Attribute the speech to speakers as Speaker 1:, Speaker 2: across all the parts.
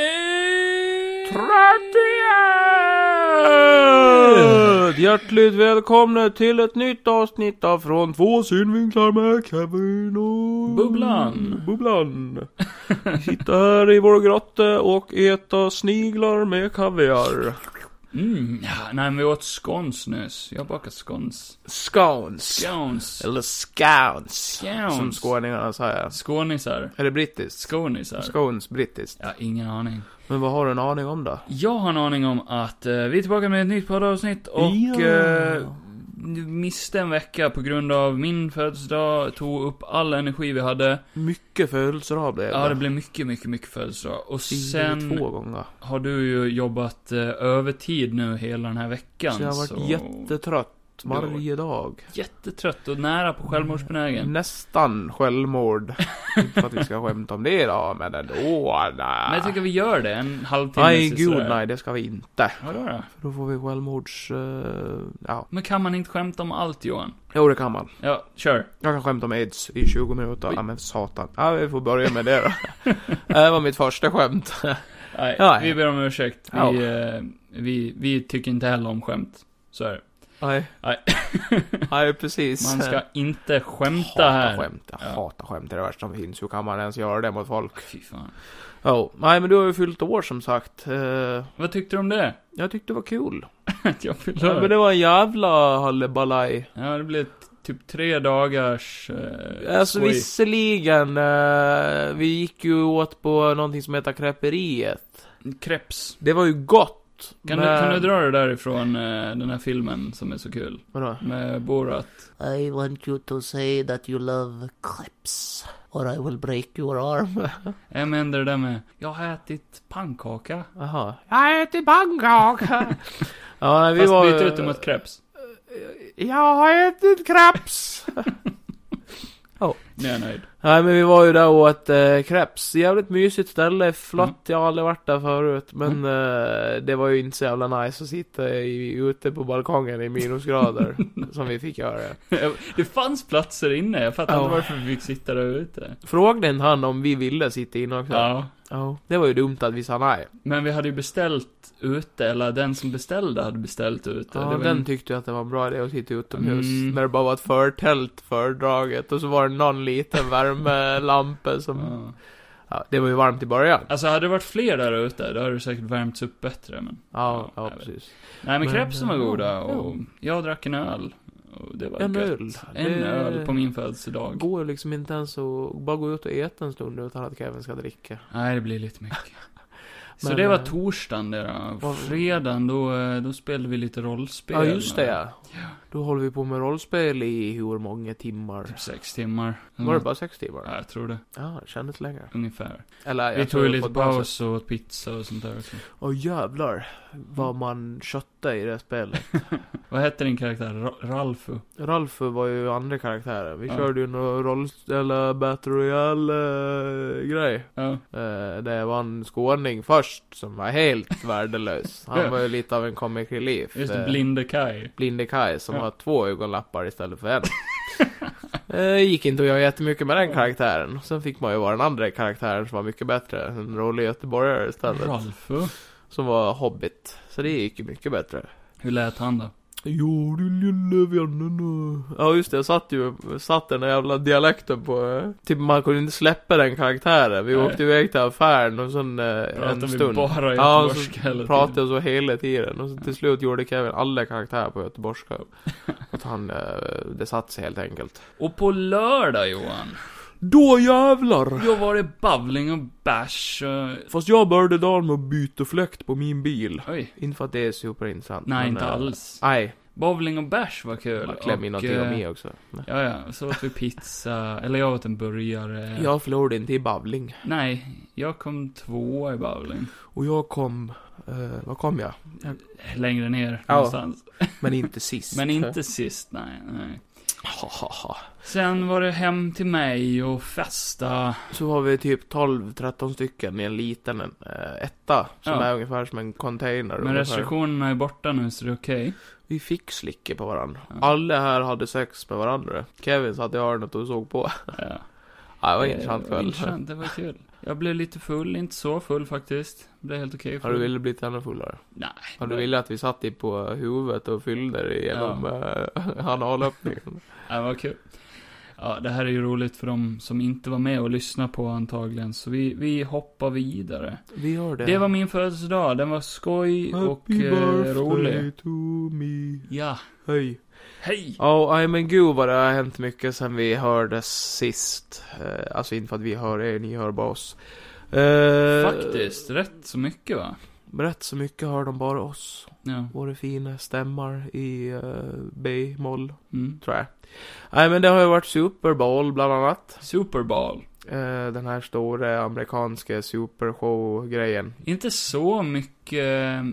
Speaker 1: Avsnitt
Speaker 2: 31! Hjärtligt välkomna till ett nytt avsnitt av Från två synvinklar med Kevin och...
Speaker 1: Bubblan.
Speaker 2: Bubblan. Sitta här i vår grotta och äta sniglar med kaviar.
Speaker 1: Mm, ja, nej men vi åt scones nyss. Jag bakar scones.
Speaker 2: Scones.
Speaker 1: Scones.
Speaker 2: Eller scones.
Speaker 1: Scones.
Speaker 2: Som skåningarna säger.
Speaker 1: Skånisar.
Speaker 2: Är det brittiskt?
Speaker 1: Skånisar.
Speaker 2: Scones, brittiskt.
Speaker 1: Jag har ingen aning.
Speaker 2: Men vad har du en aning om då?
Speaker 1: Jag har en aning om att eh, vi är tillbaka med ett nytt poddavsnitt och
Speaker 2: Ja.
Speaker 1: eh, miste en vecka på grund av min födelsedag. Tog upp all energi vi hade.
Speaker 2: Mycket födelsedag blev
Speaker 1: Ja, det blev mycket, mycket, mycket födelsedag. Och sen...
Speaker 2: Två gånger.
Speaker 1: har du ju jobbat eh, övertid nu hela den här veckan.
Speaker 2: Så jag har varit jättetrött varje dag.
Speaker 1: jättetrött och nära på
Speaker 2: Mm.
Speaker 1: självmordsbenägen.
Speaker 2: Nästan självmord. Inte för att vi ska skämta om det idag, men ändå.
Speaker 1: Men jag
Speaker 2: Nej,
Speaker 1: tycker vi gör det en halvtimme
Speaker 2: nej
Speaker 1: så-
Speaker 2: gud nej, det ska vi inte.
Speaker 1: Vadå då?
Speaker 2: För då får vi självmords... eh, ja.
Speaker 1: Men kan man inte skämta om allt Johan?
Speaker 2: Jo, det kan man.
Speaker 1: Ja, kör.
Speaker 2: Jag kan skämta om aids i 20 minuter. Ja, men satan. Ja, vi får börja med det då. det var mitt första skämt.
Speaker 1: Nej,
Speaker 2: Ja, ja.
Speaker 1: vi ber om ursäkt. Vi,
Speaker 2: Ja.
Speaker 1: eh, vi, vi tycker inte heller om skämt. Så är det.
Speaker 2: Nej.
Speaker 1: Nej.
Speaker 2: Nej, precis.
Speaker 1: Man ska inte skämta
Speaker 2: Hatar
Speaker 1: här.
Speaker 2: skämt. Jag
Speaker 1: Ja.
Speaker 2: hatar skämt. Det är det värsta som finns. Hur kan man ens göra det mot folk?
Speaker 1: Fy fan.
Speaker 2: Ja, nej men du har ju fyllt år som sagt. Eh,
Speaker 1: Vad tyckte du om det?
Speaker 2: jag tyckte det var kul.
Speaker 1: Att jag fyllde
Speaker 2: Ja,
Speaker 1: år?
Speaker 2: men det var en jävla hallebalaj.
Speaker 1: Ja, det blev t- typ tre dagars... Eh,
Speaker 2: Alltså
Speaker 1: skoj.
Speaker 2: visserligen, eh, vi gick ju åt på någonting som heter Kräperiet.
Speaker 1: Kreps.
Speaker 2: Det var ju gott.
Speaker 1: Kan,
Speaker 2: men...
Speaker 1: du, kan du dra det därifrån eh, den här filmen som är så kul?
Speaker 2: Vadå?
Speaker 1: Med Borat.
Speaker 3: I want you to say that you love crepes, or I will break your arm.
Speaker 1: Jag menar det där med, jag har ätit pannkaka.
Speaker 2: Jaha. Jag äter pannkaka. ja, nej, vi
Speaker 1: Fast
Speaker 2: var...
Speaker 1: byter ut det mot crepes.
Speaker 2: Jag har ätit kreps.
Speaker 1: Nu är jag nöjd.
Speaker 2: Nej men vi var ju där och åt eh, crepes. Jävligt mysigt ställe, flott.
Speaker 1: Mm.
Speaker 2: Jag har aldrig varit där förut. Men eh, det var ju inte så jävla nice att sitta i, ute på balkongen i minusgrader. som vi fick göra.
Speaker 1: Det fanns platser inne, jag fattar
Speaker 2: Ja.
Speaker 1: inte varför vi fick sitta där ute.
Speaker 2: Frågade inte han om vi ville sitta inne också?
Speaker 1: Ja.
Speaker 2: Ja. Det var ju dumt att vi sa nej.
Speaker 1: Men vi hade ju beställt ute, eller den som beställde hade beställt ute.
Speaker 2: Ja,
Speaker 1: det var
Speaker 2: den
Speaker 1: inte-
Speaker 2: tyckte ju att det var en bra idé att sitta utomhus.
Speaker 1: Mm.
Speaker 2: När det bara var ett förtält fördraget. Och så var det någon liten värmelampa som...
Speaker 1: ja.
Speaker 2: Ja, det var ju varmt i början.
Speaker 1: Alltså hade det varit fler där ute, då hade det säkert värmts upp bättre. Men...
Speaker 2: Ja,
Speaker 1: Ja,
Speaker 2: ja,
Speaker 1: jag vet.
Speaker 2: precis.
Speaker 1: Nej men
Speaker 2: Men,
Speaker 1: crepesen var
Speaker 2: eh,
Speaker 1: goda
Speaker 2: ja,
Speaker 1: och jag drack en öl. Och det var
Speaker 2: En
Speaker 1: gött.
Speaker 2: öl.
Speaker 1: En
Speaker 2: Det-
Speaker 1: öl på min födelsedag.
Speaker 2: Går liksom inte ens att bara gå ut och äta en stund utan att Kevin ska dricka.
Speaker 1: Nej, det blir lite mycket. Så
Speaker 2: Men,
Speaker 1: det var
Speaker 2: eh,
Speaker 1: torsdagen det då.
Speaker 2: vad-
Speaker 1: Fredagen då, eh, då spelade vi lite rollspel.
Speaker 2: Ja, just det ja. Då håller vi på med rollspel i hur många timmar?
Speaker 1: Typ sex timmar.
Speaker 2: Var det bara sex timmar?
Speaker 1: Mm. Ja, jag tror det.
Speaker 2: Ja, det kändes längre.
Speaker 1: Ungefär.
Speaker 2: Eller,
Speaker 1: vi tog
Speaker 2: jag tror
Speaker 1: ju
Speaker 2: på
Speaker 1: lite
Speaker 2: ett bra sätt.
Speaker 1: paus och åt pizza och sånt där också.
Speaker 2: Åh jävlar, vad
Speaker 1: Mm.
Speaker 2: man köttade i det spelet.
Speaker 1: Vad hette din karaktär? Ra- Ralfu?
Speaker 2: Ralf var ju andra karaktären. Vi
Speaker 1: Ja.
Speaker 2: körde ju någon roll... Eller Battle Royale-grej.
Speaker 1: Ja.
Speaker 2: Eh, det var en skåning först som var helt värdelös. Han var ju lite av en comic relief.
Speaker 1: Just det,
Speaker 2: Eh,
Speaker 1: Blinde Kai.
Speaker 2: blinde Kai som
Speaker 1: Ja.
Speaker 2: har två ögonlappar istället för en. Eh, gick inte att göra jättemycket med den karaktären. Sen fick man ju vara den andra karaktären som var mycket bättre. En rolig göteborgare istället.
Speaker 1: Ralfu?
Speaker 2: Som var hobbit. Så det gick ju mycket bättre.
Speaker 1: Hur lät han då?
Speaker 2: Jo, din lille vännen. eh. Ja, just det. Jag satt ju, satt den där jävla dialekten på... eh, Typ man kunde inte släppa den karaktären. Vi
Speaker 1: Nej.
Speaker 2: åkte iväg till affären och sen eh,
Speaker 1: Pratar
Speaker 2: en
Speaker 1: vi
Speaker 2: stund.
Speaker 1: bara
Speaker 2: Ja, och så
Speaker 1: göteborgska hela
Speaker 2: Pratade
Speaker 1: tiden?
Speaker 2: jag så hela tiden och så till slut gjorde Kevin alla karaktärer på göteborgska. Att han, eh, det satt sig helt enkelt.
Speaker 1: Och på lördag Johan,
Speaker 2: Då jävlar!
Speaker 1: då var det bowling och bash och...
Speaker 2: Fast jag började dagen med att byta fläkt på min bil.
Speaker 1: Oj.
Speaker 2: Inte för att det är superintressant.
Speaker 1: Nej,
Speaker 2: men,
Speaker 1: inte
Speaker 2: eh,
Speaker 1: alls.
Speaker 2: Nej,
Speaker 1: Bowling och bash var kul.
Speaker 2: bara kläm in
Speaker 1: och,
Speaker 2: någonting
Speaker 1: eh,
Speaker 2: om E mig också.
Speaker 1: Ja, ja. Så åt vi pizza, eller jag åt en burgare.
Speaker 2: Jag förlorade inte i babbling.
Speaker 1: Nej, jag kom två i bowling.
Speaker 2: Och jag kom, eh, vad kom jag?
Speaker 1: Längre ner
Speaker 2: Ja.
Speaker 1: någonstans.
Speaker 2: Men inte sist.
Speaker 1: Men inte sist, nej, nej.
Speaker 2: Ha, ha, ha.
Speaker 1: Sen var det hem till mig och festa.
Speaker 2: Så var vi typ 12-13 stycken i en liten eh, etta. Som
Speaker 1: Ja.
Speaker 2: är ungefär som en container.
Speaker 1: Men
Speaker 2: ungefär.
Speaker 1: restriktionerna är borta nu, så det är okej.
Speaker 2: Vi fick slicka på varandra.
Speaker 1: Ja.
Speaker 2: Alla här hade sex med varandra. Kevin satt i hörnet och såg på.
Speaker 1: Ja.
Speaker 2: Ja, det var en Eh, intressant kväll.
Speaker 1: Intressant, det var kul. Jag blev lite full, inte så full faktiskt. Det blev helt okej.
Speaker 2: Har
Speaker 1: full.
Speaker 2: du velat bli fullare?
Speaker 1: Nej.
Speaker 2: Har du velat att vi satt dig på huvudet och fyllde dig genom ja. analöppningen?
Speaker 1: Ja, vad kul. Ja, det här är ju roligt för de som inte var med och lyssnade på antagligen, så vi, vi hoppar vidare.
Speaker 2: Vi gör det.
Speaker 1: Det var min födelsedag, den var skoj och
Speaker 2: Happy
Speaker 1: eh, rolig.
Speaker 2: birthday to me.
Speaker 1: Ja,
Speaker 2: Hej.
Speaker 1: hej!
Speaker 2: Ja, nej men gud vad det har hänt mycket sen vi hördes sist. Eh, alltså inte för att vi hör er, ni hör bara oss. Eh,
Speaker 1: Faktiskt, rätt så mycket va?
Speaker 2: Rätt så mycket hör de bara oss.
Speaker 1: Ja.
Speaker 2: Våra fina stämmar i eh, B-moll,
Speaker 1: Mm.
Speaker 2: tror jag. Nej men det har ju varit Super Bowl bland annat.
Speaker 1: Super Bowl.
Speaker 2: Eh, den här stora amerikanska supershow-grejen.
Speaker 1: Inte så mycket eh,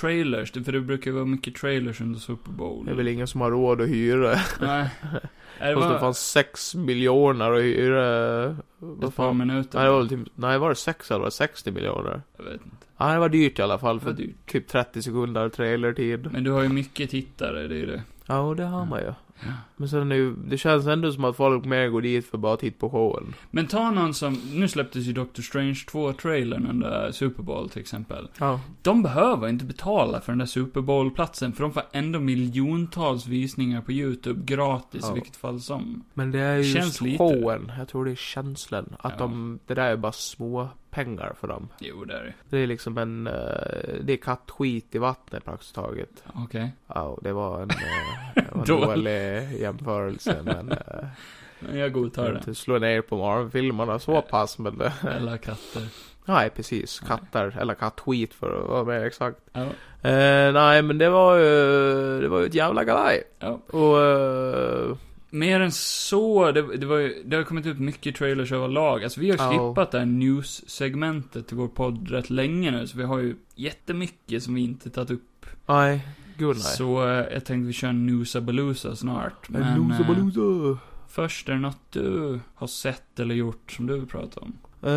Speaker 1: trailers, för det brukar ju vara mycket trailers under Super Bowl.
Speaker 2: Det är väl ingen som har råd att hyra.
Speaker 1: Nej. Nej,
Speaker 2: Det
Speaker 1: Det
Speaker 2: kostar
Speaker 1: var
Speaker 2: fan 6 miljoner att hyra. eh, Vad
Speaker 1: ett par
Speaker 2: fan?
Speaker 1: minuter.
Speaker 2: Nej, det var väl typ, nej, var det 6 eller var det 60 miljoner?
Speaker 1: Jag vet inte.
Speaker 2: Ja, det var dyrt i alla fall
Speaker 1: Det var
Speaker 2: för
Speaker 1: dyrt.
Speaker 2: typ 30 sekunder trailertid.
Speaker 1: Men du har ju mycket tittare, det är det.
Speaker 2: Ja, och det har man ju.
Speaker 1: Ja.
Speaker 2: Men sen är ju, det känns ändå som att folk mer går dit för bara att titta på showen.
Speaker 1: Men ta någon som, nu släpptes ju Doctor Strange 2-trailern under Super Bowl till exempel.
Speaker 2: Ja.
Speaker 1: De behöver inte betala för den där Super Bowl-platsen, för de får ändå miljontals visningar på YouTube gratis
Speaker 2: Ja.
Speaker 1: i vilket fall som.
Speaker 2: Men det är ju
Speaker 1: Känns lite.
Speaker 2: showen. Jag tror det är känslan. Att
Speaker 1: Ja.
Speaker 2: de, det där är bara små pengar för dem.
Speaker 1: Jo, det är det.
Speaker 2: Det är liksom en, eh, det är kattskit i vattnet praktiskt taget.
Speaker 1: Okej.
Speaker 2: Ja, och det var en, eh, det var en
Speaker 1: Dålig.
Speaker 2: dålig jämförelse men... eh,
Speaker 1: Men jag godtar det.
Speaker 2: Inte slå ner på morgonfilmerna så pass men... eh,
Speaker 1: Eller katter.
Speaker 2: Nej, precis. Katter, eller kattskit för att vara mer exakt.
Speaker 1: Ja.
Speaker 2: Eh, nej, men det var ju, det var ju ett jävla galaj.
Speaker 1: ja.
Speaker 2: Och, eh,
Speaker 1: Mer än så, det, det, var ju, det har kommit ut mycket trailers överlag. Alltså vi har
Speaker 2: Ja.
Speaker 1: skippat det här news-segmentet i vår podd rätt länge nu, så vi har ju jättemycket som vi inte tagit upp.
Speaker 2: nej, gud nej.
Speaker 1: Så eh, jag tänkte vi kör en Noosabalooza snart. Men
Speaker 2: Men, loser,
Speaker 1: eh,
Speaker 2: loser.
Speaker 1: först är det något du har sett eller gjort som du vill prata om?
Speaker 2: Eh,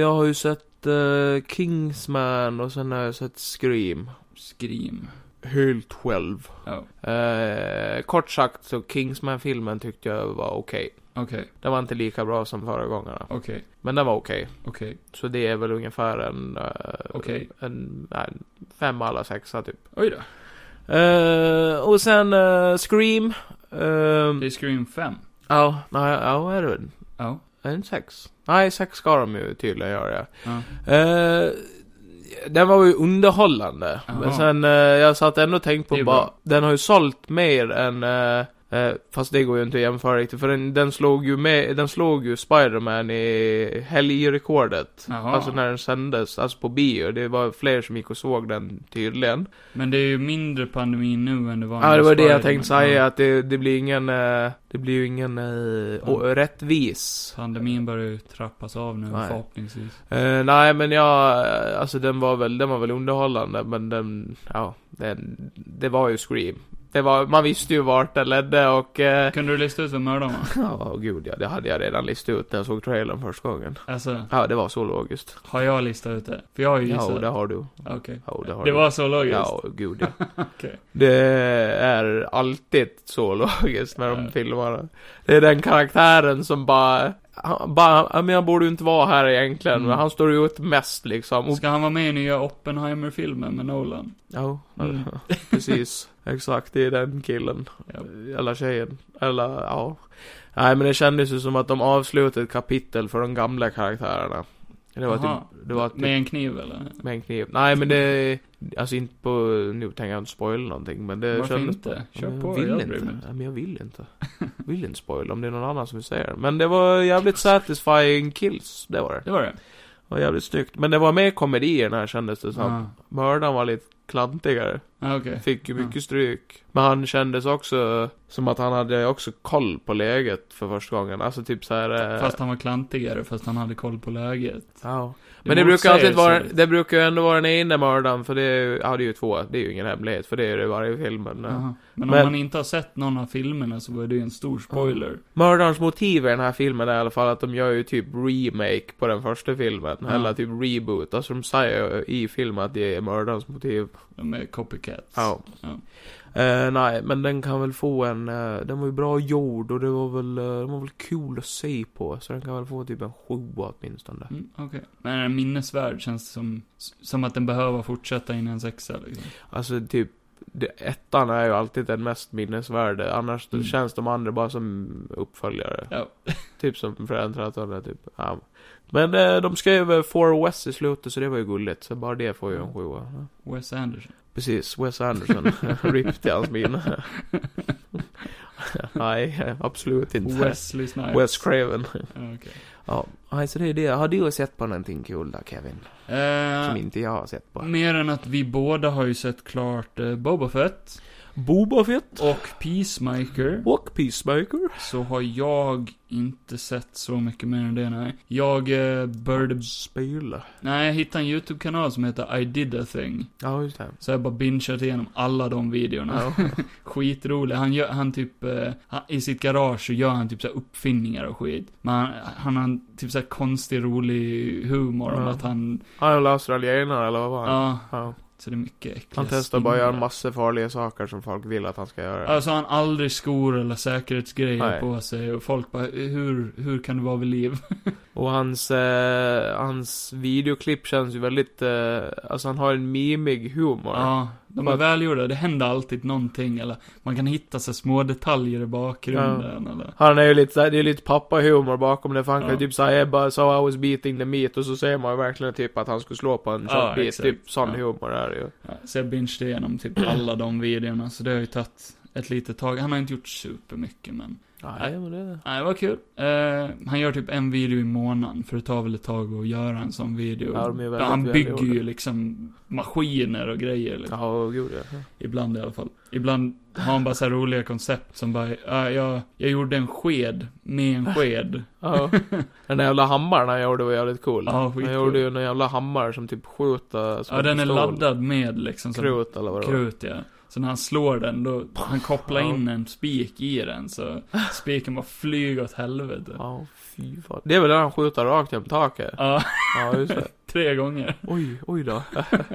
Speaker 2: jag har ju sett eh, Kingsman och sen har jag sett Scream.
Speaker 1: Scream.
Speaker 2: Helt själv.
Speaker 1: Ja,
Speaker 2: Eh, kort sagt så Kingsman-filmen tyckte jag var okej.
Speaker 1: okej,
Speaker 2: Den var inte lika bra som förra gångerna.
Speaker 1: okej,
Speaker 2: Men den var okej.
Speaker 1: okej,
Speaker 2: Så det är väl ungefär en... Uh,
Speaker 1: Okej.
Speaker 2: En, nej, en femma eller sexa typ.
Speaker 1: oj då.
Speaker 2: Eh, och sen eh, Scream. Ehm,
Speaker 1: Det är Scream 5.
Speaker 2: Ja, nej, ja, är det väl?
Speaker 1: Ja.
Speaker 2: Är det inte sex? Nej, sex ska de ju tydligen göra.
Speaker 1: ja.
Speaker 2: Uh, den var ju underhållande.
Speaker 1: Jaha.
Speaker 2: Men sen, eh, jag satt ändå och
Speaker 1: Det
Speaker 2: tänkte på
Speaker 1: är
Speaker 2: bara,
Speaker 1: bra.
Speaker 2: den har ju sålt mer än... eh, eh, fast det går ju inte att jämföra riktigt, för den, den slog ju med, den slog ju Spider-Man i helgrekordet.
Speaker 1: Jaha.
Speaker 2: Alltså när den sändes, alltså på bio. Det var fler som gick och såg den tydligen.
Speaker 1: Men det är ju mindre pandemi nu än det var
Speaker 2: Ja, det
Speaker 1: när
Speaker 2: var det jag
Speaker 1: Spider-Man
Speaker 2: tänkte säga, att det, det blir ingen, eh, det blir ju ingen eh, å- rättvis.
Speaker 1: Pandemin börjar ju trappas av nu
Speaker 2: Nej.
Speaker 1: förhoppningsvis.
Speaker 2: Eh, nej, men jag, eh, alltså den var väl, den var väl underhållande, men den, ja, den, det var ju Scream. Det var, man visste ju vart den ledde och, eh,
Speaker 1: Kunde du lista ut vem mördaren var?
Speaker 2: ja, gud ja, det hade jag redan listat ut när jag såg trailern första gången.
Speaker 1: Alltså,
Speaker 2: Ja, det var så logiskt.
Speaker 1: har jag listat ut det? För jag har ju
Speaker 2: Ja,
Speaker 1: gissat.
Speaker 2: det har du.
Speaker 1: Okej.
Speaker 2: Ja, det har
Speaker 1: Det
Speaker 2: du.
Speaker 1: var så logiskt?
Speaker 2: Ja, gud ja.
Speaker 1: Okej.
Speaker 2: Det är alltid så logiskt med de
Speaker 1: Ja.
Speaker 2: filmerna. Det är den karaktären som bara... Han, bara, ja, men han borde ju inte vara här egentligen,
Speaker 1: Mm.
Speaker 2: men han står ju ut mest liksom. Och,
Speaker 1: Ska han vara med i nya Oppenheimer-filmen med Nolan?
Speaker 2: ja,
Speaker 1: Mm.
Speaker 2: precis. Exakt, det är den killen.
Speaker 1: Ja.
Speaker 2: Eller tjejen. Eller, ja. Nej, men det kändes ju som att de avslutade ett kapitel för de gamla karaktärerna. Det var
Speaker 1: Aha.
Speaker 2: typ... Det var typ
Speaker 1: Med en kniv eller?
Speaker 2: med en kniv. Nej, men det... Alltså inte på... Nu tänker jag inte spoila någonting, men det
Speaker 1: Varför
Speaker 2: kändes
Speaker 1: inte?
Speaker 2: Ja,
Speaker 1: Kör
Speaker 2: men
Speaker 1: på,
Speaker 2: jag vill
Speaker 1: jag bryr mig
Speaker 2: inte.
Speaker 1: inte.
Speaker 2: Ja, men jag vill inte. Vill inte spoila om det är någon annan som vill säga det. Men det var jävligt satisfying kills, det var det.
Speaker 1: Det var det?
Speaker 2: Det var jävligt snyggt. Men det var mer komedier när kändes det som.
Speaker 1: Ja.
Speaker 2: Mördaren var lite klantigare.
Speaker 1: Ja, Ah. okej.
Speaker 2: Fick ju
Speaker 1: Ja.
Speaker 2: mycket stryk. Men han kändes också som att han hade också koll på läget för första gången. Alltså typ så här. eh,
Speaker 1: Fast han var klantigare, fast han hade koll på läget.
Speaker 2: ja. Men det brukar
Speaker 1: motsäger
Speaker 2: alltid vara,
Speaker 1: sig.
Speaker 2: det brukar ju ändå vara den ene mördaren för det är ju, ja det är ju två, det är ju ingen hemlighet för det är det i varje film men. eh,
Speaker 1: Jaha. Men om
Speaker 2: Men-
Speaker 1: man inte har sett någon av filmerna så var det ju en stor spoiler.
Speaker 2: Mördarens motiv i den här filmen är i alla fall att de gör ju typ remake på den första filmen.
Speaker 1: Ja.
Speaker 2: Eller typ reboot. Alltså de säger ju i filmen att det är mördarens motiv.
Speaker 1: De är copycats.
Speaker 2: Ja.
Speaker 1: Ja.
Speaker 2: Eh, nej, men den kan väl få en, eh, den var ju bra gjord och det var väl, eh, den var väl kul att se på. Så den kan väl få typ en sjua åtminstone.
Speaker 1: Mm, Okej. Men en minnesvärd känns som, som att den behöver fortsätta in i en sexa liksom.
Speaker 2: Alltså typ, det, ettan är ju alltid den mest minnesvärda. Annars
Speaker 1: Mm.
Speaker 2: känns de andra bara som uppföljare.
Speaker 1: Ja.
Speaker 2: Typ som Fredag den 13 typ. Ja. Men eh, de skrev eh, Four West i slutet så det var ju gulligt. Så bara det får ju en sjua. Ja.
Speaker 1: Wes Anderson.
Speaker 2: Precis, Wes Anderson. Rip till hans minne. Nej, absolut inte.
Speaker 1: Wesley Snipes.
Speaker 2: Mm. Wes Craven.
Speaker 1: Ja, okej.
Speaker 2: Ja, nej, så det är det. Har du sett på någonting kul då Kevin?
Speaker 1: Eh,
Speaker 2: Som inte jag har sett på.
Speaker 1: Mer än att vi båda har ju sett klart eh, Boba Fett
Speaker 2: Boba Fett
Speaker 1: och Peacemaker.
Speaker 2: och Peacemaker.
Speaker 1: Så har jag inte sett så mycket mer än det, nej. Jag eh, började...
Speaker 2: Spela.
Speaker 1: Nej, jag hittade en YouTube-kanal som heter I did a thing.
Speaker 2: Ja, just det.
Speaker 1: Så jag bara bingeat igenom alla de videorna.
Speaker 2: Ja.
Speaker 1: Skitrolig. Han gör, han typ, eh, han, i sitt garage så gör han typ så här uppfinningar och skit. Men han, han har en typ så här konstig, rolig humor om
Speaker 2: Ja.
Speaker 1: att han,
Speaker 2: Han är australienare eller vad var han?
Speaker 1: ja,
Speaker 2: Ja.
Speaker 1: så det är mycket äckliga
Speaker 2: Han testar bara att göra
Speaker 1: stingare.
Speaker 2: massor farliga saker som folk vill att han ska göra.
Speaker 1: Alltså han har aldrig skor eller säkerhetsgrejer
Speaker 2: Nej.
Speaker 1: på sig och folk bara, "Eh, hur, hur kan du vara vid liv?
Speaker 2: Och hans, eh, hans videoklipp känns ju väldigt, eh, alltså han har en mimig humor.
Speaker 1: Ja, de är
Speaker 2: Bara-
Speaker 1: välgjorda, det händer alltid någonting eller man kan hitta så här små detaljer i bakgrunden eller.
Speaker 2: Han är ju lite, såhär- det är lite pappahumor bakom det, för han kan ju
Speaker 1: Ja.
Speaker 2: typ säga "I bara so I was beating the meat, och så säger man ju verkligen typ att han skulle slå på en
Speaker 1: Ja,
Speaker 2: köttbit,
Speaker 1: exakt.
Speaker 2: typ sån
Speaker 1: Ja.
Speaker 2: humor är det ju.
Speaker 1: Ja, så jag bingeade igenom typ alla de videorna, så det har ju tagit ett litet tag. Han har inte gjort supermycket men, Nej,
Speaker 2: men det...
Speaker 1: nej det var kul. Eh, han gör typ en video i månaden, för det tar väl ett tag att göra en sån video.
Speaker 2: Ja, de är väldigt
Speaker 1: han bygger ju
Speaker 2: välgjorda.
Speaker 1: liksom maskiner och grejer liksom.
Speaker 2: Ja, åh, gud ja.
Speaker 1: Ibland i alla fall. Ibland har han bara så här roliga koncept som bara, "Ja, jag, jag gjorde en sked med
Speaker 2: Äh.
Speaker 1: en sked.
Speaker 2: Ja. Den där jävla hammaren han gjorde var jävligt cool.
Speaker 1: Ja, skitcool.
Speaker 2: han gjorde ju en jävla hammare som typ skjuter som
Speaker 1: Ja, den är
Speaker 2: pistol.
Speaker 1: laddad med liksom så
Speaker 2: Krut eller vad det var.
Speaker 1: krut ja. Så när han slår den, då, han kopplar
Speaker 2: Ja.
Speaker 1: in en spik i den, så spiken bara flyger åt helvete.
Speaker 2: Ja, fy fan. Det är väl den han skjuter rakt genom taket?
Speaker 1: Ja,
Speaker 2: Ja, just det.
Speaker 1: tre gånger.
Speaker 2: Oj, oj då.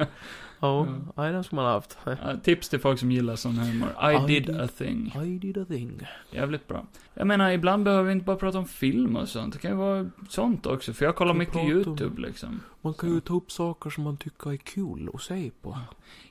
Speaker 2: Ja, nej den skulle man ha haft.
Speaker 1: Ja, tips till folk som gillar sån humor. I
Speaker 2: I
Speaker 1: did
Speaker 2: did-
Speaker 1: a thing.
Speaker 2: I did a thing.
Speaker 1: Jävligt bra. Jag menar, ibland behöver vi inte bara prata om film och sånt. Det kan ju vara sånt också, för jag kollar
Speaker 2: Kan vi
Speaker 1: mycket
Speaker 2: prata om-
Speaker 1: YouTube liksom.
Speaker 2: Man kan ju ta upp saker som man tycker är kul att se på.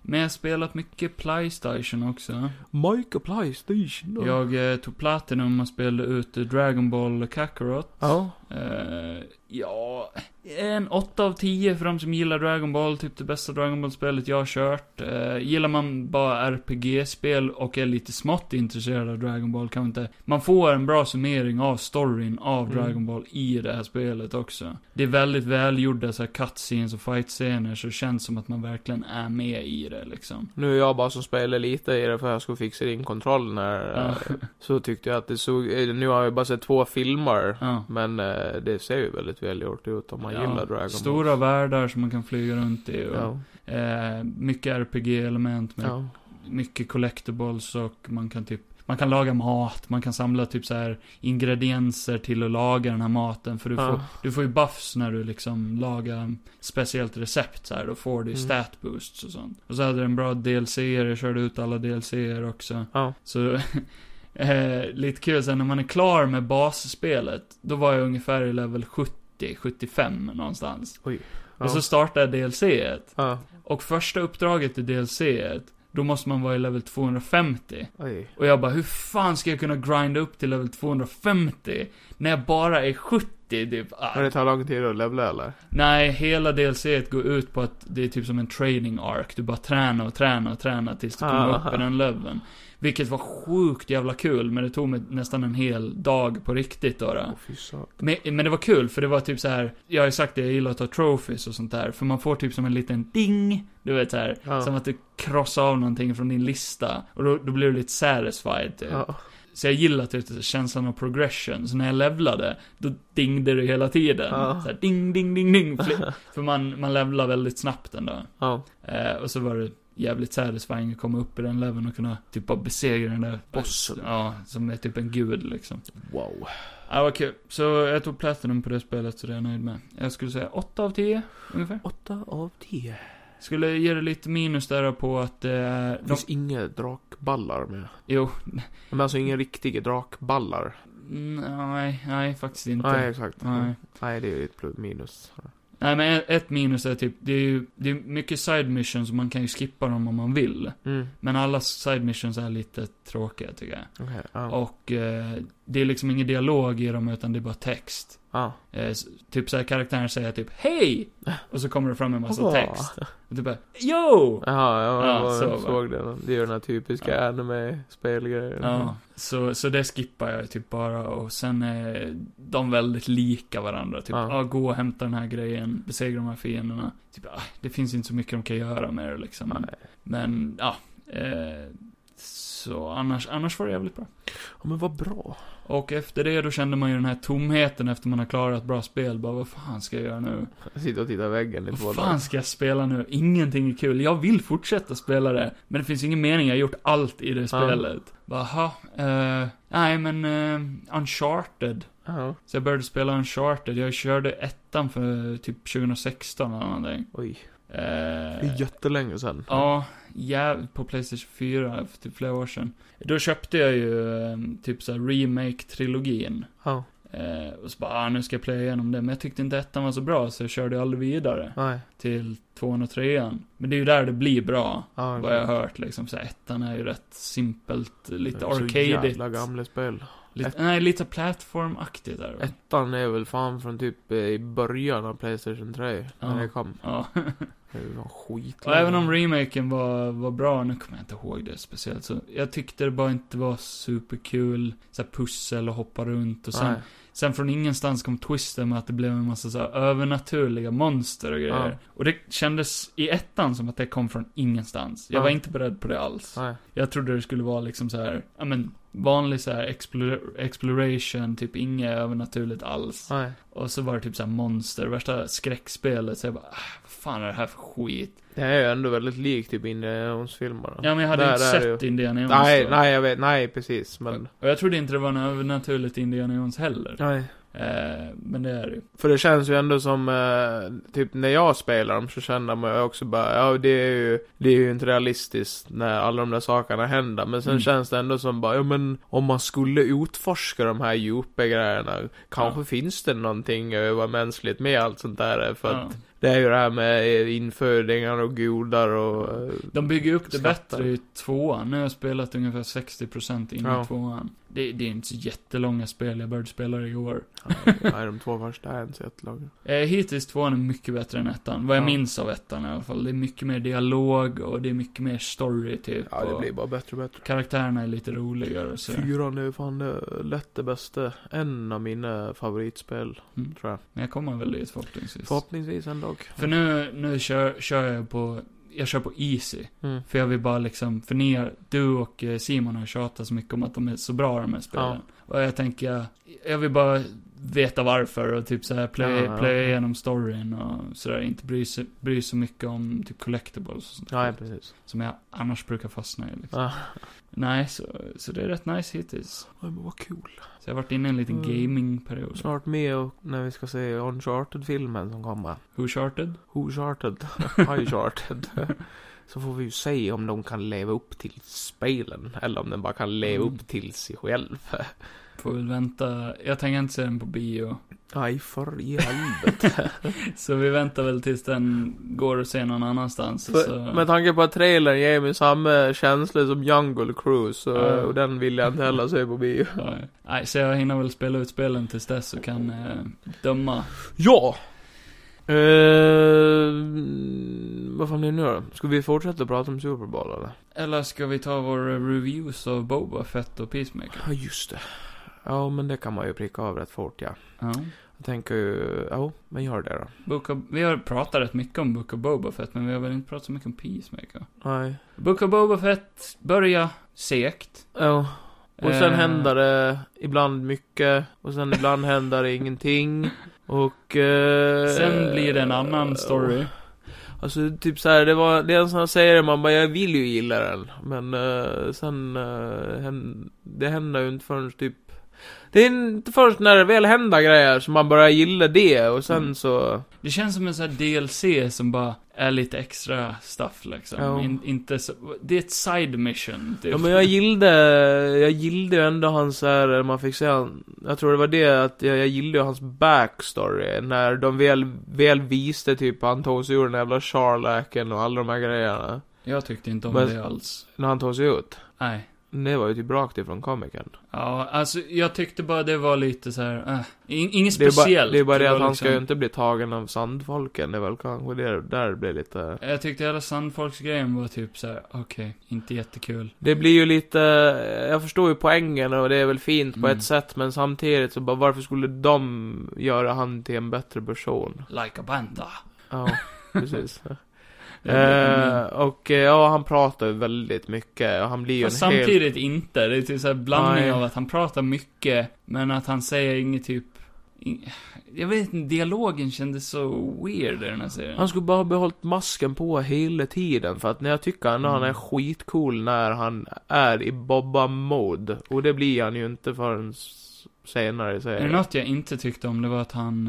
Speaker 1: Men jag har spelat mycket Playstation också.
Speaker 2: Mike och Playstation. då.
Speaker 1: Jag eh, tog Platinum och spelade ut eh, Dragon Ball Kakarot.
Speaker 2: Ja.
Speaker 1: Eh, ja, en 8 av 10 för de som gillar Dragon Ball, typ det bästa Dragon Ball-spelet jag har kört. Eh, gillar man bara RPG-spel och är lite smått intresserad av Dragon Ball kan man inte... Man får en bra summering av storyn av
Speaker 2: Mm.
Speaker 1: Dragon Ball i det här spelet också. Det är väldigt välgjorda så här cutscenes och fight-scener så det känns som att man verkligen är med i det liksom.
Speaker 2: Nu är jag bara som spelar lite i det för jag skulle fixa in kontrollen här.
Speaker 1: Ja.
Speaker 2: Så tyckte jag att det såg, eh, nu har jag bara sett två filmer.
Speaker 1: Ja.
Speaker 2: Men eh, det ser ju väldigt välgjort ut om man
Speaker 1: Ja,
Speaker 2: gillar Dragon Ball.
Speaker 1: Stora världar som man kan flyga runt i och
Speaker 2: Ja.
Speaker 1: eh, mycket RPG-element med
Speaker 2: ja.
Speaker 1: mycket collectibles och man kan typ man kan laga mat, man kan samla typ så här ingredienser till att laga den här maten. För du,
Speaker 2: Ja.
Speaker 1: får, du får ju buffs när du liksom lagar speciellt recept så här. Då får du
Speaker 2: Mm.
Speaker 1: stat boosts och sånt. Och så hade den bra DLC, jag körde ut alla DLC också.
Speaker 2: Ja.
Speaker 1: Så, eh, lite kul sen när man är klar med basspelet, då var jag ungefär i level 70, 75 någonstans.
Speaker 2: Ja.
Speaker 1: Och så startade jag DLC et
Speaker 2: ja.
Speaker 1: och första uppdraget i DLC, et, då måste man vara i level 250.
Speaker 2: Oj.
Speaker 1: Och jag bara, hur fan ska jag kunna grinda upp till level 250? När jag bara är 70 typ. Ah.
Speaker 2: Men det tar lång tid att levla eller?
Speaker 1: Nej, hela DLC et går ut på att det är typ som en training arc. Du bara tränar och tränar och tränar tills du kommer
Speaker 2: Ah.
Speaker 1: upp i den leveln. Vilket var sjukt jävla kul, men det tog mig nästan en hel dag på riktigt då. då.
Speaker 2: Åh fy satan.
Speaker 1: Men, men det var kul, för det var typ så här. jag har ju sagt det, jag gillar att ta trophies och sånt där, för man får typ som en liten ding, du vet så här,
Speaker 2: Ja.
Speaker 1: som att du krossar av någonting från din lista, och då, då blir du lite satisfied typ.
Speaker 2: Ja.
Speaker 1: Så jag gillar typ känslan av progression, så när jag levlade, då dingde det hela tiden.
Speaker 2: Ja.
Speaker 1: Så här, ding, ding, ding, ding, fli- för man, man levlar väldigt snabbt ändå.
Speaker 2: Ja.
Speaker 1: Eh, och så var det jävligt satisfying att komma upp i den leveln och kunna typ bara besegra den där
Speaker 2: Bossen.
Speaker 1: Ja, som är typ en gud liksom.
Speaker 2: Wow.
Speaker 1: Ja, vad kul. Så jag tog Platinum på det spelet, så det är jag nöjd med. Jag skulle säga 8 av 10, ungefär.
Speaker 2: 8 av 10.
Speaker 1: Skulle ge det lite minus där på att eh,
Speaker 2: Det
Speaker 1: de...
Speaker 2: finns inga drakballar med.
Speaker 1: Jo.
Speaker 2: Men alltså inga riktiga drakballar.
Speaker 1: Mm, Nej, nej faktiskt inte.
Speaker 2: Nej, exakt. Mm.
Speaker 1: Nej.
Speaker 2: Nej, det är ju ett plus minus.
Speaker 1: Nej, men ett minus är typ, det är ju, det är mycket side missions, man kan ju skippa dem om man vill.
Speaker 2: Mm.
Speaker 1: Men alla side missions är lite tråkiga tycker jag.
Speaker 2: Okej. ja.
Speaker 1: Och eh, det är liksom ingen dialog i dem, utan det är bara text.
Speaker 2: Ja.
Speaker 1: Eh, s- typ såhär, karaktären säger typ Hej!
Speaker 2: Äh.
Speaker 1: Och så kommer det fram en massa
Speaker 2: Ah.
Speaker 1: text. Och typ bara, Yo!
Speaker 2: Jaha, ja,
Speaker 1: Ja,
Speaker 2: jag var-
Speaker 1: så
Speaker 2: såg den. Det är ju den här typiska
Speaker 1: Ja.
Speaker 2: anime-spelgrejen.
Speaker 1: Ja, så, så det skippar jag typ bara och sen är de väldigt lika varandra. Typ,
Speaker 2: Ja.
Speaker 1: ja. gå och hämta den här grejen, besegra de här fienderna. Typ, ah, det finns inte så mycket de kan göra med det liksom.
Speaker 2: Nej.
Speaker 1: Men, ja. Eh, så annars, annars var det jävligt bra.
Speaker 2: Ja, men vad bra.
Speaker 1: Och efter det då kände man ju den här tomheten efter man har klarat ett bra spel. Bara, vad fan ska jag göra nu?
Speaker 2: Jag sitter och tittar i väggen i två
Speaker 1: Vad
Speaker 2: dagar.
Speaker 1: fan ska jag spela nu? Ingenting är kul. Jag vill fortsätta spela det. Men det finns ingen mening, jag har gjort allt i det spelet. Bara, aha, eh, nej men eh, Uncharted.
Speaker 2: Ja.
Speaker 1: Så jag började spela Uncharted. Jag körde ettan för typ 2016 eller någonting.
Speaker 2: Oj. Det
Speaker 1: Eh,
Speaker 2: är jättelänge sedan.
Speaker 1: Ja, jäv på Playstation 4 för typ flera år sedan. Då köpte jag ju eh, typ såhär remake-trilogin.
Speaker 2: Ja.
Speaker 1: Eh, och så bara, ah, nu ska jag playa igenom det. Men jag tyckte inte ettan var så bra, så jag körde aldrig vidare
Speaker 2: Nej.
Speaker 1: till 203 Men det är ju där det blir bra.
Speaker 2: Ja,
Speaker 1: Vad jag har hört liksom, så här, ettan är ju rätt simpelt, lite
Speaker 2: Så jävla
Speaker 1: arcadigt.
Speaker 2: gamla spel.
Speaker 1: Lite, nej, lite plattformaktigt där väl?
Speaker 2: Ettan är väl fan från typ eh, i början av Playstation 3.
Speaker 1: Ja.
Speaker 2: När det kom.
Speaker 1: Ja.
Speaker 2: Det var skit.
Speaker 1: Och även om remaken var, var bra, nu kommer jag inte ihåg det speciellt, så jag tyckte det bara inte var superkul, så här pussel och hoppa runt och sen,
Speaker 2: Nej.
Speaker 1: sen från ingenstans kom twisten med att det blev en massa så här övernaturliga monster och grejer.
Speaker 2: Ja.
Speaker 1: Och det kändes i ettan som att det kom från ingenstans. Jag
Speaker 2: Ja.
Speaker 1: var inte beredd på det alls.
Speaker 2: Nej.
Speaker 1: Jag trodde det skulle vara liksom så här, ja men, vanlig så här explor- exploration, typ inget övernaturligt alls.
Speaker 2: Nej.
Speaker 1: Och så var det typ så här monster, värsta skräckspelet, så jag bara, ah, vad fan är det här för skit?
Speaker 2: Det är ju ändå väldigt likt typ Indiansfilmerna.
Speaker 1: Ja men jag hade
Speaker 2: Där
Speaker 1: ju
Speaker 2: är
Speaker 1: inte
Speaker 2: det
Speaker 1: sett Indiana Jones
Speaker 2: Nej,
Speaker 1: då.
Speaker 2: nej jag vet, nej precis men...
Speaker 1: Och jag trodde inte det var något övernaturligt i Indiana Jones heller.
Speaker 2: Nej.
Speaker 1: Eh, men det är det ju.
Speaker 2: För det känns ju ändå som, eh, typ när jag spelar dem så känner man ju också bara, ja det är ju, det är ju inte realistiskt när alla de där sakerna händer. Men sen
Speaker 1: Mm.
Speaker 2: känns det ändå som bara, ja men om man skulle utforska de här djupa grejerna, kanske
Speaker 1: Ja.
Speaker 2: finns det någonting övermänskligt med allt sånt där. eh, För
Speaker 1: Ja.
Speaker 2: att det är ju det här med eh, infödingar och gudar och... eh,
Speaker 1: De bygger upp det
Speaker 2: skattar.
Speaker 1: bättre i tvåan. Nu har jag spelat ungefär 60% in
Speaker 2: Ja.
Speaker 1: i tvåan. Det, det är inte så jättelånga spel, jag började spela det igår.
Speaker 2: Nej, de två första är inte så jättelånga.
Speaker 1: Eh, hittills tvåan är mycket bättre än ettan. Vad jag
Speaker 2: Ja.
Speaker 1: minns av ettan i alla fall. Det är mycket mer dialog och det är mycket mer story typ.
Speaker 2: Ja, det
Speaker 1: och
Speaker 2: blir bara bättre och bättre.
Speaker 1: Karaktärerna är lite roligare och så.
Speaker 2: Fyran är ju fan eh, lätt det bästa. En av mina favoritspel,
Speaker 1: Mm.
Speaker 2: tror jag.
Speaker 1: Men jag kommer väl dit förhoppningsvis.
Speaker 2: Förhoppningsvis en dag.
Speaker 1: För nu, nu kör, kör jag på, jag kör på easy.
Speaker 2: Mm.
Speaker 1: För jag vill bara liksom, för ni, du och eh, Simon har tjatat så mycket om att de är så bra de här spelen.
Speaker 2: Ja.
Speaker 1: Och jag tänker, jag vill bara veta varför och typ såhär, play,
Speaker 2: Ja, ja.
Speaker 1: play igenom storyn och sådär. Inte bry sig, bry sig så mycket om typ collectibles och sånt.
Speaker 2: Nej, precis.
Speaker 1: Som jag annars brukar fastna i liksom.
Speaker 2: Ah.
Speaker 1: Nej, så, så det är rätt nice hittills.
Speaker 2: Ja, men vad kul.
Speaker 1: Så jag har varit inne i en liten
Speaker 2: Mm.
Speaker 1: gamingperiod.
Speaker 2: Snart med och när vi ska se Uncharted-filmen som kommer.
Speaker 1: Who charted?
Speaker 2: Uncharted. Uncharted. Så får vi ju se om de kan leva upp till spelen. Eller om den bara kan leva
Speaker 1: Mm.
Speaker 2: upp till sig själv.
Speaker 1: Får väl vänta, jag tänker inte se den på bio.
Speaker 2: Aj, för i helvete.
Speaker 1: Så vi väntar väl tills den går att se någon annanstans.
Speaker 2: För-
Speaker 1: så...
Speaker 2: Med tanke på att trailern ger mig samma känsla som Jungle Cruise. Och,
Speaker 1: Ja.
Speaker 2: och den vill jag inte heller se på bio.
Speaker 1: Ja, Nej, så jag hinner väl spela ut spelen tills dess och kan eh, döma.
Speaker 2: Ja! Eh, vad fan är det nu då? Ska vi fortsätta prata om Super Bowl eller?
Speaker 1: Eller ska vi ta våra reviews av Boba Fett och Peacemaker?
Speaker 2: Ja, just det. Ja, men det kan man ju pricka av rätt fort ja.
Speaker 1: Ja.
Speaker 2: Jag tänker ju, ja, men gör det då.
Speaker 1: Book of, vi har pratat rätt mycket om Book of Boba Fett, men vi har väl inte pratat så mycket om Peacemaker?
Speaker 2: Nej.
Speaker 1: Book of Boba Fett börjar segt.
Speaker 2: Ja. Och sen
Speaker 1: Eh.
Speaker 2: händer det ibland mycket, och sen ibland händer det ingenting. Och... eh, oh.
Speaker 1: Sen blir det en annan story.
Speaker 2: Alltså typ såhär, det var, det är en sån här serie man bara, jag vill ju gilla den. Men eh, sen, eh, hän, det händer ju inte förrän typ Det är inte först när det väl händer grejer som man börjar gilla det och sen
Speaker 1: Mm.
Speaker 2: så...
Speaker 1: Det känns som en sån här DLC som bara är lite extra stuff liksom.
Speaker 2: Ja.
Speaker 1: In, inte så, det är ett side mission. Typ.
Speaker 2: Ja men jag gillade, jag gillade ju ändå hans här, man fick se han, jag tror det var det att jag, jag gillade ju hans backstory, när de väl, väl visste typ han tog sig ur den jävla charlacken och alla de här grejerna.
Speaker 1: Jag tyckte inte om
Speaker 2: Men-
Speaker 1: det alls.
Speaker 2: När han tog sig ut.
Speaker 1: Nej.
Speaker 2: Det var ju typ rakt ifrån komikern.
Speaker 1: Ja, alltså jag tyckte bara det var lite så här. Äh. In, inget
Speaker 2: Det är bara
Speaker 1: speciellt.
Speaker 2: det, är bara det
Speaker 1: var
Speaker 2: att han ska ju
Speaker 1: liksom-
Speaker 2: inte bli tagen av sandfolken, det är väl kanske det, där det blir lite...
Speaker 1: Jag tyckte hela sandfolksgrejen var typ så här: okej, inte jättekul.
Speaker 2: Det blir ju lite, jag förstår ju poängen och det är väl fint på
Speaker 1: Mm.
Speaker 2: ett sätt men samtidigt så bara varför skulle de göra han till en bättre person?
Speaker 1: Like a banda.
Speaker 2: Ja, precis.
Speaker 1: Det Mm. blev min-
Speaker 2: eh, och eh, ja, han pratar ju väldigt mycket och han blir ju en
Speaker 1: Fast
Speaker 2: hel...
Speaker 1: samtidigt inte. Det är typ såhär blandning
Speaker 2: Nej.
Speaker 1: av att han pratar mycket, men att han säger inget typ... ing- Jag vet inte, dialogen kändes så weird i den här serien.
Speaker 2: Han skulle bara ha behållit masken på hela tiden för att när jag tycker ändå han är
Speaker 1: Mm.
Speaker 2: skitcool när han är i Bobba-mode. Och det blir han ju inte förrän s- senare i
Speaker 1: Är det
Speaker 2: serien.
Speaker 1: något jag inte tyckte om, det var att han...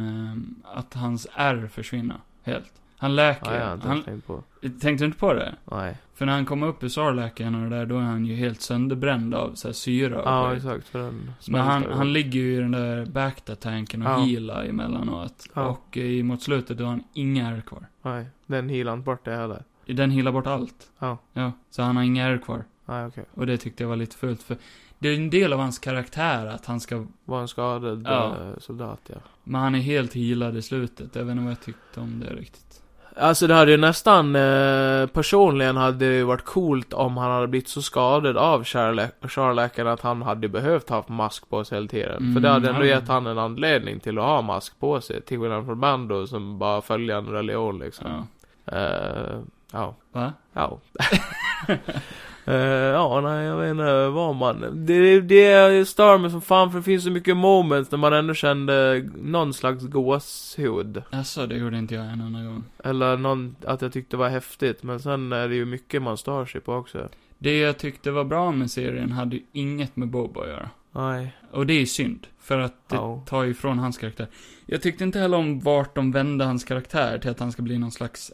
Speaker 1: eh, Att hans ärr försvinner. Helt. Han läker
Speaker 2: Ja, jag
Speaker 1: ju.
Speaker 2: har inte
Speaker 1: han,
Speaker 2: tänkt på.
Speaker 1: Tänkte du inte på det?
Speaker 2: Nej.
Speaker 1: För när han kommer upp ur sarlaken och det där, då är han ju helt sönderbränd av så här syra och
Speaker 2: Ja,
Speaker 1: skit.
Speaker 2: exakt. För den
Speaker 1: Men han,
Speaker 2: smälter.
Speaker 1: han ligger ju i den där Bacta-tanken och
Speaker 2: Ja.
Speaker 1: healar emellanåt.
Speaker 2: Ja.
Speaker 1: Och eh, mot slutet då har han inga ärr kvar.
Speaker 2: Nej, den healar inte bort det heller.
Speaker 1: Den healar bort allt.
Speaker 2: Ja.
Speaker 1: Ja, så han har inga ärr kvar.
Speaker 2: Nej, okej.
Speaker 1: Och det tyckte jag var lite fult, för det är en del av hans karaktär att han ska...
Speaker 2: Var en skadad
Speaker 1: Ja.
Speaker 2: eh, soldat, ja.
Speaker 1: Men han är helt healad i slutet. Jag vet inte vad jag tyckte om det riktigt.
Speaker 2: Alltså det hade ju nästan, eh, personligen hade det ju varit coolt om han hade blivit så skadad av charla- charlacken att han hade behövt haft mask på sig hela tiden.
Speaker 1: Mm,
Speaker 2: För det hade ändå
Speaker 1: ja.
Speaker 2: gett han en anledning till att ha mask på sig. Till skillnad från Bando som bara följer en religion liksom.
Speaker 1: Ja.
Speaker 2: Eh, ja.
Speaker 1: Va?
Speaker 2: Ja. Eh, ja, nej, jag vet inte vad man... Det, det stör mig som fan för det finns så mycket moments när man ändå kände någon slags gåshud.
Speaker 1: Alltså, det gjorde inte jag en annan gång.
Speaker 2: Eller någon, att jag tyckte det var häftigt. Men sen är det ju mycket man stör sig på också.
Speaker 1: Det jag tyckte var bra med serien hade ju inget med Bob att göra.
Speaker 2: Nej.
Speaker 1: Och det är synd, för att det
Speaker 2: Ja.
Speaker 1: tar ju ifrån hans karaktär. Jag tyckte inte heller om vart de vände hans karaktär till att han ska bli någon slags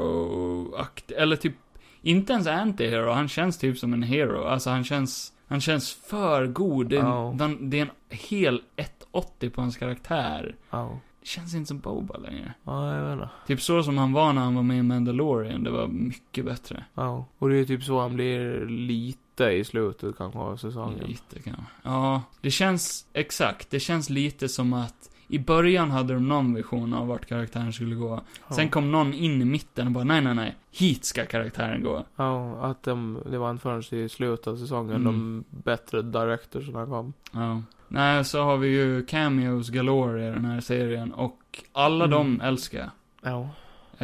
Speaker 1: anti-hero-akt. Eller typ, inte ens anti-hero, han känns typ som en hero. Alltså han känns, han känns för god. Det är,
Speaker 2: Ja.
Speaker 1: en, den, det är en hel 180 på hans karaktär.
Speaker 2: Ja.
Speaker 1: Det känns inte som Boba längre.
Speaker 2: Ja, jag vet inte.
Speaker 1: Typ så som han var när han var med i Mandalorian, det var mycket bättre.
Speaker 2: Ja. Och det är ju typ så han blir lite i slutet kanske av säsongen.
Speaker 1: Lite kanske. Ja, det känns, exakt, det känns lite som att i början hade de någon vision av vart karaktären skulle gå.
Speaker 2: Ja.
Speaker 1: Sen kom någon in i mitten och bara, nej, nej, nej, hit ska karaktären gå.
Speaker 2: Ja, att de, det var inte förrän i slutet av säsongen
Speaker 1: Mm.
Speaker 2: de bättre directorserna kom.
Speaker 1: Ja. Nej, så har vi ju cameos galore i den här serien och alla
Speaker 2: Mm.
Speaker 1: de älskar jag.
Speaker 2: Ja.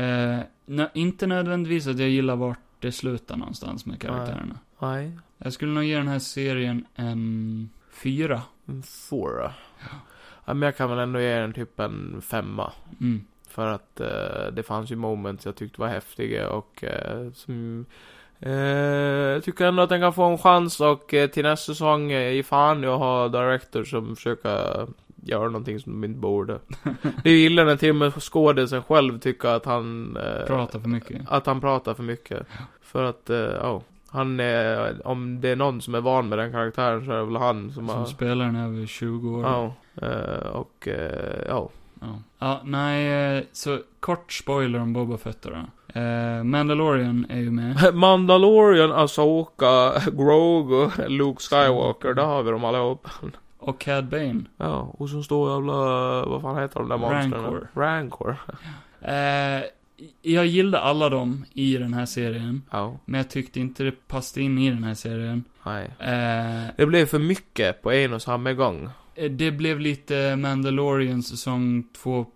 Speaker 1: Eh, nö- inte nödvändigtvis att jag gillar vart det slutar någonstans med karaktärerna.
Speaker 2: Nej.
Speaker 1: Jag skulle nog ge den här serien en fyra.
Speaker 2: En fyra. Ja, men jag kan väl ändå ge den typ en femma.
Speaker 1: Mm.
Speaker 2: För att eh, det fanns ju moments jag tyckte var häftiga och eh, som... Eh, jag tycker ändå att den kan få en chans och eh, till nästa säsong, eh, ge fan jag har director som försöker göra någonting som de inte borde. det gillar när till och med skådisen själv tycker att han... Eh,
Speaker 1: Pratar för mycket.
Speaker 2: Att han pratar för mycket. För att, eh, ja. han är, om det är någon som är van med den karaktären så är det väl han som,
Speaker 1: Som
Speaker 2: har...
Speaker 1: spelar den över 20 år.
Speaker 2: Ja, eh, och eh, ja.
Speaker 1: Ja. ja, nej, eh, så kort spoiler om Boba Fett då. Eh, Mandalorian är ju med.
Speaker 2: Mandalorian, Asoka, Grogu, Luke Skywalker, där har vi dem allihop.
Speaker 1: Och Cad Bane.
Speaker 2: Ja, och så står jävla, vad fan heter de där monstren?
Speaker 1: Rancor.
Speaker 2: Rancor.
Speaker 1: Eh, jag gillade alla dem i den här serien.
Speaker 2: Ja,
Speaker 1: Men jag tyckte inte det passade in i den här serien.
Speaker 2: nej.
Speaker 1: Eh,
Speaker 2: Det blev för mycket på en och samma gång.
Speaker 1: det blev lite Mandalorian säsong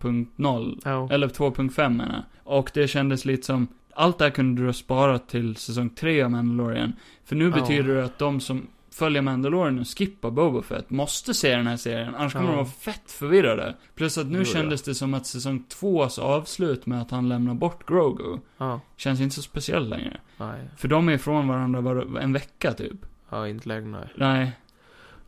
Speaker 1: 2.0.
Speaker 2: Ja.
Speaker 1: Eller 2.5 menar jag. Och det kändes lite som, allt det här kunde du ha sparat till säsong 3 av Mandalorian. För nu
Speaker 2: Ja.
Speaker 1: betyder det att de som följer Mandalorian och skippar Boba Fett måste se den här serien, annars kommer
Speaker 2: Ja.
Speaker 1: de vara fett förvirrade. Plus att nu
Speaker 2: Jo, ja.
Speaker 1: kändes det som att säsong 2s avslut med att han lämnar bort Grogu,
Speaker 2: Ja.
Speaker 1: känns inte så speciell längre.
Speaker 2: Nej.
Speaker 1: För de är ifrån varandra var en vecka typ.
Speaker 2: Ja, inte längre. nej.
Speaker 1: Nej.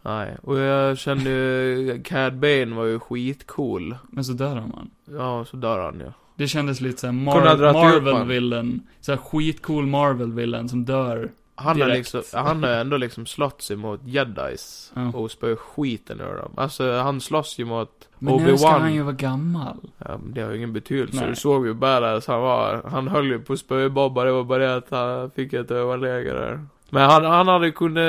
Speaker 2: Nej, och jag kände ju, Cad Bane var ju skitcool.
Speaker 1: Men så dör man.
Speaker 2: Ja, så dör han ju.
Speaker 1: Det kändes lite såhär
Speaker 2: Kunde ha
Speaker 1: Mar-
Speaker 2: dragit upp han.
Speaker 1: Marvel-villen. Såhär skitcool Marvel-villen som dör.
Speaker 2: Han har,
Speaker 1: Direkt.
Speaker 2: liksom, han har ändå liksom slåtts emot jedis.
Speaker 1: Ja.
Speaker 2: Och spöat skiten ur dem. Alltså han slåss ju mot
Speaker 1: Men nu ska
Speaker 2: Obi-Wan.
Speaker 1: han ju vara gammal.
Speaker 2: Ja, men Ehm, det har ju ingen betydelse.
Speaker 1: Nej.
Speaker 2: Du såg ju hur badass han var. Han höll ju på att spöa Bobba, det var bara det att han fick ett överläge där. Men han, han hade kunnat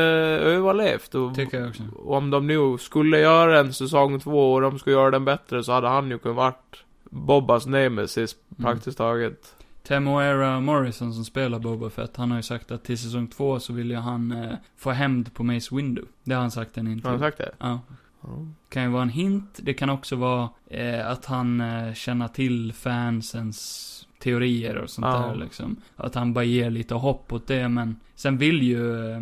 Speaker 2: överlevt. Och,
Speaker 1: Tycker jag också.
Speaker 2: och om de nu skulle göra en säsong två och de skulle göra den bättre så hade han ju kunnat varit Bobbas nemesis
Speaker 1: Mm.
Speaker 2: praktiskt taget.
Speaker 1: Temuera Morrison som spelar Boba Fett, han har ju sagt att till säsong två så vill ju han eh, få hämnd på Mace Windu. Det har han sagt en
Speaker 2: Har han
Speaker 1: intervju.
Speaker 2: sagt det?
Speaker 1: Ja. Kan ju vara en hint, det kan också vara eh, att han eh, känner till fansens teorier och sånt
Speaker 2: Ja.
Speaker 1: där liksom. Att han bara ger lite hopp åt det, men sen vill ju eh,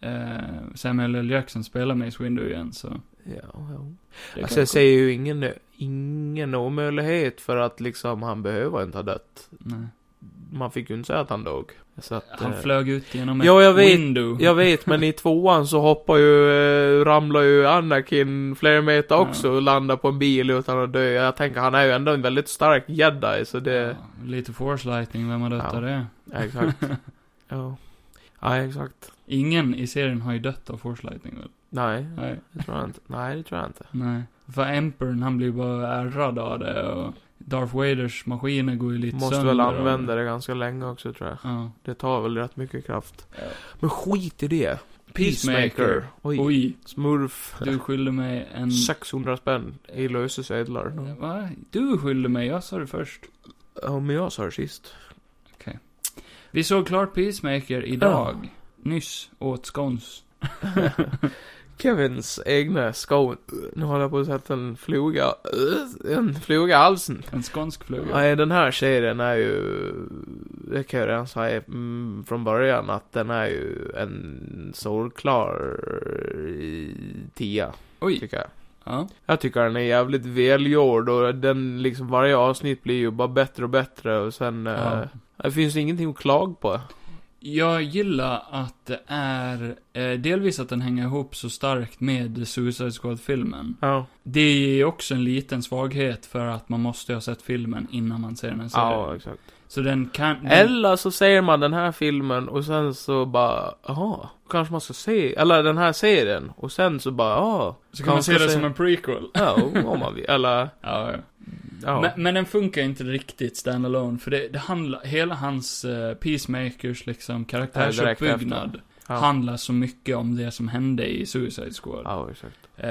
Speaker 1: eh, Samuel L. Jackson spela Mace Windu igen, så...
Speaker 2: Ja, ja.
Speaker 1: det
Speaker 2: Alltså
Speaker 1: kan-
Speaker 2: jag säger ju ingen, ingen omöjlighet för att liksom han behöver inte ha dött.
Speaker 1: Nej.
Speaker 2: Man fick ju inte säga att han dog. Så att,
Speaker 1: Han
Speaker 2: eh,
Speaker 1: flög ut genom ett
Speaker 2: Ja, jag vet.
Speaker 1: window.
Speaker 2: Jag vet, men i tvåan så hoppar ju, eh, ramlar ju Anakin flera meter också och landar på en bil utan att dö. Jag tänker, han är ju ändå en väldigt stark jedi, så det...
Speaker 1: Ja, lite force lightning, vem har dött
Speaker 2: Ja.
Speaker 1: av det?
Speaker 2: Ja, exakt. ja. ja, exakt.
Speaker 1: Ingen i serien har ju dött av force lightning väl?
Speaker 2: Nej,
Speaker 1: Nej.
Speaker 2: det tror jag inte. Nej, det tror jag inte.
Speaker 1: Nej. För Emperorn, han blir bara ärrad av det och Darth Vaders maskiner går ju lite
Speaker 2: Måste
Speaker 1: sönder.
Speaker 2: väl
Speaker 1: av
Speaker 2: använda det ganska länge också, tror jag.
Speaker 1: Ja.
Speaker 2: Det tar väl rätt mycket kraft.
Speaker 1: Ja.
Speaker 2: Men skit i det.
Speaker 1: Peacemaker.
Speaker 2: Oj.
Speaker 1: Oj, Mm.
Speaker 2: Smurf.
Speaker 1: du skyller mig en...
Speaker 2: 600 spänn i lösesedlar.
Speaker 1: Va? Du skyller mig, jag sa det först.
Speaker 2: Ja, men jag sa det sist.
Speaker 1: Vi såg klart Peacemaker idag. Nyss, åt skons.
Speaker 2: Kevins egna skon. Nu håller jag på att sätta en fluga, eh, en fluga i halsen.
Speaker 1: En skånsk fluga.
Speaker 2: Nej, den här serien är ju, det kan jag redan säga mm, från början, att den är ju en solklar tia,
Speaker 1: Oj.
Speaker 2: tycker jag.
Speaker 1: Ja.
Speaker 2: Jag tycker den är jävligt välgjord och den liksom, varje avsnitt blir ju bara bättre och bättre och sen,
Speaker 1: Ja.
Speaker 2: eh, det finns ingenting att klaga på.
Speaker 1: Jag gillar att det är, eh, delvis att den hänger ihop så starkt med Suicide Squad-filmen.
Speaker 2: Ja.
Speaker 1: Det är ju också en liten svaghet för att man måste ha sett filmen innan man ser den serien.
Speaker 2: Ja, exakt.
Speaker 1: Så den kan... Den,
Speaker 2: Eller så ser man den här filmen och sen så bara, jaha, kanske man ska se, eller den här serien, och sen så bara, ja,
Speaker 1: så kan man se
Speaker 2: kanske
Speaker 1: det som en prequel.
Speaker 2: ja, om man vill, eller,
Speaker 1: Ja, ja.
Speaker 2: ja.
Speaker 1: Men, men den funkar inte riktigt standalone för det, det handlar, hela hans eh, Peacemakers liksom
Speaker 2: Ja, direkt
Speaker 1: karaktärsuppbyggnad
Speaker 2: ja.
Speaker 1: handlar så mycket om det som hände i Suicide Squad.
Speaker 2: Ja, exakt.
Speaker 1: Eh,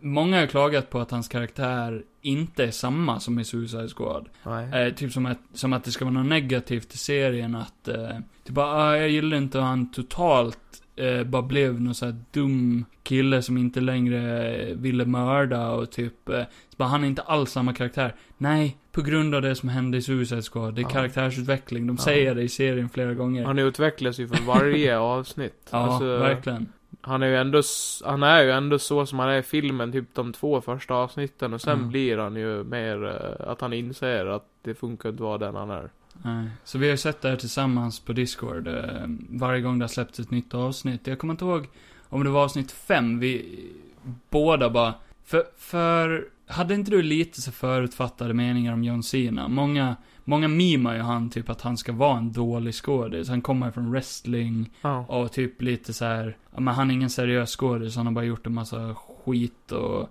Speaker 1: många har klagat på att hans karaktär inte är samma som i Suicide Squad.
Speaker 2: Nej.
Speaker 1: Eh, typ som att, som att det ska vara något negativt i serien att, eh, typ bara, ah, jag gillar inte hur han totalt eh, bara blev någon sån här dum kille som inte längre eh, ville mörda och typ, eh, så bara, han är inte alls samma karaktär. Nej, på grund av det som hände i Suicide Squad. Det är
Speaker 2: Ja.
Speaker 1: karaktärsutveckling, de
Speaker 2: Ja.
Speaker 1: säger det i serien flera gånger.
Speaker 2: Han utvecklas ju för varje avsnitt.
Speaker 1: ja, verkligen.
Speaker 2: Han är ju ändå, s- han är ju ändå så som han är i filmen, typ de två första avsnitten, och sen
Speaker 1: Mm.
Speaker 2: blir han ju mer, eh, att han inser att det funkar inte att vara den han är.
Speaker 1: Nej. Så vi har ju sett det här tillsammans på Discord eh, varje gång det har släppts ett nytt avsnitt. Jag kommer inte ihåg om det var avsnitt fem, vi båda bara... För, för hade inte du lite så förutfattade meningar om John Cena? Många, många mimar ju han typ att han ska vara en dålig skådis. Han kommer från wrestling
Speaker 2: Ja.
Speaker 1: och typ lite så här, ja, men han är ingen seriös skådis, han har bara gjort en massa skit och eh,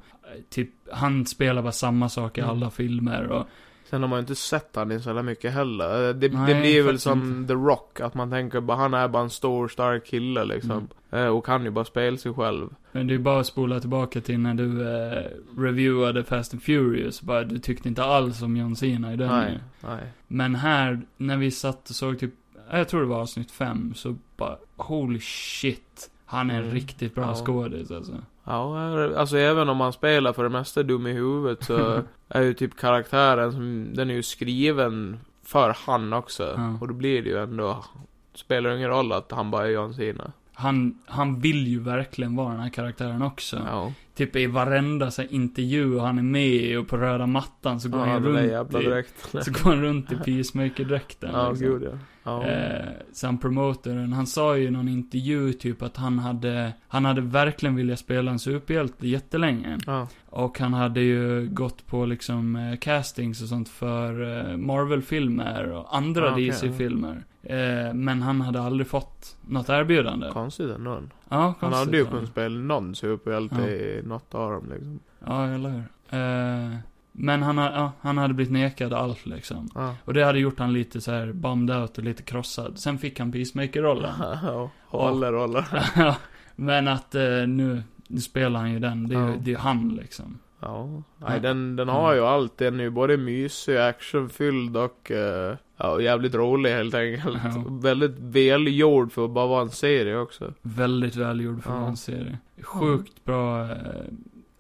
Speaker 1: typ, han spelar bara samma sak i
Speaker 2: Mm.
Speaker 1: alla filmer och
Speaker 2: Sen har man ju inte sett han i så jävla mycket heller. Eh, Det, det
Speaker 1: Nej,
Speaker 2: blir väl
Speaker 1: faktiskt
Speaker 2: som
Speaker 1: inte.
Speaker 2: The Rock, att man tänker bara han är bara en stor stark kille liksom.
Speaker 1: Mm.
Speaker 2: Eh, Och kan ju bara spela sig själv.
Speaker 1: Men det är bara att spola tillbaka till när du eh, reviewade Fast and Furious. Bara, du tyckte inte alls om John Cena i den.
Speaker 2: Nej,
Speaker 1: ju.
Speaker 2: nej.
Speaker 1: Men här, när vi satt och såg typ, ja, jag tror det var avsnitt 5, så bara, holy shit. Han är en
Speaker 2: Mm.
Speaker 1: riktigt bra
Speaker 2: Ja.
Speaker 1: skådis alltså.
Speaker 2: Ja, eh, alltså även om man spelar för det mesta dum i huvudet så är ju typ karaktären som, den är ju skriven för han också.
Speaker 1: Ja.
Speaker 2: Och då blir det ju ändå, spelar det ingen roll att han bara är John Cena.
Speaker 1: Han, han vill ju verkligen vara den här karaktären också.
Speaker 2: Ja.
Speaker 1: typ i varenda så här, intervju han är med i och på röda mattan så går
Speaker 2: Ja,
Speaker 1: han
Speaker 2: den där
Speaker 1: runt
Speaker 2: jävla
Speaker 1: i,
Speaker 2: dräkten.
Speaker 1: så går han runt i Peacemaker-dräkten.
Speaker 2: Ja,
Speaker 1: liksom.
Speaker 2: gud ja. ja.
Speaker 1: Eh, sen promotern, han sa ju i någon intervju typ att han hade, han hade verkligen velat spela en superhjälte jättelänge.
Speaker 2: ja.
Speaker 1: Och han hade ju gått på liksom eh, castings och sånt för eh, Marvel-filmer och andra
Speaker 2: Ah, okej,
Speaker 1: DC-filmer. Eh, men han hade aldrig fått något erbjudande.
Speaker 2: Konstigt ändå. Han
Speaker 1: ja, konstigt.
Speaker 2: hade ju
Speaker 1: ja.
Speaker 2: kunnat spela någon superhjälte
Speaker 1: Ja.
Speaker 2: i något av dem liksom.
Speaker 1: Ja, eller hur. Eh, men han, ha- ja, han hade blivit nekad allt liksom.
Speaker 2: Ja.
Speaker 1: Och det hade gjort han lite så här bummed out och lite krossad. Sen fick han Peacemaker-rollen.
Speaker 2: Ja, Håller, håller.
Speaker 1: Ja, men att eh, nu, nu spelar han ju den. Det är, ju,
Speaker 2: Ja.
Speaker 1: det är han liksom.
Speaker 2: Ja. Nej,
Speaker 1: Ja. Mm.
Speaker 2: den, den har ju allt. Den är ju både mysig, actionfylld och eh, ja, jävligt rolig helt enkelt.
Speaker 1: Ja.
Speaker 2: Väldigt välgjord för att bara vara en serie också.
Speaker 1: Väldigt välgjord för
Speaker 2: Ja.
Speaker 1: ja. en serie. Sjukt bra eh,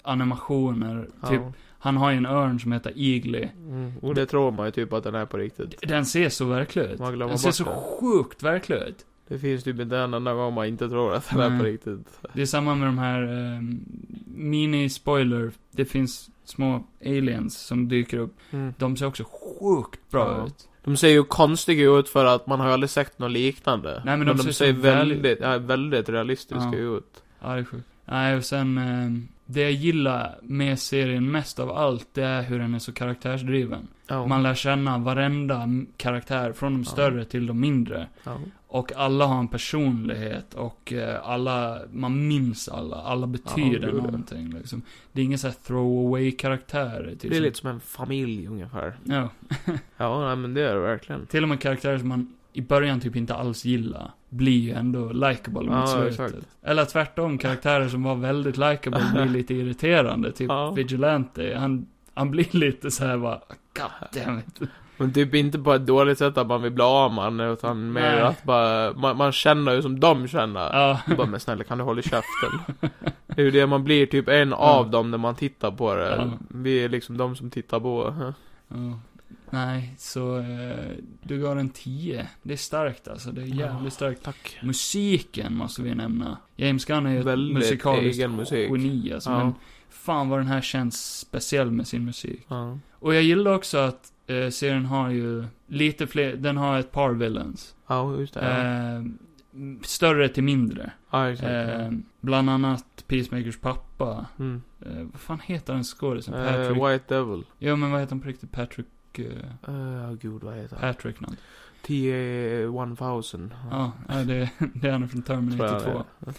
Speaker 1: animationer.
Speaker 2: Ja.
Speaker 1: Typ, han har ju en örn som heter Eagly.
Speaker 2: Mm. Och det tror man ju typ att den är på riktigt.
Speaker 1: Den ser så verklig ut.
Speaker 2: Man glömmer
Speaker 1: Den ser
Speaker 2: bort
Speaker 1: så
Speaker 2: det.
Speaker 1: sjukt verklig ut.
Speaker 2: Det finns typ inte en enda gång man inte tror att den är
Speaker 1: Nej.
Speaker 2: på riktigt.
Speaker 1: Det är samma med de här eh, mini-spoiler. Det finns små aliens som dyker upp. De ser också sjukt bra
Speaker 2: Ja.
Speaker 1: ut.
Speaker 2: De ser ju konstiga ut för att man har ju aldrig sett något liknande.
Speaker 1: men de ser så
Speaker 2: väldigt,
Speaker 1: väldigt-
Speaker 2: ja, väldigt realistiska
Speaker 1: Ja.
Speaker 2: ut.
Speaker 1: Ja, det är sjukt. Nej, och sen... Eh, det jag gillar med serien mest av allt, det är hur den är så karaktärsdriven.
Speaker 2: Ja.
Speaker 1: Man lär känna varenda m- karaktär, från de
Speaker 2: Ja.
Speaker 1: större till de mindre.
Speaker 2: ja.
Speaker 1: Och alla har en personlighet och eh, alla, man minns alla. Alla betyder
Speaker 2: gud, ja.
Speaker 1: någonting liksom. Det är ingen såhär throwaway-karaktärer. Typ.
Speaker 2: Det är
Speaker 1: som-
Speaker 2: lite som en familj ungefär.
Speaker 1: Ja.
Speaker 2: Ja, nej, men det är det verkligen.
Speaker 1: Till och med karaktärer som man i början typ inte alls gillar, blir ju ändå likeable mot
Speaker 2: Ja,
Speaker 1: slutet.
Speaker 2: exakt.
Speaker 1: Eller tvärtom, karaktärer som var väldigt likeable blir lite irriterande. Typ
Speaker 2: Ja.
Speaker 1: Vigilante, han, han blir lite så här bara, God damn it.
Speaker 2: Men typ inte på ett dåligt sätt att man vill bli av med honom, utan mer
Speaker 1: Nej.
Speaker 2: att bara, man, man känner ju som de känner.
Speaker 1: Ja.
Speaker 2: Bara, men snälla kan du hålla käften? Det är ju det, man blir typ en av dem när man tittar på det.
Speaker 1: Ja.
Speaker 2: Vi är liksom de som tittar på.
Speaker 1: Ja. Nej, så eh, du gav en 10. Det är starkt alltså, det är
Speaker 2: Ja.
Speaker 1: jävligt starkt.
Speaker 2: Tack.
Speaker 1: Musiken måste vi nämna. James Gunn är ju ett
Speaker 2: Väldigt
Speaker 1: musikaliskt
Speaker 2: egen musik.
Speaker 1: geni alltså,
Speaker 2: Ja.
Speaker 1: men fan vad den här känns speciell med sin musik.
Speaker 2: Ja.
Speaker 1: Och jag gillar också att eh, serien har ju lite fler, den har ett par villains.
Speaker 2: Ja, just det. Ja,
Speaker 1: Eh, m- större till mindre.
Speaker 2: ja exakt.
Speaker 1: Eh, bland annat Peacemakers pappa.
Speaker 2: Mm.
Speaker 1: Eh, vad fan heter den skådisen?
Speaker 2: Eh,
Speaker 1: Patrick?
Speaker 2: White Devil.
Speaker 1: jo men vad heter han på riktigt? Patrick... Eh,
Speaker 2: Uh, gud, vad heter han?
Speaker 1: Patrick något.
Speaker 2: T-1000.
Speaker 1: Ja, ja, det, det är han från
Speaker 2: tror jag
Speaker 1: Terminator 2.
Speaker 2: det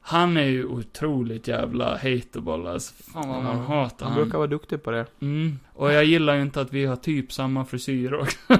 Speaker 1: Han är ju otroligt jävla hateable alltså. Fan vad man
Speaker 2: Ja,
Speaker 1: hatar
Speaker 2: Han brukar
Speaker 1: han.
Speaker 2: vara duktig på det.
Speaker 1: Mm. Och jag gillar ju inte att vi har typ samma frisyr också.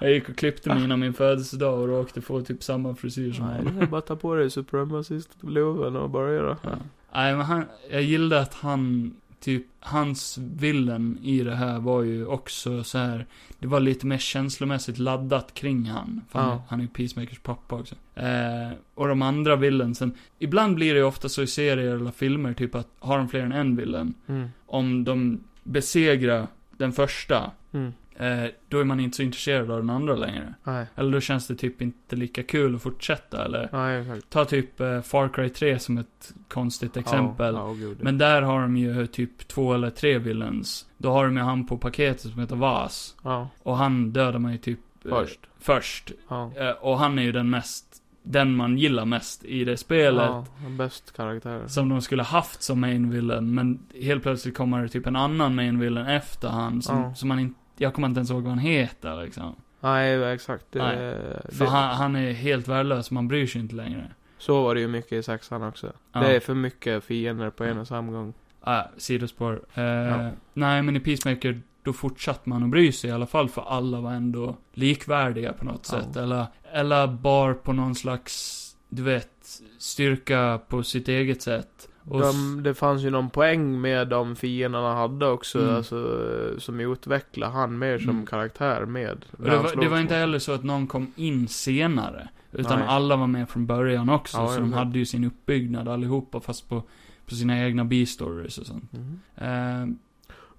Speaker 1: jag gick och klippte mig innan min födelsedag och råkade få typ samma frisyr som
Speaker 2: Nej,
Speaker 1: han.
Speaker 2: det är bara att ta på dig supremacist-loven och bara göra.
Speaker 1: Ja. Nej, men han, jag gillade att han, typ, hans villen i det här var ju också så här. det var lite mer känslomässigt laddat kring han. För han,
Speaker 2: Ja.
Speaker 1: han är ju Peacemakers pappa också. Eh, och de andra villensen, ibland blir det ju ofta så i serier eller filmer, typ att har de fler än en villen,
Speaker 2: Mm.
Speaker 1: om de besegrar den första,
Speaker 2: Mm.
Speaker 1: eh, då är man inte så intresserad av den andra längre.
Speaker 2: Nej.
Speaker 1: Eller då känns det typ inte lika kul att fortsätta, eller?
Speaker 2: Nej, exakt.
Speaker 1: Ta typ eh, Far Cry 3 som ett konstigt exempel.
Speaker 2: Ja, ja, gud.
Speaker 1: Men där har de ju typ två eller tre villains. Då har de ju han på paketet som heter Vas.
Speaker 2: Ja,
Speaker 1: Och han dödar man ju typ... eh,
Speaker 2: först.
Speaker 1: Först.
Speaker 2: Ja.
Speaker 1: Eh, och han är ju den mest... Den man gillar mest i det spelet.
Speaker 2: Ja, han bäst karaktär.
Speaker 1: Som de skulle haft som main villain, men helt plötsligt kommer det typ en annan main villain efter han som,
Speaker 2: Ja.
Speaker 1: som man inte, jag kommer inte ens ihåg vad han heter liksom.
Speaker 2: Nej, exakt. Det,
Speaker 1: Nej.
Speaker 2: det,
Speaker 1: För han, han är helt värdelös, man bryr sig inte längre.
Speaker 2: Så var det ju mycket i sexan också.
Speaker 1: Ja.
Speaker 2: Det är för mycket fiender på en och samma gång.
Speaker 1: Ah, sidospår. Eh,
Speaker 2: Ja.
Speaker 1: Nej, men i Peacemaker, då fortsatte man att bry sig i alla fall, för alla var ändå likvärdiga på något
Speaker 2: Ja.
Speaker 1: sätt. Eller, eller bar på någon slags, du vet, styrka på sitt eget sätt. Och
Speaker 2: De, det fanns ju någon poäng med de fienderna han hade också,
Speaker 1: Mm.
Speaker 2: alltså, som utvecklade han mer som
Speaker 1: Mm.
Speaker 2: karaktär med.
Speaker 1: Och
Speaker 2: när
Speaker 1: det,
Speaker 2: han
Speaker 1: var,
Speaker 2: slogs
Speaker 1: det var inte
Speaker 2: mot-
Speaker 1: heller så att någon kom in senare. Utan
Speaker 2: Nej.
Speaker 1: alla var med från början också.
Speaker 2: Ja,
Speaker 1: så
Speaker 2: jag
Speaker 1: de
Speaker 2: vet.
Speaker 1: hade ju sin uppbyggnad allihopa, fast på, på sina egna B-stories och sånt.
Speaker 2: Mm.
Speaker 1: Eh,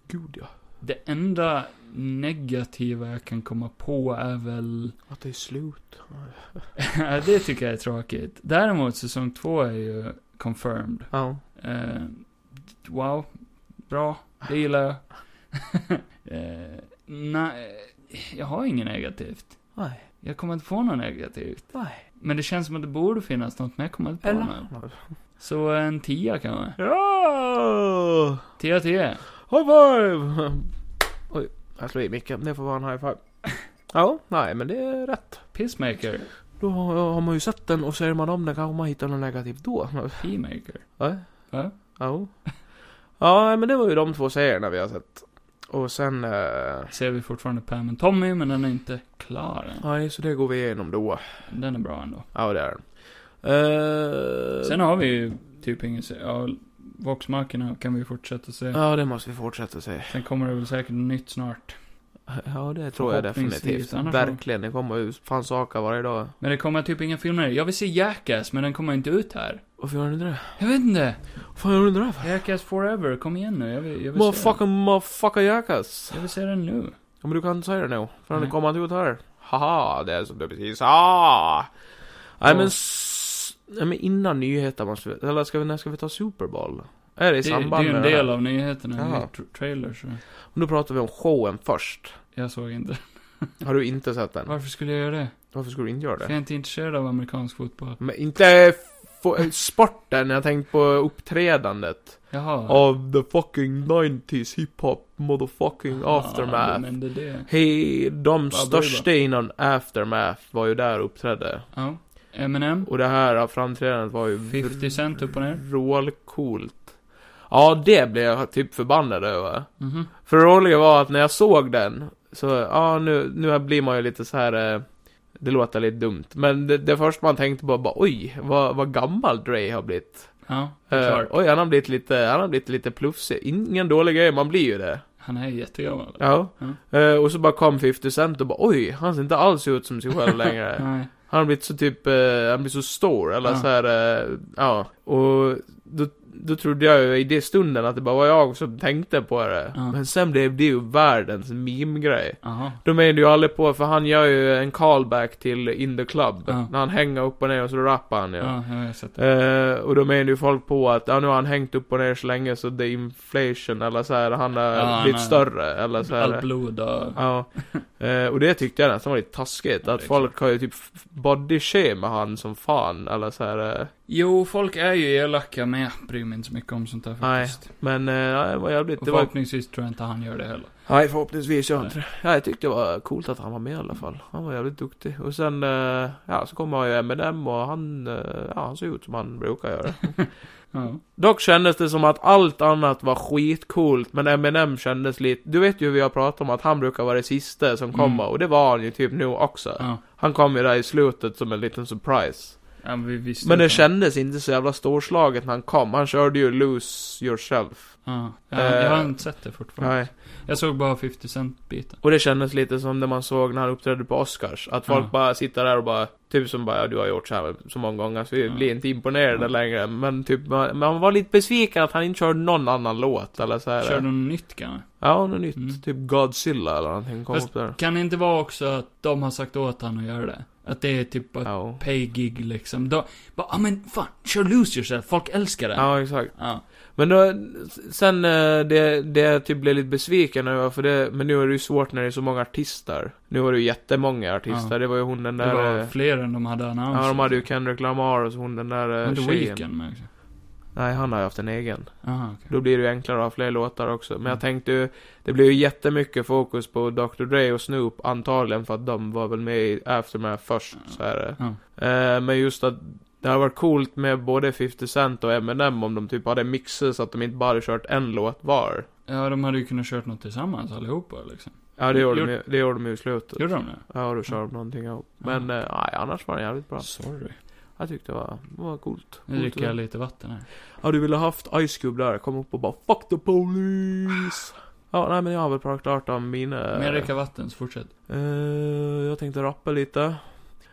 Speaker 2: Gud ja.
Speaker 1: det enda negativa jag kan komma på är väl...
Speaker 2: Att det är slut.
Speaker 1: det tycker jag är tråkigt. Däremot, säsong två är ju confirmed.
Speaker 2: Ja.
Speaker 1: Eh, wow, bra, det gillar jag. eh, nej, jag har inget negativt.
Speaker 2: Nej.
Speaker 1: Jag kommer inte få något negativt.
Speaker 2: Nej.
Speaker 1: Men det känns som att det borde finnas något, men jag kommer inte på något.
Speaker 2: Eller?
Speaker 1: Så en tia kanske.
Speaker 2: Ja!
Speaker 1: Tia, tia.
Speaker 2: High five! Oj, jag slog i micken. Det får vara en high five. Ja, nej men det är rätt.
Speaker 1: Pissmaker.
Speaker 2: Då har, har man ju sett den och ser man om den kanske man hittar något negativt då.
Speaker 1: P-maker.
Speaker 2: Ja.
Speaker 1: Ja.
Speaker 2: Ja. Ja, men det var ju de två serierna vi har sett. Och sen... Eh,
Speaker 1: Ser vi fortfarande Pam och Tommy, men den är inte klar än.
Speaker 2: nej, så det går vi igenom då.
Speaker 1: Den är bra ändå.
Speaker 2: Ja, det är den. Eh,
Speaker 1: Sen har vi ju typ ingen se- Ja, Voxmarkerna kan vi fortsätta se.
Speaker 2: Ja, det måste vi fortsätta se.
Speaker 1: Sen kommer det väl säkert nytt snart.
Speaker 2: Ja, det tror jag
Speaker 1: Förhoppningsvis,
Speaker 2: definitivt.
Speaker 1: annars-
Speaker 2: Verkligen, det kommer ju fan saker varje dag.
Speaker 1: Men det kommer typ inga filmer. Jag vill se Jackass, men den kommer inte ut här.
Speaker 2: Varför gör ni inte det?
Speaker 1: Jag vet inte.
Speaker 2: Vad fan gör ni inte det för?
Speaker 1: Jackass Forever, kom igen nu. Jag vill, jag vill se den.
Speaker 2: Motherfucking motherfucker jackass.
Speaker 1: Jag vill se den nu.
Speaker 2: Ja, men du kan inte säga det nu. För
Speaker 1: Nej.
Speaker 2: den kommer inte ut här. Haha, det är som du precis sa. Nej
Speaker 1: Ja.
Speaker 2: men... s- Nej men innan nyheter måste vi... Eller ska vi, när ska vi ta Super Bowl? Är det i
Speaker 1: Det, det är
Speaker 2: samband
Speaker 1: ju en
Speaker 2: med det här?
Speaker 1: del av nyheterna. Det är ju
Speaker 2: Jaha.
Speaker 1: tra- trailers. så
Speaker 2: Men då pratar vi om showen först.
Speaker 1: Jag såg inte.
Speaker 2: Har du inte sett den?
Speaker 1: Varför skulle jag göra det?
Speaker 2: Varför skulle du inte göra
Speaker 1: För jag
Speaker 2: det?
Speaker 1: är inte intresserad av amerikansk fotboll.
Speaker 2: Men inte få- sporten, jag tänkte på uppträdandet.
Speaker 1: Jaha.
Speaker 2: Av the fucking 90s hiphop motherfucking
Speaker 1: Ja,
Speaker 2: aftermath.
Speaker 1: Men det är det.
Speaker 2: Hej, de
Speaker 1: bra.
Speaker 2: största inom Aftermath var ju där och uppträdde.
Speaker 1: Ja. Eminem.
Speaker 2: Och det här framträdandet var ju
Speaker 1: 50 Cent upp och ner.
Speaker 2: vrålcoolt. Ja, det blev jag typ förbannad över.
Speaker 1: Mhm.
Speaker 2: För det roliga var att när jag såg den, så, ja nu, nu blir man ju lite så här. eh, Det låter lite dumt, men det, det första man tänkte på var bara, oj, vad, vad gammal Dre har blivit.
Speaker 1: Ja, det är
Speaker 2: Uh,
Speaker 1: klart.
Speaker 2: oj, han har blivit lite, han har blivit lite plufsig. Ingen dålig grej, man blir ju det.
Speaker 1: Han är jättegammal.
Speaker 2: Ja.
Speaker 1: Mm.
Speaker 2: Eh, och så bara kom 50 Cent och bara oj, han ser inte alls ut som sig själv längre.
Speaker 1: Nej.
Speaker 2: Han har blivit så typ, eh, han blir så stor eller
Speaker 1: Ja.
Speaker 2: så här, eh, ja. Och då, då trodde jag ju i det stunden att det bara var jag som tänkte på det.
Speaker 1: Ja.
Speaker 2: Men sen blev det ju världens meme-grej.
Speaker 1: Jaha.
Speaker 2: De är det ju aldrig på, för han gör ju en callback till In The Club.
Speaker 1: Ja.
Speaker 2: När han hänger upp och ner och så rappar han ju.
Speaker 1: Ja, jag har sett det.
Speaker 2: Eh, och då menar ju folk på att ja, nu har han hängt upp och ner så länge så the inflation eller så här, han har
Speaker 1: Ja, han
Speaker 2: blivit
Speaker 1: har-
Speaker 2: större eller så här.
Speaker 1: Allt blod och...
Speaker 2: Ja, eh, och det tyckte jag nästan var lite taskigt.
Speaker 1: Ja,
Speaker 2: att
Speaker 1: det är
Speaker 2: folk har ju typ body med han som fan, eller så här. eh.
Speaker 1: Jo, folk är ju elaka men jag bryr mig inte så mycket om sånt där
Speaker 2: Nej.
Speaker 1: faktiskt.
Speaker 2: Men, eh, ja, det var jävligt.
Speaker 1: Och
Speaker 2: Det var...
Speaker 1: förhoppningsvis tror jag inte han gör det heller.
Speaker 2: Nej, förhoppningsvis
Speaker 1: Nej.
Speaker 2: jag inte. Ja, jag tyckte det var coolt att han var med i alla fall. Han var jävligt duktig. Och sen, eh, ja, så kommer ju M&M och han, eh, ja, han ser ut som han brukar göra.
Speaker 1: Ja.
Speaker 2: Dock kändes det som att allt annat var skitcoolt, men M&M kändes lite... Du vet ju hur vi har pratat om att han brukar vara det sista som
Speaker 1: Mm.
Speaker 2: kommer, och det var han ju typ nu också.
Speaker 1: Ja.
Speaker 2: Han kom ju där i slutet som en liten surprise.
Speaker 1: ja men vi visste
Speaker 2: Men det
Speaker 1: inte.
Speaker 2: kändes inte så jävla storslaget när han kom. Han körde ju Lose Yourself.
Speaker 1: Ja. Jag, jag har inte sett det fortfarande.
Speaker 2: Eh, Nej.
Speaker 1: Jag såg bara 50 Cent-biten.
Speaker 2: Och det kändes lite som det man såg när han uppträdde på Oscars. Att folk
Speaker 1: Ja.
Speaker 2: bara sitter där och bara, typ som bara, ja, du har gjort så här så många gånger så vi
Speaker 1: Ja.
Speaker 2: blir inte imponerade
Speaker 1: Ja.
Speaker 2: längre. Men typ, man, man var lite besviken att han inte körde någon annan låt eller så här.
Speaker 1: Kör de nytt kanske?
Speaker 2: Ja, något nytt.
Speaker 1: Mm.
Speaker 2: Typ Godzilla eller någonting kom
Speaker 1: Fast-
Speaker 2: upp där.
Speaker 1: Kan det inte vara också att de har sagt åt han att göra det? Att det är typ bara
Speaker 2: Ja.
Speaker 1: pay gig liksom. De, bara, ah, men fan, kör Lose Yourself, folk älskar det.
Speaker 2: Ja, exakt.
Speaker 1: Ja.
Speaker 2: Men då, sen eh, det, det jag typ blev lite besviken över, för det, men nu är det ju svårt när det är så många artister. Nu var det ju jättemånga artister,
Speaker 1: Ja.
Speaker 2: det var ju hon den
Speaker 1: Det
Speaker 2: där...
Speaker 1: var
Speaker 2: eh,
Speaker 1: fler än de hade annonserat.
Speaker 2: Ja, de hade ju Kendrick Lamar och så hon den där eh,
Speaker 1: Men The
Speaker 2: tjejen.
Speaker 1: Weeknd med också.
Speaker 2: Nej, han har ju haft en egen.
Speaker 1: Aha, okej.
Speaker 2: Då blir det ju enklare att ha fler låtar också. Men
Speaker 1: Mm.
Speaker 2: jag tänkte ju, det blev ju jättemycket fokus på Dr. Dre och Snoop, antagligen för att de var väl med i Aftermath först, så är det.
Speaker 1: Ja.
Speaker 2: Eh, men just att det hade varit coolt med både 50 Cent och Eminem om de typ hade mixat så att de inte bara hade kört en låt var.
Speaker 1: ja, de hade ju kunnat kört något tillsammans allihopa liksom.
Speaker 2: Ja, det gjorde,
Speaker 1: Gjorde-
Speaker 2: de, ju- det gjorde de ju i slutet.
Speaker 1: Gjorde de det?
Speaker 2: Ja, då
Speaker 1: Mm.
Speaker 2: körde de någonting ihop. Men eh, nej, annars var det jävligt bra.
Speaker 1: Sorry.
Speaker 2: Jag tyckte det var, det var coolt.
Speaker 1: Nu dricker jag lite vatten här.
Speaker 2: Ja, du ville haft Ice Cube där, kom upp och bara 'Fuck the police' Ja, nej men jag har väl pratat klart om mina...
Speaker 1: Men jag dricker vatten, så fortsätt.
Speaker 2: Eh, jag tänkte rappa lite.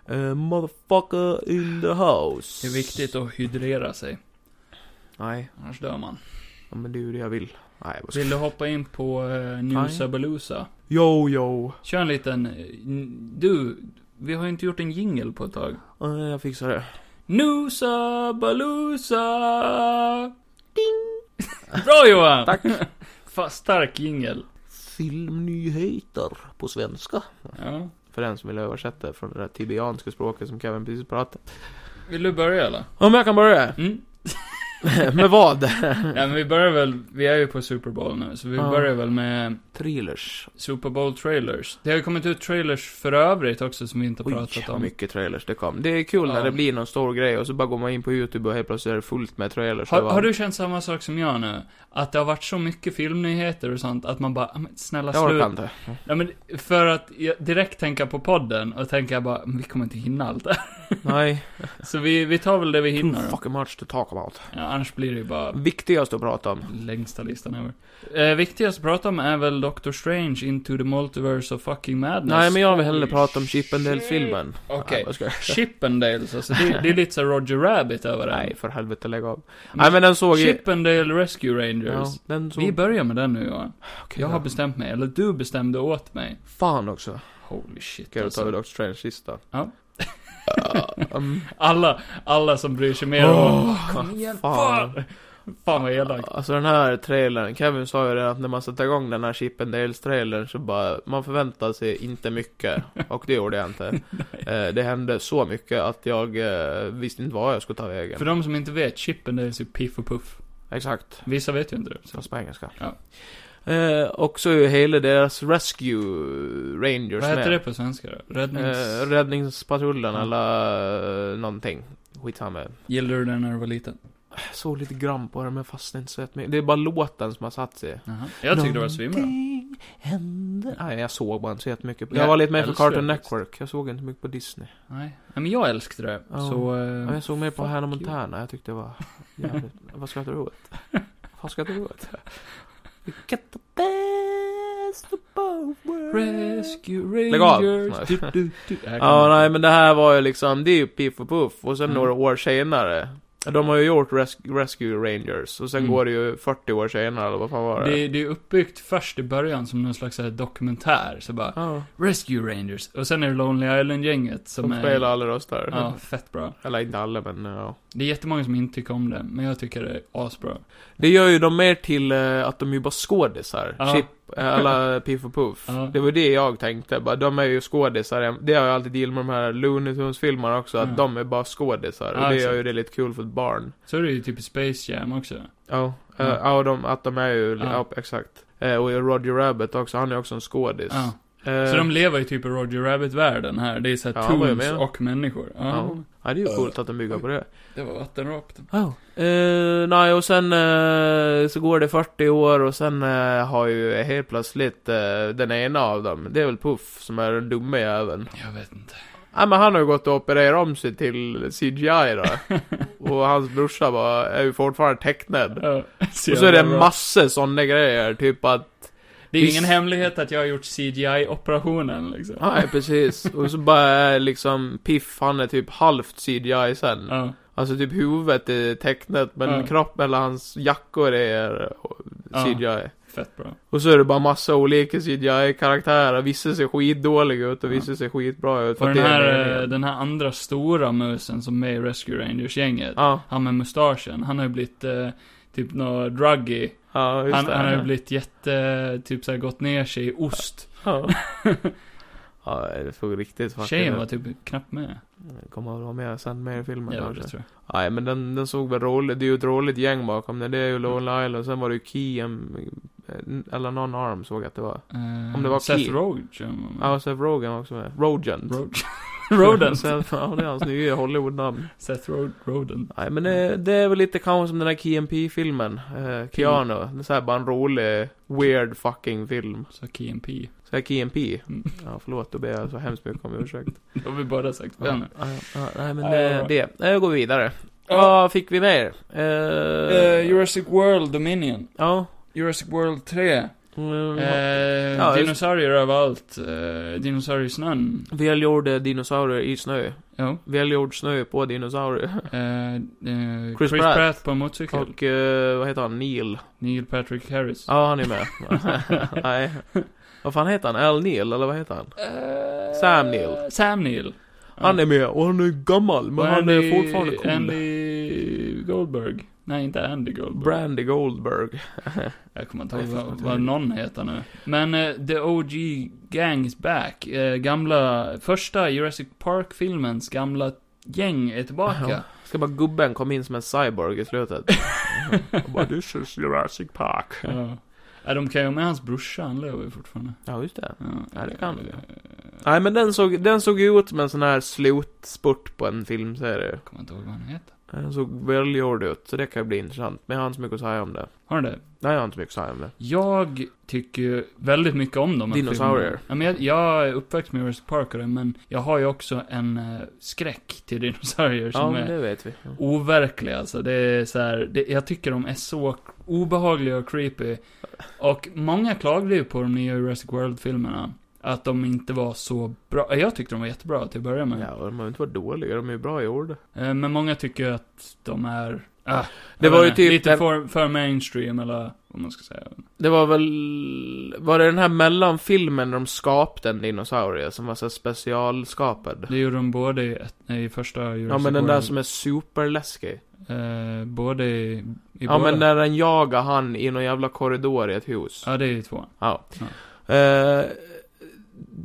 Speaker 2: Eh, motherfucker in the house.
Speaker 1: Det är viktigt att hydrera sig.
Speaker 2: Nej,
Speaker 1: Annars dör man.
Speaker 2: ja, men det är ju det jag vill. Nej, jag bara...
Speaker 1: Vill du hoppa in på uh, Nusa Balusa?
Speaker 2: Yo, yo.
Speaker 1: Kör en liten... eh, n- Du, vi har ju inte gjort en jingle på ett tag.
Speaker 2: Eh, jag fixar det.
Speaker 1: Noosa Balusa! Ding! Bra Johan!
Speaker 2: Tack.
Speaker 1: Fan, stark jingel.
Speaker 3: Filmnyheter på svenska.
Speaker 1: Ja.
Speaker 2: För den som vill översätta från det där tibeanska språket som Kevin precis pratade.
Speaker 1: Vill du börja eller?
Speaker 2: Om jag kan börja?
Speaker 1: Mm.
Speaker 2: med vad?
Speaker 1: Ja, men vi börjar väl, vi är ju på Super Bowl nu, så vi
Speaker 2: Ja.
Speaker 1: börjar väl med
Speaker 2: Thrillers.
Speaker 1: Super Bowl trailers. Det har ju kommit ut trailers för övrigt också som vi inte har pratat om.
Speaker 2: mycket trailers det kom. Det är kul
Speaker 1: Ja.
Speaker 2: när det blir någon stor grej och så bara går man in på YouTube och helt plötsligt är det fullt med trailers.
Speaker 1: Har,
Speaker 2: Och bara-
Speaker 1: har du känt samma sak som jag nu? Att det har varit så mycket filmnyheter och sånt att man bara, "Ah, men snälla
Speaker 2: Jag orkar
Speaker 1: sluta.
Speaker 2: inte.
Speaker 1: Nej men, för att jag direkt tänka på podden och tänka bara, "Men vi kommer inte hinna allt det
Speaker 2: Nej.
Speaker 1: Så vi, vi tar väl det vi
Speaker 2: Too
Speaker 1: hinner då.
Speaker 2: fucking much to talk about.
Speaker 1: ja, Annars blir det ju
Speaker 2: Mm.
Speaker 1: bara
Speaker 2: Viktigast att prata om.
Speaker 1: längsta listan över. Eh, viktigast att prata om är väl Doctor Strange Into the Multiverse of Fucking Madness.
Speaker 2: Nej, men jag vill hellre
Speaker 1: Holy
Speaker 2: prata om Chippendale-filmen.
Speaker 1: Okej.
Speaker 2: Nej, vad ska jag-
Speaker 1: Chippendales, alltså det, det är lite så Roger Rabbit över den.
Speaker 2: Nej, för helvete lägg av. Nej, men den såg ju...
Speaker 1: Chippendale Rescue
Speaker 2: Ja,
Speaker 1: Rangers.
Speaker 2: den såg...
Speaker 1: Vi börjar med den nu Johan.
Speaker 2: Okej,
Speaker 1: Jag
Speaker 2: ja.
Speaker 1: har bestämt mig, eller du bestämde åt mig.
Speaker 2: Fan också.
Speaker 1: Holy shit
Speaker 2: Ska jag ta
Speaker 1: alltså.
Speaker 2: Doctor Strange sista?
Speaker 1: Ja.
Speaker 2: um,
Speaker 1: Alla, alla som bryr sig mer om...
Speaker 2: Åh,
Speaker 1: Kom igen,
Speaker 2: fan.
Speaker 1: fan! Fan vad elakt.
Speaker 2: alltså den här trailern, Kevin sa ju redan att när man sätter igång den här Chippendales-trailern så bara, man förväntar sig inte mycket. Och det gjorde jag inte. Eh, det hände så mycket att jag eh, visste inte vad jag skulle ta vägen.
Speaker 1: För de som inte vet, Chippendales är Piff och Puff.
Speaker 2: Exakt.
Speaker 1: Vissa vet ju inte det. Så.
Speaker 2: Fast på engelska.
Speaker 1: Ja.
Speaker 2: Eh, och så är ju hela deras Rescue Rangers
Speaker 1: Vad heter
Speaker 2: med.
Speaker 1: det på svenska då? Räddnings...
Speaker 2: Eh, räddningspatrullen
Speaker 1: Ja.
Speaker 2: eller eh, någonting. Skitsamma.
Speaker 1: Gillade du den när du var liten?
Speaker 2: Jag såg lite grann på det men fastnade inte så jättemycket. Det är bara låten som har satt sig.
Speaker 1: Jaha. Jag tyckte det var svinbra.
Speaker 3: Någonting händer.
Speaker 2: Nej, jag såg bara inte så jättemycket.
Speaker 1: Nej,
Speaker 2: Jag var lite mer
Speaker 1: jag
Speaker 2: för
Speaker 1: älskar
Speaker 2: Cartoon
Speaker 1: det faktiskt.
Speaker 2: Network. Jag såg inte mycket på Disney.
Speaker 1: Nej. Nej, men jag älskade det.
Speaker 2: Ja.
Speaker 1: Så... eh,
Speaker 2: Men jag såg mer på
Speaker 1: fuck
Speaker 2: Hannah
Speaker 1: you.
Speaker 2: Montana. Jag tyckte det var jävligt... Vad skrattar du åt? Vad skrattar du åt? You get the best of both worlds.
Speaker 1: Rescue
Speaker 2: Lägg av.
Speaker 1: Rangers. Du, du, du. Här
Speaker 2: Ja,
Speaker 1: kommer-
Speaker 2: nej men det här var ju liksom, det är ju Piff och Puff och sen
Speaker 1: Mm.
Speaker 2: några år senare. De har ju gjort Res Rescue Rangers och sen
Speaker 1: Mm.
Speaker 2: går det ju 40 år senare eller vad fan var det?
Speaker 1: Det, det är uppbyggt först i början som någon slags så här dokumentär, så bara
Speaker 2: Ja,
Speaker 1: Rescue Rangers. Och sen är det Lonely Island-gänget som
Speaker 2: de
Speaker 1: är...
Speaker 2: spelar alla röster.
Speaker 1: Ja, fett bra.
Speaker 2: Eller inte alla men ja.
Speaker 1: Det är jättemånga som inte tycker om det, men jag tycker det är asbra.
Speaker 2: Det gör ju dem mer till eh, att de är ju bara skådisar.
Speaker 1: Ja.
Speaker 2: Chip, eh, alla Piff och Puff.
Speaker 1: Ja.
Speaker 2: Det var det jag tänkte, bara de är ju skådisar. Det har jag alltid gillat med de här Looney Tunes-filmerna också, att
Speaker 1: Mm.
Speaker 2: de är bara skådisar.
Speaker 1: Ja,
Speaker 2: och det gör
Speaker 1: exakt.
Speaker 2: ju det lite kul för ett barn.
Speaker 1: Så är det ju typ i Space Jam också.
Speaker 2: Ja, eh,
Speaker 1: Ja.
Speaker 2: ja de, att de är ju,
Speaker 1: Ja.
Speaker 2: ja, exakt. Eh, och Roger Rabbit också, han är också en skådis.
Speaker 1: Ja.
Speaker 2: Eh,
Speaker 1: Så de lever i typ i Roger Rabbit-världen här. Det är så här
Speaker 2: Ja, han var ju
Speaker 1: toons
Speaker 2: med.
Speaker 1: och människor. Ja.
Speaker 2: Ja. ja, det är ju coolt att de bygger på det.
Speaker 1: Det var vattenrapt.
Speaker 2: Oh. nej, och sen eh, så går det 40 år och sen eh, har ju helt plötsligt eh, den ena av dem, det är väl Puff som är den dumme jäveln.
Speaker 1: Jag vet inte.
Speaker 2: Ja men han har ju gått och opererat om sig till CGI då. och hans brorsa bara, är ju fortfarande tecknad.
Speaker 1: Ja,
Speaker 2: Och så är det
Speaker 1: jävla bra.
Speaker 2: massor sådana grejer, typ att
Speaker 1: Det är
Speaker 2: Visst.
Speaker 1: ingen hemlighet att jag har gjort CGI-operationen liksom.
Speaker 2: Nej, precis. Och så bara är liksom Piff, han är typ halvt CGI sen.
Speaker 1: Ja.
Speaker 2: Alltså typ huvudet är tecknat, men
Speaker 1: Ja.
Speaker 2: kropp eller hans jackor är
Speaker 1: Ja.
Speaker 2: CGI.
Speaker 1: Fett bra.
Speaker 2: Och så är det bara massa olika CGI-karaktärer. Vissa ser skitdåliga ut och
Speaker 1: Ja.
Speaker 2: vissa ser skitbra ut.
Speaker 1: Och
Speaker 2: att
Speaker 1: den
Speaker 2: det är
Speaker 1: här, eh,
Speaker 2: meningen.
Speaker 1: den här andra stora musen som är i Rescue Rangers-gänget.
Speaker 2: Ja,
Speaker 1: Han med mustaschen, han har ju blivit eh, typ nå druggy.
Speaker 2: ja just
Speaker 1: Han,
Speaker 2: det.
Speaker 1: han har ju blivit jätte, typ såhär gått ner sig i ost.
Speaker 2: Ja. ja, det såg riktigt faktiskt
Speaker 1: Tjejen var
Speaker 2: ut.
Speaker 1: typ knappt med.
Speaker 2: Kommer att vara med sen mer i filmen
Speaker 1: Ja,
Speaker 2: kanske.
Speaker 1: det tror
Speaker 2: Nej, men den, den såg väl rolig, det är ju ett roligt gäng bakom den. Det
Speaker 1: Mm.
Speaker 2: är ju Lonely Island, sen var det ju Kiem, eh, eller någon arm såg jag att det var.
Speaker 1: jag. Eh,
Speaker 2: Om det var
Speaker 1: Seth
Speaker 2: Key.
Speaker 1: Rogen.
Speaker 2: Ja, och Seth Rogen var också med. Rogent.
Speaker 1: Rog- Rodent.
Speaker 2: Seth, ja, det är hans nya Hollywood-namn.
Speaker 1: Seth Rod Rodent.
Speaker 2: Nej, men det, det är väl lite kanske som den här Kiem P-filmen. Eh, Keanu. Det är så här bara en rolig, weird fucking film.
Speaker 1: Sa KMP.
Speaker 2: Så här Kiem P.
Speaker 1: Mm.
Speaker 2: Ja, förlåt, då ber jag så hemskt mycket om ursäkt.
Speaker 1: Då har vi båda sagt
Speaker 2: Ja,
Speaker 1: vänner.
Speaker 2: ja, ja, nej, men
Speaker 1: Nej,
Speaker 2: eh,
Speaker 1: bra.
Speaker 2: det. Jag går vi vidare.
Speaker 1: Ja.
Speaker 2: Vad fick vi mer? Eh,
Speaker 1: Jurassic World Dominion.
Speaker 2: Ja.
Speaker 1: Jurassic World 3.
Speaker 2: Mm,
Speaker 1: Eh,
Speaker 2: Ja, just-
Speaker 1: dinosaurier överallt. Eh, dinosaurier i snön.
Speaker 2: Välgjord eh, dinosaurier i snö.
Speaker 1: Ja.
Speaker 2: Välgjord snö på dinosaurier.
Speaker 1: Eh, eh, Chris,
Speaker 2: Chris
Speaker 1: Pratt.
Speaker 2: Pratt.
Speaker 1: på en motorcykel.
Speaker 2: Och, eh, vad heter han? Neil.
Speaker 1: Neil Patrick Harris.
Speaker 2: Ja, han är med. Nej. Vad fan heter han? Al Neil, eller vad heter han?
Speaker 1: Eh,
Speaker 2: Sam Neill.
Speaker 1: Sam Neill.
Speaker 2: Han är med och han är gammal, men
Speaker 1: Och
Speaker 2: han
Speaker 1: Andy-
Speaker 2: är fortfarande cool.
Speaker 1: Andy Goldberg. Nej, inte Andy Goldberg.
Speaker 2: Brandy Goldberg.
Speaker 1: Jag kommer inte ihåg
Speaker 2: Jag fattar
Speaker 1: vad,
Speaker 2: inte
Speaker 1: vad
Speaker 2: hur-
Speaker 1: någon heter nu. Men eh, The OG Gangs Back. Eh, gamla, första Jurassic Park-filmens gamla gäng är tillbaka.
Speaker 2: Ja. Ska bara gubben kom in som en cyborg i slutet. Och bara, This is Jurassic Park.
Speaker 1: Ja. Ja, de kan ju ha med hans brorsa, han lever ju fortfarande.
Speaker 2: Ja, just det.
Speaker 1: Ja,
Speaker 2: Ja, det kan de ju.
Speaker 1: eh,
Speaker 2: Nej, men den såg, den såg ut som en sån här slutspurt på en filmserie.
Speaker 1: Jag kommer inte ihåg vad han heter.
Speaker 2: Den såg välgjord ut, så det kan ju bli intressant. Men jag har inte så mycket att säga om det.
Speaker 1: Har han det?
Speaker 2: Nej, jag har inte så mycket att säga om det.
Speaker 1: Jag tycker ju väldigt mycket om dem.
Speaker 2: Dinosaurier.
Speaker 1: Ja, men jag, jag är uppväxt med Jurassic Park och det, men jag har ju också en eh, skräck till dinosaurier
Speaker 2: Ja,
Speaker 1: som
Speaker 2: men
Speaker 1: är
Speaker 2: det Mm. vet vi. Ja.
Speaker 1: overklig alltså. Det är så här, det, jag tycker de är så obehagliga och creepy. Och många klagade ju på de nya Jurassic World-filmerna. Att de inte var så bra. Jag tyckte de var jättebra till att börja med.
Speaker 2: Ja, och de har ju inte varit dåliga, de är ju bra gjorda.
Speaker 1: Eh, Men många tycker ju att de är... Ah,
Speaker 2: Det
Speaker 1: jag
Speaker 2: var
Speaker 1: vet
Speaker 2: ju
Speaker 1: inte,
Speaker 2: typ
Speaker 1: Lite
Speaker 2: den-
Speaker 1: för, för mainstream, eller vad man ska säga.
Speaker 2: Det var väl... Var det den här mellanfilmen när de skapade en dinosaurie som var så här specialskapad?
Speaker 1: Det gjorde de både i, ett- i första Jurassic
Speaker 2: Ja, men den där
Speaker 1: World.
Speaker 2: som är superläskig.
Speaker 1: Eh, både i, i
Speaker 2: Ja,
Speaker 1: båda.
Speaker 2: men när den jagar han i någon jävla korridor i ett hus.
Speaker 1: Ja, det är ju tvåan.
Speaker 2: Ja. Eh,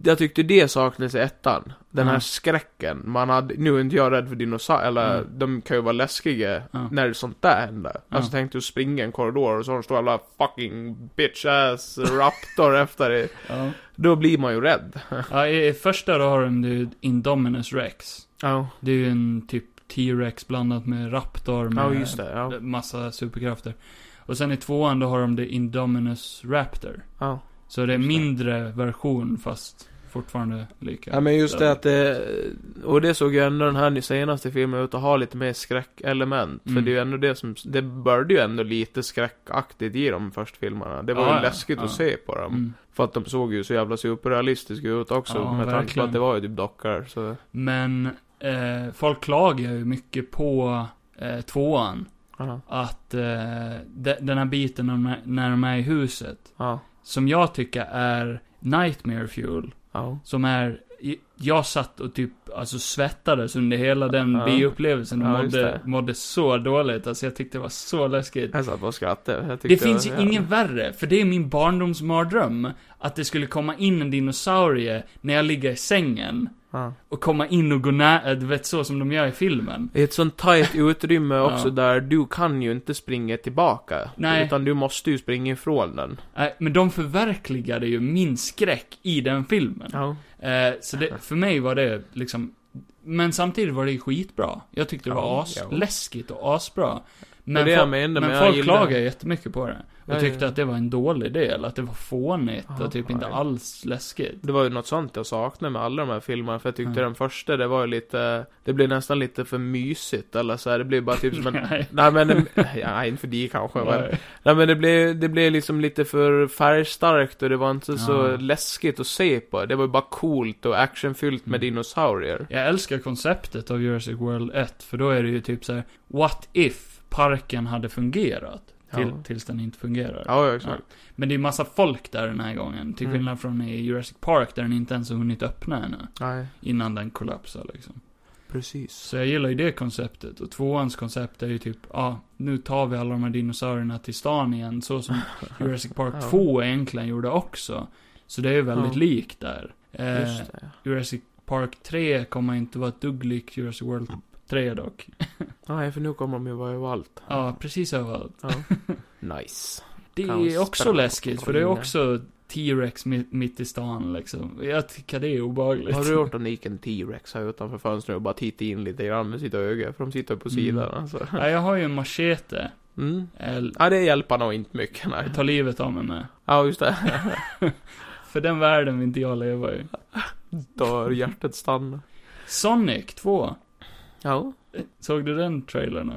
Speaker 2: jag tyckte det saknades i ettan. Den här
Speaker 1: Mm.
Speaker 2: skräcken. Man hade, nu är inte jag rädd för dinosaurier, eller
Speaker 1: Mm.
Speaker 2: de kan ju vara läskiga
Speaker 1: Ja.
Speaker 2: när sånt där händer. Alltså tänk du springa i en korridor och så har de stor jävla fucking bitch ass raptor efter dig.
Speaker 1: Ja.
Speaker 2: Då blir man ju rädd.
Speaker 1: ja i, I första då har de ju Indominus Rex.
Speaker 2: Ja,
Speaker 1: Det är ju en typ T-Rex blandat med Raptor med
Speaker 2: ja just det. Ja.
Speaker 1: massa superkrafter. Och sen i tvåan då har de det Indominus Raptor.
Speaker 2: Ja.
Speaker 1: Så det är
Speaker 2: Just det.
Speaker 1: mindre version fast fortfarande lika.
Speaker 2: ja, men just det att det, och det såg ju ändå den här senaste filmen ut att ha lite mer skräckelement. För
Speaker 1: Mm.
Speaker 2: det är ju ändå det som, det började ju ändå lite skräckaktigt i de första filmerna. Det var
Speaker 1: Ja,
Speaker 2: ju
Speaker 1: ja,
Speaker 2: läskigt
Speaker 1: ja.
Speaker 2: att se på dem.
Speaker 1: Mm.
Speaker 2: För att de såg ju så jävla superrealistiska ut också.
Speaker 1: Ja,
Speaker 2: med tanke på
Speaker 1: verkligen.
Speaker 2: att det var ju typ dockor. Så,
Speaker 1: Men eh, folk klagar ju mycket på eh, tvåan.
Speaker 2: ja.
Speaker 1: Att eh, de, den här biten när de, är, när de är i huset.
Speaker 2: Ja.
Speaker 1: Som jag tycker är Nightmare Fuel.
Speaker 2: Ja.
Speaker 1: Som är, jag satt och typ, alltså svettades under hela den
Speaker 2: Ja.
Speaker 1: bioupplevelsen och
Speaker 2: Ja, just
Speaker 1: mådde,
Speaker 2: det.
Speaker 1: mådde så dåligt. Alltså jag tyckte det var så läskigt.
Speaker 2: Jag satt bara och skrattade. Jag tyckte
Speaker 1: Det finns ju
Speaker 2: var-
Speaker 1: ingen värre, för det är min barndomsmardröm. Att det skulle komma in en dinosaurie när jag ligger i sängen.
Speaker 2: Ja.
Speaker 1: Och komma in och gå nära, du vet så som de gör i filmen.
Speaker 2: I ett sånt tight utrymme
Speaker 1: Ja.
Speaker 2: också där du kan ju inte springa tillbaka.
Speaker 1: Nej.
Speaker 2: Utan du måste ju springa ifrån den.
Speaker 1: Nej, Eh, men de förverkligade ju min skräck i den filmen.
Speaker 2: Ja.
Speaker 1: Eh, så det, för mig var det liksom, men samtidigt var det ju skitbra. Jag tyckte det var
Speaker 2: Ja,
Speaker 1: as,
Speaker 2: ja.
Speaker 1: läskigt och asbra.
Speaker 2: Det är
Speaker 1: Men,
Speaker 2: det jag
Speaker 1: fo-
Speaker 2: menar,
Speaker 1: men,
Speaker 2: men jag
Speaker 1: folk
Speaker 2: gillar-
Speaker 1: klagade jättemycket på det. Och
Speaker 2: Ja,
Speaker 1: tyckte
Speaker 2: ja.
Speaker 1: att det var en dålig del, att det var fånigt
Speaker 2: Ja,
Speaker 1: och typ inte
Speaker 2: nej.
Speaker 1: alls läskigt.
Speaker 2: Det var ju något sånt jag saknade med alla de här filmerna. För jag tyckte
Speaker 1: Ja.
Speaker 2: den första, det var ju lite... Det blev nästan lite för mysigt. Eller så här, det blev bara typ som en...
Speaker 1: Nej.
Speaker 2: Nej men, ja, inte för dig kanske men,
Speaker 1: Nej.
Speaker 2: Nej men det blev, det blev liksom lite för färgstarkt och det var inte
Speaker 1: Ja.
Speaker 2: så läskigt att se på. Det var ju bara coolt och actionfyllt med
Speaker 1: Mm.
Speaker 2: dinosaurier.
Speaker 1: Jag älskar konceptet av Jurassic World 1, för då är det ju typ så här: What if parken hade fungerat? Till,
Speaker 2: Ja.
Speaker 1: Tills den inte fungerar.
Speaker 2: Ja, ja exakt.
Speaker 1: Men det är massa folk där den här gången, till
Speaker 2: Mm.
Speaker 1: skillnad från i Jurassic Park där den inte ens har hunnit öppna ännu.
Speaker 2: Nej,
Speaker 1: Innan den kollapsar liksom.
Speaker 2: precis.
Speaker 1: Så jag gillar ju det konceptet. Och tvåans koncept är ju typ, ja, ah, nu tar vi alla de här dinosaurierna till stan igen. Så som Jurassic Park
Speaker 2: Ja.
Speaker 1: 2 egentligen gjorde också. Så det är ju väldigt
Speaker 2: Ja.
Speaker 1: likt där. Eh,
Speaker 2: Just det.
Speaker 1: Jurassic Park 3 kommer inte vara ett dugg lik Jurassic World 3 dock.
Speaker 2: Nej, för nu kommer de ju vara överallt.
Speaker 1: Ja, precis överallt.
Speaker 2: Ja. nice.
Speaker 1: Det
Speaker 2: Kaos,
Speaker 1: är också
Speaker 2: spänn-
Speaker 1: läskigt, för det är
Speaker 2: ruiner.
Speaker 1: också T-Rex mitt, mitt i stan liksom. Jag tycker det är obehagligt.
Speaker 2: Har du hört om det gick en T-Rex här utanför fönstret och bara tittade in lite grann med sitt öga? För de sitter ju på sidan
Speaker 1: Mm.
Speaker 2: alltså.
Speaker 1: Ja, jag har ju en machete.
Speaker 2: Mm.
Speaker 1: Eller,
Speaker 2: Ja, det hjälper nog inte mycket, nej.
Speaker 1: ta livet av mig med.
Speaker 2: Ja, just det.
Speaker 1: För den världen vill inte jag leva i.
Speaker 2: Då hjärtat stannar.
Speaker 1: Sonic 2.
Speaker 2: Ja.
Speaker 1: Såg du den trailern? nu?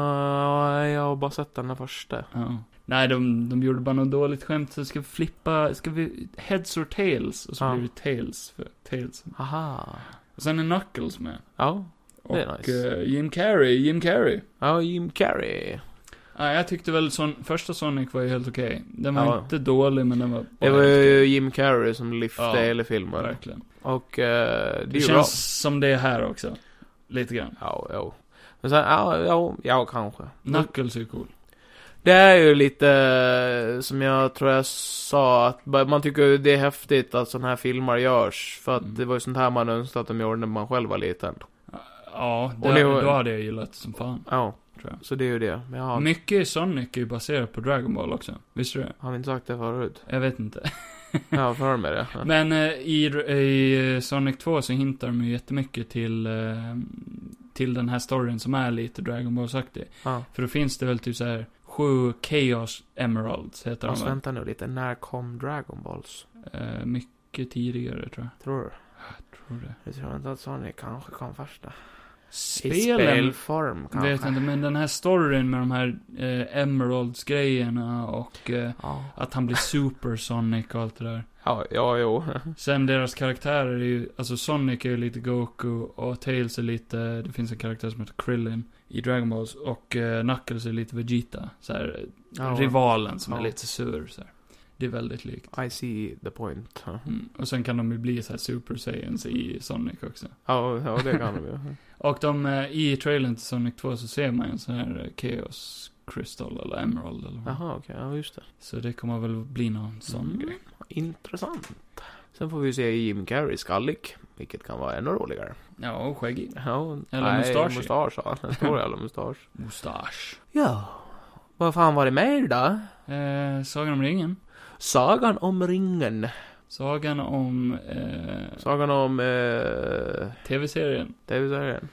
Speaker 2: Ja, jag har bara sett den här första.
Speaker 1: Ja. Nej, de, de gjorde bara något dåligt skämt, så ska vi flippa, ska vi, heads or tails? Och så
Speaker 2: Ja.
Speaker 1: blir det tails, för tails.
Speaker 2: Aha.
Speaker 1: Och sen är Knuckles med.
Speaker 2: Ja.
Speaker 1: Och
Speaker 2: Det är nice.
Speaker 1: eh, Jim Carrey, Jim Carrey.
Speaker 2: Ja, Jim Carrey.
Speaker 1: Nej, jag tyckte väl son, första Sonic var ju helt okej. Den var
Speaker 2: Ja.
Speaker 1: inte dålig, men den var...
Speaker 2: Det var ju Jim Carrey som lyfte
Speaker 1: Ja,
Speaker 2: hela filmen.
Speaker 1: Verkligen.
Speaker 2: Och eh,
Speaker 1: Det,
Speaker 2: det är ju
Speaker 1: känns
Speaker 2: bra.
Speaker 1: som det är här också. Lite grann.
Speaker 2: Ja, ja. Men sen, ja, ja, ja kanske.
Speaker 1: Knuckles är ju cool.
Speaker 2: Det är ju lite, eh, som jag tror jag sa, att ba- man tycker ju det är häftigt att sådana här filmer görs. För att
Speaker 1: Mm.
Speaker 2: det var ju sånt här man önskade att de gjorde när man själv var liten.
Speaker 1: Ja,
Speaker 2: Och
Speaker 1: det,
Speaker 2: det var-
Speaker 1: då hade jag gillat som fan.
Speaker 2: Ja,
Speaker 1: Tror jag.
Speaker 2: så det är ju det. Men jag har,
Speaker 1: Mycket i Sonic är ju baserat på Dragon Ball också. Visste du det?
Speaker 2: har vi inte sagt det förut?
Speaker 1: Jag vet inte.
Speaker 2: Jag har för mig det.
Speaker 1: Men eh, i, i eh, Sonic 2 så hintar de ju jättemycket till, eh, till den här storyn som är lite Dragon Ball-aktig.
Speaker 2: Ja.
Speaker 1: För då finns det väl typ så här sju Chaos Emeralds heter de
Speaker 2: Alltså,
Speaker 1: väl?
Speaker 2: vänta nu lite, när kom Dragon Balls?
Speaker 1: Eh, mycket tidigare tror jag.
Speaker 2: Tror du?
Speaker 1: Tror det.
Speaker 2: Jag tror inte att Sonic kanske kom först då. I
Speaker 1: Spelen
Speaker 2: spelform kanske?
Speaker 1: vet jag inte, men den här storyn med de här eh, Emeralds-grejerna och eh,
Speaker 2: Ja,
Speaker 1: att han blir Super Sonic och allt det där.
Speaker 2: ja, ja jo.
Speaker 1: Sen deras karaktärer är ju, alltså Sonic är ju lite Goku och Tails är lite, det finns en karaktär som heter Krillin i Dragon Balls och eh, Knuckles är lite Vegeta. Så här,
Speaker 2: Ja.
Speaker 1: rivalen som är
Speaker 2: Ja.
Speaker 1: lite sur så här. Det är väldigt likt.
Speaker 2: I see the point. Ja,
Speaker 1: Mm. Och sen kan de ju bli så här super saiyans i Sonic också.
Speaker 2: ja det kan de ju.
Speaker 1: Och de, eh, i trailern till Sonic 2 så ser man ju en sån här eh, Chaos Crystal eller Emerald eller vad.
Speaker 2: Jaha, okej. Ja, just det.
Speaker 1: Så det kommer väl bli någon sån
Speaker 2: Mm.
Speaker 1: grej.
Speaker 2: Intressant. Sen får vi se Jim Carrey skallig, vilket kan vara ännu roligare.
Speaker 1: Ja, och skäggig.
Speaker 2: Ja,
Speaker 1: Eller
Speaker 2: nej,
Speaker 1: mustasch.
Speaker 2: mustasch. ja. En stor jävla mustasch.
Speaker 1: Mustasch.
Speaker 2: Ja. Vad fan var det mer då?
Speaker 1: Eh, Sagan om ringen.
Speaker 2: Sagan om ringen.
Speaker 1: Sagan om eh,
Speaker 2: Sagan om... Eh,
Speaker 1: tv-serien.
Speaker 2: tv-serien.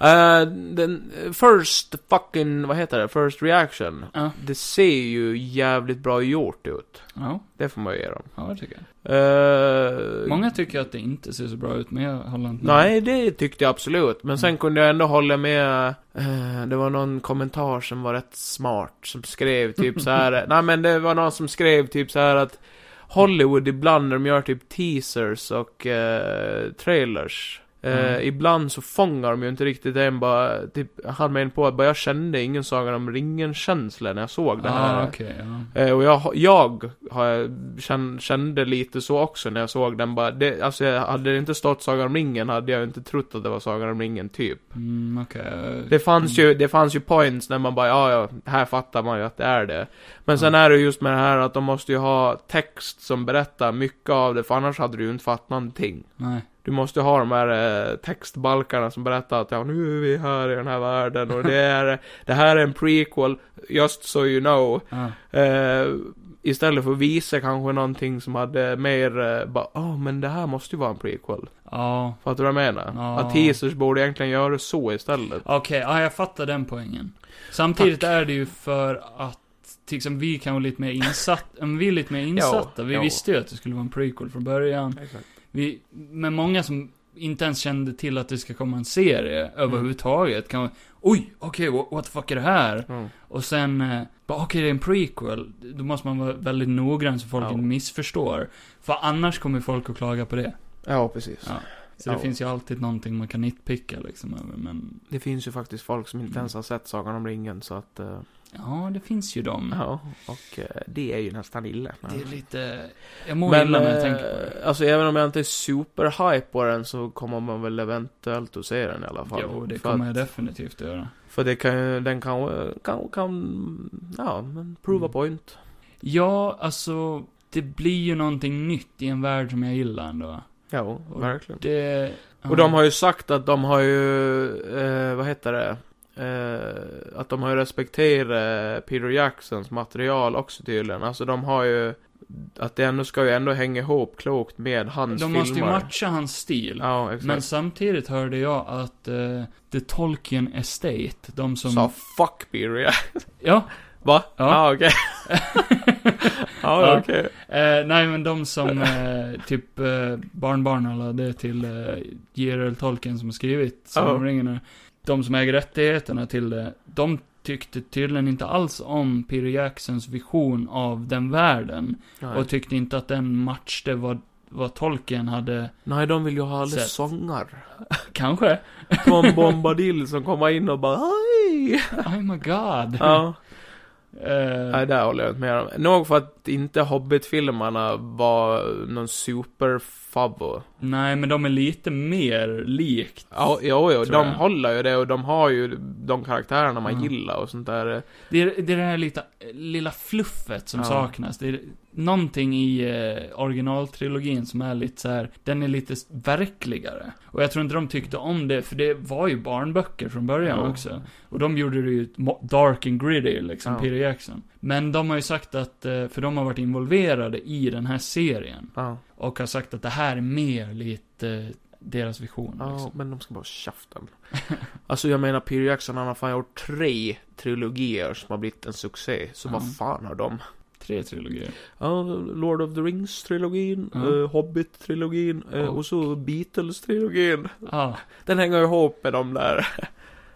Speaker 2: Eh, den eh, first fucking, vad heter det? First reaction.
Speaker 1: Ja.
Speaker 2: Det ser ju jävligt bra gjort ut.
Speaker 1: Ja,
Speaker 2: Det får man ju ge dem.
Speaker 1: ja det tycker jag.
Speaker 2: Eh,
Speaker 1: Många tycker att det inte ser så bra ut, men Mm. jag håller inte med.
Speaker 2: Nej, det tyckte jag absolut. Men sen kunde jag ändå hålla med. eh, Det var någon kommentar som var rätt smart. Som skrev typ så här. nej men det var någon som skrev typ så här att Hollywood ibland när de gör typ teasers och eh, trailers. eh,
Speaker 1: Mm.
Speaker 2: Ibland så fångar de ju inte riktigt en bara, typ, han menar på att bara jag kände ingen Sagan om ringen-känsla när jag såg det här.
Speaker 1: Ah, okej, ja.
Speaker 2: Eh, Och jag, jag har, känn- kände lite så också när jag såg den bara, det, alltså jag- hade det inte stått Sagan om ringen hade jag inte trott att det var Sagan om ringen typ.
Speaker 1: Mm, okej.
Speaker 2: Det fanns ju, det fanns ju points när man bara, ja ja, här fattar man ju att det är det. Men sen
Speaker 1: Ja.
Speaker 2: är det just med det här att de måste ju ha text som berättar mycket av det, för annars hade du ju inte fattat någonting.
Speaker 1: Nej.
Speaker 2: Du måste ha de här eh, textbalkarna som berättar att ja, nu är vi här i den här världen och det är, det här är en prequel, just so you know.
Speaker 1: Ah.
Speaker 2: Eh, istället för att visa kanske någonting som hade mer, eh, bara, åh men det här måste ju vara en prequel.
Speaker 1: Ja.
Speaker 2: Fattar du vad jag menar?
Speaker 1: Ja.
Speaker 2: Att teasers borde egentligen göra så istället.
Speaker 1: Okej, ja, jag fattar den poängen. Samtidigt är det ju för att till exempel vi kan vara lite mer insatta, om vi är lite mer insatta. Vi
Speaker 2: jo.
Speaker 1: visste ju att det skulle vara en prequel från början.
Speaker 2: Exakt.
Speaker 1: Vi, men många som inte ens kände till att det ska komma en serie
Speaker 2: Mm.
Speaker 1: överhuvudtaget kan vara, oj, okej, what, what the fuck är det här?
Speaker 2: Mm.
Speaker 1: Och sen, eh, bara, okej det är en prequel. Då måste man vara väldigt noggrann så folk
Speaker 2: Ja.
Speaker 1: inte missförstår. För annars kommer folk att klaga på det.
Speaker 2: Ja, precis.
Speaker 1: Ja. Så
Speaker 2: Ja.
Speaker 1: det finns ju alltid någonting man kan nitpicka liksom över, men...
Speaker 2: Det finns ju faktiskt folk som inte ens har sett Sagan om ringen så att,
Speaker 1: Mm.
Speaker 2: eh,
Speaker 1: Ja, det finns ju dem.
Speaker 2: ja. Och eh, det är ju nästan illa.
Speaker 1: Det är lite... Jag mår illa när jag tänker på det.
Speaker 2: eh, alltså även om jag inte är superhype på den så kommer man väl eventuellt att se den i alla fall.
Speaker 1: Jo, det
Speaker 2: För
Speaker 1: kommer
Speaker 2: att-
Speaker 1: jag definitivt att göra.
Speaker 2: För det kan ju, den kan, kan, kan, ja, men prova
Speaker 1: Mm.
Speaker 2: point.
Speaker 1: Ja, alltså... Det blir ju någonting nytt i en värld som jag gillar ändå.
Speaker 2: Ja,
Speaker 1: Och
Speaker 2: verkligen.
Speaker 1: Det... ja.
Speaker 2: Och de har ju sagt att de har ju, eh, vad heter det? Eh, att de har ju respekterat Peter Jacksons material också tydligen. Alltså de har ju, att det ändå ska ju ändå hänga ihop klokt med hans
Speaker 1: De
Speaker 2: filmer.
Speaker 1: måste ju matcha hans stil.
Speaker 2: Ja, exakt.
Speaker 1: Men samtidigt hörde jag att eh, The Tolkien Estate, de som...
Speaker 2: Sa fuck Peter Jackson.
Speaker 1: Ja.
Speaker 2: Va?
Speaker 1: Ja.
Speaker 2: ah, okej. ja,
Speaker 1: Ja.
Speaker 2: okej.
Speaker 1: Eh, nej, men de som eh, typ eh, barnbarn eller det till eh, J.R.L. Tolkien som har skrivit
Speaker 2: Ja.
Speaker 1: Sagan oh. De som äger rättigheterna till det, de tyckte tydligen inte alls om Peter Jacksons vision av den världen.
Speaker 2: Nej.
Speaker 1: Och tyckte inte att den matchade vad, vad Tolkien hade,
Speaker 2: Nej, de vill ju ha alla
Speaker 1: Sett.
Speaker 2: sångar.
Speaker 1: kanske.
Speaker 2: Tom Bombadil som kommer in och bara hej!
Speaker 1: Oh my god.
Speaker 2: Ja.
Speaker 1: Eh,
Speaker 2: Nej, där håller jag inte med om. Nog för att inte Hobbit-filmerna var någon superfavvo.
Speaker 1: nej, men de är lite mer likt.
Speaker 2: Ja, jo, jo,
Speaker 1: Tror
Speaker 2: de
Speaker 1: jag.
Speaker 2: håller ju det och de har ju de karaktärerna man
Speaker 1: Mm.
Speaker 2: gillar och sånt där.
Speaker 1: Det är det, är det här lilla, lilla fluffet som
Speaker 2: Ja.
Speaker 1: saknas. Det är någonting i eh, originaltrilogin som är lite så här, den är lite s- verkligare. Och jag tror inte de tyckte om det, för det var ju barnböcker från början
Speaker 2: Ja.
Speaker 1: också. Och de gjorde det ju mo- dark and gritty, liksom,
Speaker 2: Ja.
Speaker 1: Peter Jackson. Men de har ju sagt att, eh, för de har varit involverade i den här serien.
Speaker 2: Ja,
Speaker 1: Och har sagt att det här är mer lite eh, deras vision,
Speaker 2: ja
Speaker 1: liksom.
Speaker 2: men de ska bara käften. alltså jag menar, Peter Jackson han har fan gjort tre trilogier som har blivit en succé. Så
Speaker 1: Ja.
Speaker 2: vad fan har de?
Speaker 1: Tre trilogier.
Speaker 2: Ja, Lord of the Rings-trilogin,
Speaker 1: Ja.
Speaker 2: eh, Hobbit-trilogin eh,
Speaker 1: Mm. Och-
Speaker 2: och så Beatles-trilogin.
Speaker 1: Ja.
Speaker 2: Den hänger ihop med de där.
Speaker 1: Ah,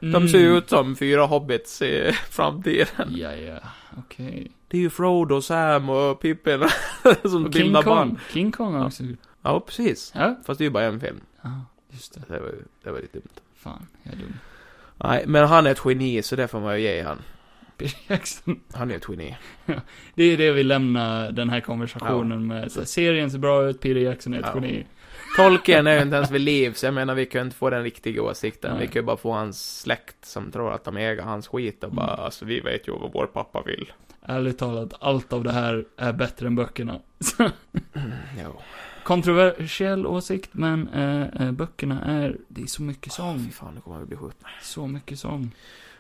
Speaker 1: Mm.
Speaker 2: De ser ju ut som fyra hobbits i framtiden.
Speaker 1: Ja, ja. Okej.
Speaker 2: Det är ju Frodo, Sam och Pippin som
Speaker 1: Och King
Speaker 2: bildar
Speaker 1: Kong.
Speaker 2: band.
Speaker 1: King Kong har också.
Speaker 2: Ja, precis.
Speaker 1: Ja.
Speaker 2: Fast det är ju bara en film.
Speaker 1: Ja, just det.
Speaker 2: Det var, ju- det var ju dumt.
Speaker 1: Fan, jag är dum.
Speaker 2: Nej, men han är ett geni, så det får man ju ge han.
Speaker 1: Peter Jackson.
Speaker 2: Han är ett geni.
Speaker 1: Det är det vi lämnar den här konversationen med. Så, serien ser bra ut, Peter Jackson är ett
Speaker 2: Ja.
Speaker 1: geni.
Speaker 2: Tolkien är ju inte ens vid liv, så jag menar vi kan ju inte få den riktiga åsikten.
Speaker 1: Nej.
Speaker 2: Vi kan ju bara få hans släkt som tror att de äger hans skit och bara,
Speaker 1: Mm.
Speaker 2: alltså vi vet ju vad vår pappa vill.
Speaker 1: Ärligt talat, allt av det här är bättre än böckerna. Så,
Speaker 2: Jo.
Speaker 1: Kontroversiell åsikt, men eh, eh, böckerna är... Det är så mycket
Speaker 2: Fy
Speaker 1: sång.
Speaker 2: fan, nu kommer vi bli skjutna.
Speaker 1: Så mycket sång.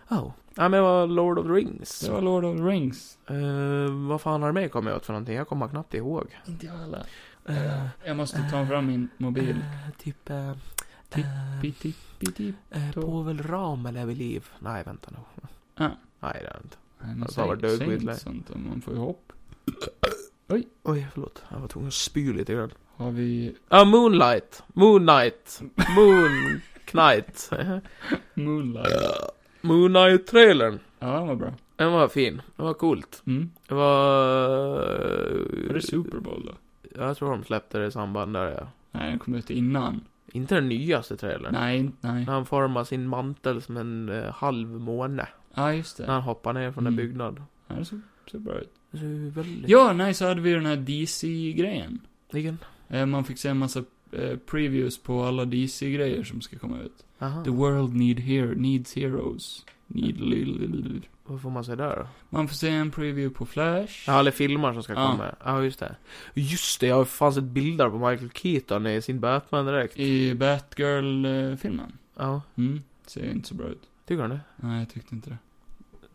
Speaker 2: Oh. Ja, men vad Lord of the Rings.
Speaker 1: Det var Lord of the Rings.
Speaker 2: Eh, vad fan har det med kommit åt för någonting? Jag kommer knappt ihåg.
Speaker 1: Inte jag heller.
Speaker 2: Eh,
Speaker 1: Jag måste ta fram min mobil.
Speaker 2: eh, typ... eh,
Speaker 1: Typ-
Speaker 2: eh,
Speaker 1: Piti, piti.
Speaker 2: eh,
Speaker 1: då.
Speaker 2: Povel Ram eller vid liv? Nej, vänta nu.
Speaker 1: Ah.
Speaker 2: Nej, det är det inte.
Speaker 1: Nej, men
Speaker 2: Alltså, det var
Speaker 1: säg, säg
Speaker 2: dugligt
Speaker 1: inte
Speaker 2: länge.
Speaker 1: sånt om man får ihop.
Speaker 2: Oj, förlåt. Jag var tvungen att spy lite grann.
Speaker 1: Har vi
Speaker 2: Ja, Moonlight. Moonlight. Moon... Knight.
Speaker 1: Moonlight?
Speaker 2: Moonlight-trailern.
Speaker 1: Ja, vad bra.
Speaker 2: Den var fin. Den var coolt.
Speaker 1: Mm.
Speaker 2: Det var... eh,
Speaker 1: Är det Super Bowl då?
Speaker 2: Jag tror de släppte det i samband där, ja.
Speaker 1: Nej, den kom ut innan.
Speaker 2: Inte den nyaste trailern.
Speaker 1: Nej, nej.
Speaker 2: När han formar sin mantel som en eh, halv måne.
Speaker 1: Ja, just det.
Speaker 2: När han hoppar ner från en
Speaker 1: Mm.
Speaker 2: byggnad.
Speaker 1: Ja, det såg, såg bra ut.
Speaker 2: Det ser ju väldigt...
Speaker 1: Ja, nej, så hade vi den här DC-grejen.
Speaker 2: Vilken?
Speaker 1: Eh, Man fick se en massa eh, previews på alla DC-grejer som ska komma ut.
Speaker 2: Aha.
Speaker 1: The world need here, needs heroes. Need lil-
Speaker 2: Vad får man se där då?
Speaker 1: Man får se en preview på Flash.
Speaker 2: Ja, eller filmer som ska
Speaker 1: Ja.
Speaker 2: komma. Ja, just det. Just det, jag har fan sett bilder på Michael Keaton i sin Batman-dräkt.
Speaker 1: I Batgirl-filmen.
Speaker 2: Ja,
Speaker 1: Mm. Ser inte så bra ut.
Speaker 2: tycker han det?
Speaker 1: Nej, jag tyckte inte det.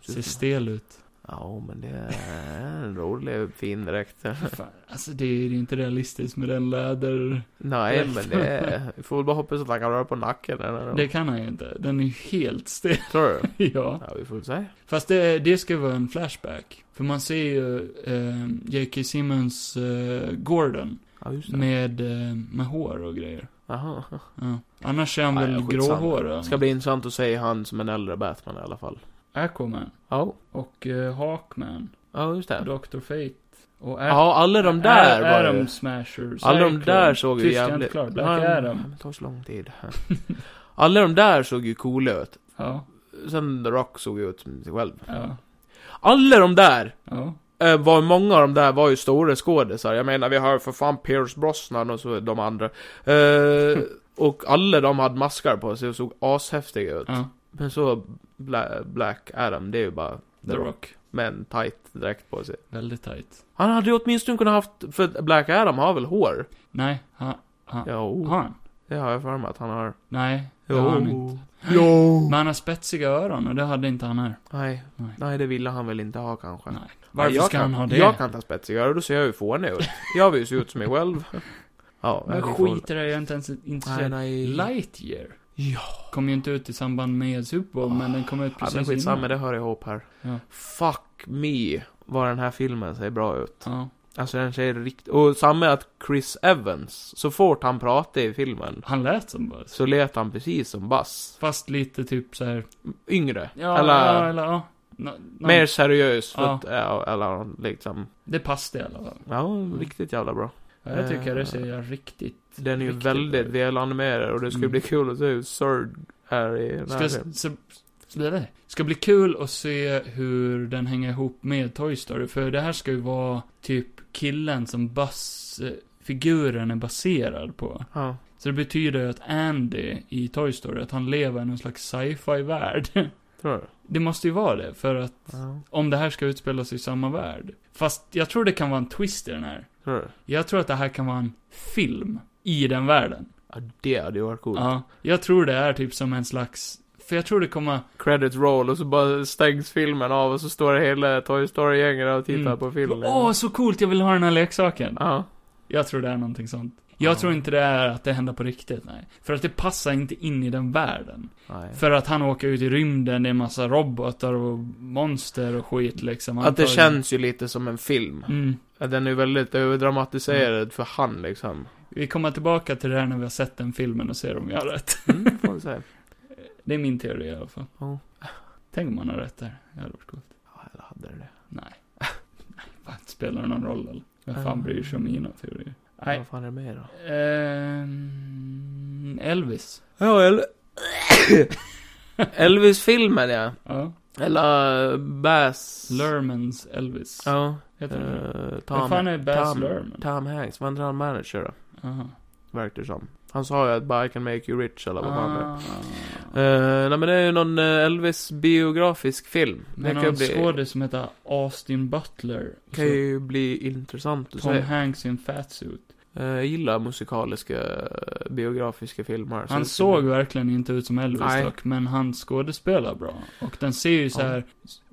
Speaker 1: Ser
Speaker 2: Super.
Speaker 1: stel ut.
Speaker 2: Ja, men det är en rolig, fin dräkt.
Speaker 1: Fan, alltså det är det är inte realistiskt med den läder...
Speaker 2: Nej, men det är... Vi får väl bara hoppas att han kan röra på nacken eller
Speaker 1: Det
Speaker 2: nåt.
Speaker 1: kan han ju inte. Den är ju helt stel.
Speaker 2: Tror du?
Speaker 1: ja.
Speaker 2: Ja, vi får väl se.
Speaker 1: Fast det, det ska vara en flashback. För man ser ju eh, J.K. Simmons eh, Gordon
Speaker 2: Ja, just det.
Speaker 1: med, eh, med hår och grejer.
Speaker 2: Aha.
Speaker 1: Ja. Annars är han
Speaker 2: Ja, ja,
Speaker 1: väl
Speaker 2: skitsamma.
Speaker 1: gråhårig.
Speaker 2: Ska bli intressant att se han som en äldre Batman i alla fall.
Speaker 1: Aquaman
Speaker 2: Ja,
Speaker 1: och eh, Hawkman,
Speaker 2: ja just det.
Speaker 1: Dr. Fate och Ä-
Speaker 2: Ja, alla de
Speaker 1: Ä-
Speaker 2: där var
Speaker 1: Atom
Speaker 2: ju...
Speaker 1: Smashers.
Speaker 2: Alla de
Speaker 1: Typ Cyclone.
Speaker 2: där såg ju
Speaker 1: Tyst, jag är inte
Speaker 2: jävligt...
Speaker 1: klar. Black
Speaker 2: Ja,
Speaker 1: Adam.
Speaker 2: men Det tar så lång tid. Alla de där såg ju coola ut.
Speaker 1: Ja,
Speaker 2: Sen The Rock såg ju ut som sig själv.
Speaker 1: ja,
Speaker 2: Alla de där!
Speaker 1: ja.
Speaker 2: eh, Var många av de där var ju stora skådisar. Jag menar, vi har för fan Pierce Brosnan och så de andra. Eh, och alla de hade maskar på sig och såg ashäftiga ut.
Speaker 1: ja.
Speaker 2: Men så Bla Black Adam, det är ju bara
Speaker 1: The Rock.
Speaker 2: med en tight dräkt på sig.
Speaker 1: Väldigt tight.
Speaker 2: Han hade ju åtminstone kunnat haft, för att Black Adam har väl hår?
Speaker 1: Nej, ha, ha,
Speaker 2: Jo,
Speaker 1: har han?
Speaker 2: det har jag för mig att han har.
Speaker 1: Nej, det har han inte.
Speaker 2: Jo.
Speaker 1: Men han har spetsiga öron och det hade inte han här.
Speaker 2: Nej.
Speaker 1: Nej.
Speaker 2: Nej, det ville han väl inte ha kanske.
Speaker 1: Nej. Varför
Speaker 2: Nej, jag
Speaker 1: ska
Speaker 2: kan,
Speaker 1: han ha det?
Speaker 2: Jag kan inte ha spetsiga öron, då ser jag ju fånig ut. Jag vill ju se ut som mig själv. Ja,
Speaker 1: Men
Speaker 2: vi får-
Speaker 1: skit i det, jag är inte ens
Speaker 2: Nej,
Speaker 1: intresserad.
Speaker 2: nej.
Speaker 1: Lightyear
Speaker 2: Ja,
Speaker 1: kom ju inte ut i samband med Super Bowl, men den kom ut
Speaker 2: ja, men
Speaker 1: precis
Speaker 2: skitsamma,
Speaker 1: innan.
Speaker 2: det hör ihop här.
Speaker 1: Ja.
Speaker 2: Fuck me, vad den här filmen ser bra ut.
Speaker 1: Ja.
Speaker 2: Alltså den ser riktigt... Och samma att Chris Evans, så fort han pratade i filmen,
Speaker 1: Han lät som Buzz.
Speaker 2: så lät han precis som Buzz.
Speaker 1: Fast lite typ så här.
Speaker 2: Yngre.
Speaker 1: Ja,
Speaker 2: eller...
Speaker 1: ja, eller ja. Nå- nå-
Speaker 2: Mer seriös, för
Speaker 1: Ja.
Speaker 2: att, ja, eller liksom,
Speaker 1: Det passade i alla fall.
Speaker 2: ja, riktigt jävla bra.
Speaker 1: Ja, Jag tycker
Speaker 2: Eh,
Speaker 1: det ser jag riktigt...
Speaker 2: Den är ju
Speaker 1: riktigt
Speaker 2: väldigt
Speaker 1: bra ut.
Speaker 2: välanimerad och det skulle
Speaker 1: Mm.
Speaker 2: bli kul att se hur Surd är i den
Speaker 1: Ska
Speaker 2: här
Speaker 1: se,
Speaker 2: filmen.
Speaker 1: se, det ska bli kul att se hur den hänger ihop med Toy Story. För det här ska ju vara typ killen som Buzz, eh, figuren är baserad på.
Speaker 2: Ja.
Speaker 1: Så det betyder ju att Andy i Toy Story, att han lever i någon slags sci-fi värld.
Speaker 2: Tror du?
Speaker 1: Det måste ju vara det, för att
Speaker 2: Ja.
Speaker 1: om det här ska utspela sig i samma värld. Fast jag tror det kan vara en twist i den här.
Speaker 2: Tror du?
Speaker 1: Jag tror att det här kan vara en film i den världen.
Speaker 2: Ja, det hade ju varit coolt.
Speaker 1: Ja, jag tror det är typ som en slags, för jag tror det kommer,
Speaker 2: Credit roll och så bara stängs filmen av och så står det hela Toy Story-gänget där och tittar
Speaker 1: Mm.
Speaker 2: på filmen.
Speaker 1: åh så coolt, jag vill ha den här leksaken.
Speaker 2: Ja.
Speaker 1: Jag tror det är någonting sånt. Jag
Speaker 2: Ja.
Speaker 1: tror inte det är att det händer på riktigt, nej. För att det passar inte in i den världen.
Speaker 2: Nej.
Speaker 1: För att han åker ut i rymden, det är massa robotar och monster och skit liksom.
Speaker 2: Att det
Speaker 1: Antagligen.
Speaker 2: känns ju lite som en film.
Speaker 1: Mm.
Speaker 2: Att Den är ju väldigt överdramatiserad för han liksom.
Speaker 1: Vi kommer tillbaka till det här när vi har sett den filmen och ser om jag har rätt.
Speaker 2: Mm, får vi se.
Speaker 1: Det är min teori i alla fall.
Speaker 2: Ja.
Speaker 1: Tänk om man har rätt där. Jag hade varit coolt.
Speaker 2: Ja, eller hade det det.
Speaker 1: Nej. Vad Spelar det någon roll eller? Vem fan
Speaker 2: Eh.
Speaker 1: bryr sig om mina teorier? Nej.
Speaker 2: Vad fan är det med då?
Speaker 1: Ehm, Elvis.
Speaker 2: Ja, El- Elvis-filmen ja.
Speaker 1: Ja.
Speaker 2: Eller eh, Baz...
Speaker 1: Lermans Elvis.
Speaker 2: Ja.
Speaker 1: Heter den.
Speaker 2: Uh, Tom...
Speaker 1: Vad fan är Baz
Speaker 2: Tom-
Speaker 1: Lerman?
Speaker 2: Tom Hanks, var inte han manager då?
Speaker 1: Aha.
Speaker 2: Verkar det som. Han sa ju att bara I can make you rich eller vad fan det är.
Speaker 1: Ah.
Speaker 2: Eh, nej men det är ju någon eh, Elvis-biografisk film. Det
Speaker 1: Men
Speaker 2: kan ju,
Speaker 1: någon
Speaker 2: bli,
Speaker 1: skådis som heter Austin Butler. och
Speaker 2: kan
Speaker 1: så
Speaker 2: ju bli intressant att
Speaker 1: Tom
Speaker 2: se.
Speaker 1: Hanks i en fatsuit.
Speaker 2: Eh, jag gillar musikaliska eh, biografiska filmer. så
Speaker 1: Han
Speaker 2: det ska
Speaker 1: såg
Speaker 2: bli-
Speaker 1: verkligen inte ut som Elvis
Speaker 2: Nej.
Speaker 1: dock, men han skådespelar bra. Och den ser ju så här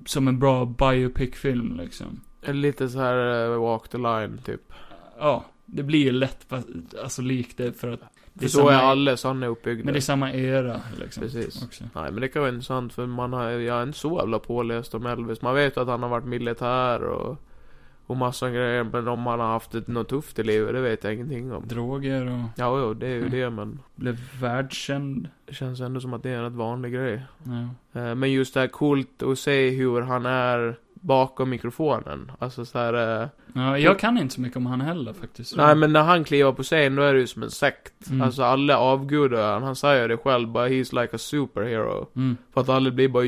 Speaker 1: som en bra biopic-film liksom.
Speaker 2: eh, Lite så här eh, walk the line typ.
Speaker 1: Ja, det blir ju lätt, fast- alltså likt det för att det
Speaker 2: För
Speaker 1: är
Speaker 2: så är
Speaker 1: samma-
Speaker 2: alla sådana uppbyggda.
Speaker 1: Men det är samma era liksom.
Speaker 2: Precis.
Speaker 1: Också.
Speaker 2: Nej men det kan vara intressant för man har, jag är inte så jävla påläst om Elvis. Man vet ju att han har varit militär och, och massa grejer. Men om han har haft ett, något tufft i livet, det vet jag ingenting om.
Speaker 1: Droger och
Speaker 2: Ja, jo, det är ju
Speaker 1: Mm.
Speaker 2: det men.
Speaker 1: blev världskänd.
Speaker 2: Det känns ändå som att det är en rätt vanlig grej.
Speaker 1: Ja.
Speaker 2: Eh, Men just det här coolt att se hur han är bakom mikrofonen. Alltså så här. eh,
Speaker 1: ja, jag kan inte så mycket om han heller faktiskt.
Speaker 2: Nej men när han kliver på scen då är det ju som en sekt.
Speaker 1: Mm.
Speaker 2: Alltså alla avgudar han. Han säger det själv bara he's like a superhero.
Speaker 1: Mm.
Speaker 2: För att alla blir bara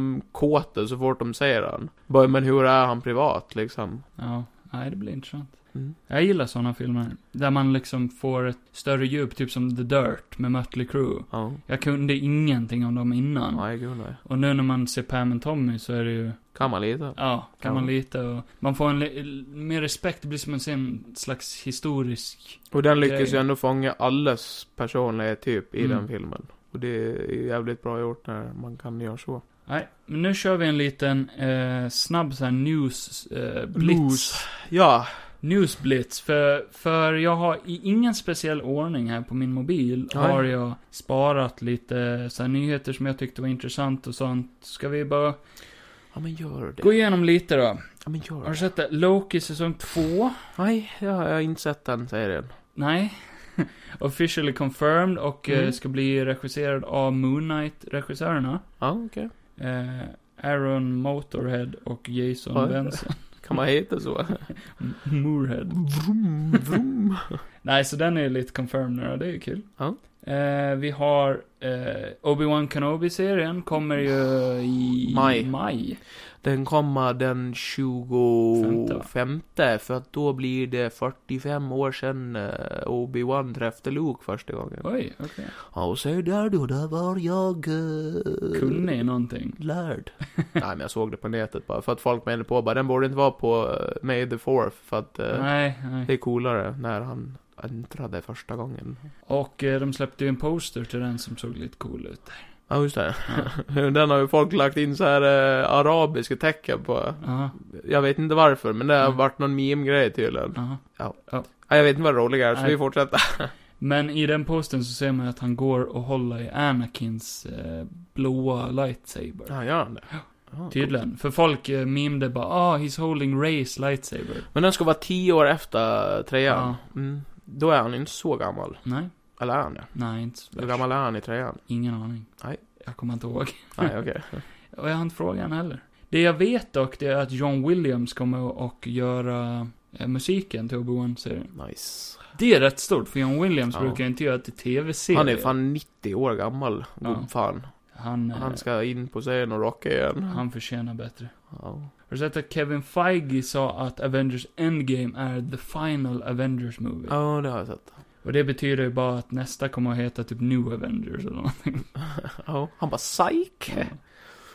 Speaker 2: genomkåta så fort de ser han. Bara men hur är han privat liksom?
Speaker 1: Ja, nej det blir intressant.
Speaker 2: Mm.
Speaker 1: Jag gillar sådana filmer. Där man liksom får ett större djup, typ som The Dirt med Mötley Crüe.
Speaker 2: Ja.
Speaker 1: Jag kunde ingenting om dem innan.
Speaker 2: Nej gud nej.
Speaker 1: Och nu när man ser Pam och Tommy så är det ju,
Speaker 2: Kan man lite?
Speaker 1: ja, kan
Speaker 2: Ja.
Speaker 1: man lite och, man får en, li- mer respekt, det blir som en sen slags historisk,
Speaker 2: Och den lyckas ju
Speaker 1: Grejen.
Speaker 2: ändå fånga allas personlighet typ i
Speaker 1: Mm.
Speaker 2: den filmen. Och det är ju jävligt bra gjort när man kan göra så.
Speaker 1: nej. Men nu kör vi en liten, eh, snabb såhär news, eh, blitz.
Speaker 2: Blues. Ja.
Speaker 1: Newsblitz, för, för jag har i ingen speciell ordning här på min mobil
Speaker 2: Nej.
Speaker 1: har jag sparat lite så här, nyheter som jag tyckte var intressant och sånt. Ska vi bara
Speaker 2: Ja men gör det.
Speaker 1: gå igenom lite då?
Speaker 2: Ja men gör
Speaker 1: Har du
Speaker 2: det.
Speaker 1: sett det? Loki säsong 2?
Speaker 2: Nej, jag har inte sett den serien.
Speaker 1: Nej. Officially confirmed och eh,
Speaker 2: Mm.
Speaker 1: ska bli regisserad av Moon Knight-regissörerna.
Speaker 2: Ja, okej.
Speaker 1: Eh, Aaron Motorhead och Jason
Speaker 2: Oj.
Speaker 1: Benson.
Speaker 2: Kan man heta så?
Speaker 1: Moorhead.
Speaker 2: Vroom, vroom.
Speaker 1: Nej, så den är lite confirmed nu då. det är ju kul.
Speaker 2: Ja.
Speaker 1: Eh, vi har eh, Obi-Wan Kenobi-serien, kommer ju i
Speaker 2: Maj.
Speaker 1: maj.
Speaker 2: Den kommer den 25 för att då blir det 45 år sedan eh, Obi-Wan träffade Luke första gången.
Speaker 1: Oj, okej.
Speaker 2: Ja, och så där då, där var jag... eh,
Speaker 1: Kunde ni någonting?
Speaker 2: Lärd. Nej, men jag såg det på nätet bara, för att folk menade på bara, den borde inte vara på eh, May the 4th, för att eh,
Speaker 1: Nej, nej.
Speaker 2: det är coolare när han entrade första gången.
Speaker 1: Och eh, de släppte ju en poster till den som såg lite cool ut.
Speaker 2: Ja, just det. Den har ju folk lagt in så här eh, arabiska tecken på.
Speaker 1: Ja,
Speaker 2: Jag vet inte varför, men det har
Speaker 1: Mm.
Speaker 2: varit någon meme-grej tydligen.
Speaker 1: ja.
Speaker 2: Ja, Jag vet inte vad det roliga är, så
Speaker 1: Nej.
Speaker 2: vi fortsätter.
Speaker 1: Men i den posten så ser man att han går och håller i Anakins eh, blåa lightsaber.
Speaker 2: Ja, gör han det? Ja,
Speaker 1: Tydligen. För folk eh, memde bara ah, he's holding Rays lightsaber.
Speaker 2: Men den ska vara tio år efter trean.
Speaker 1: Ja.
Speaker 2: Mm. Då är han ju inte så gammal.
Speaker 1: Nej,
Speaker 2: Eller är han det?
Speaker 1: nej inte så
Speaker 2: Hur
Speaker 1: värst.
Speaker 2: gammal är han i trean?
Speaker 1: Ingen aning.
Speaker 2: Nej.
Speaker 1: Jag kommer inte ihåg.
Speaker 2: Nej, okej.
Speaker 1: Och jag har inte frågat henne heller. Det jag vet dock, det är att John Williams kommer att göra eh, musiken till Obi-Wan-serien.
Speaker 2: Nice.
Speaker 1: Det är rätt stort, för John Williams
Speaker 2: Ja.
Speaker 1: brukar inte göra till tv-serier.
Speaker 2: Han är fan 90 år gammal.
Speaker 1: Ja.
Speaker 2: God fan.
Speaker 1: Han, eh,
Speaker 2: Han ska in på scen och rocka igen.
Speaker 1: han förtjänar bättre.
Speaker 2: Ja.
Speaker 1: Har du sett att Kevin Feige sa att Avengers Endgame är the final Avengers movie?
Speaker 2: ja, det har jag sett.
Speaker 1: Och det betyder ju bara att nästa kommer att heta typ New Avengers eller någonting.
Speaker 2: Ja. Han bara psyk.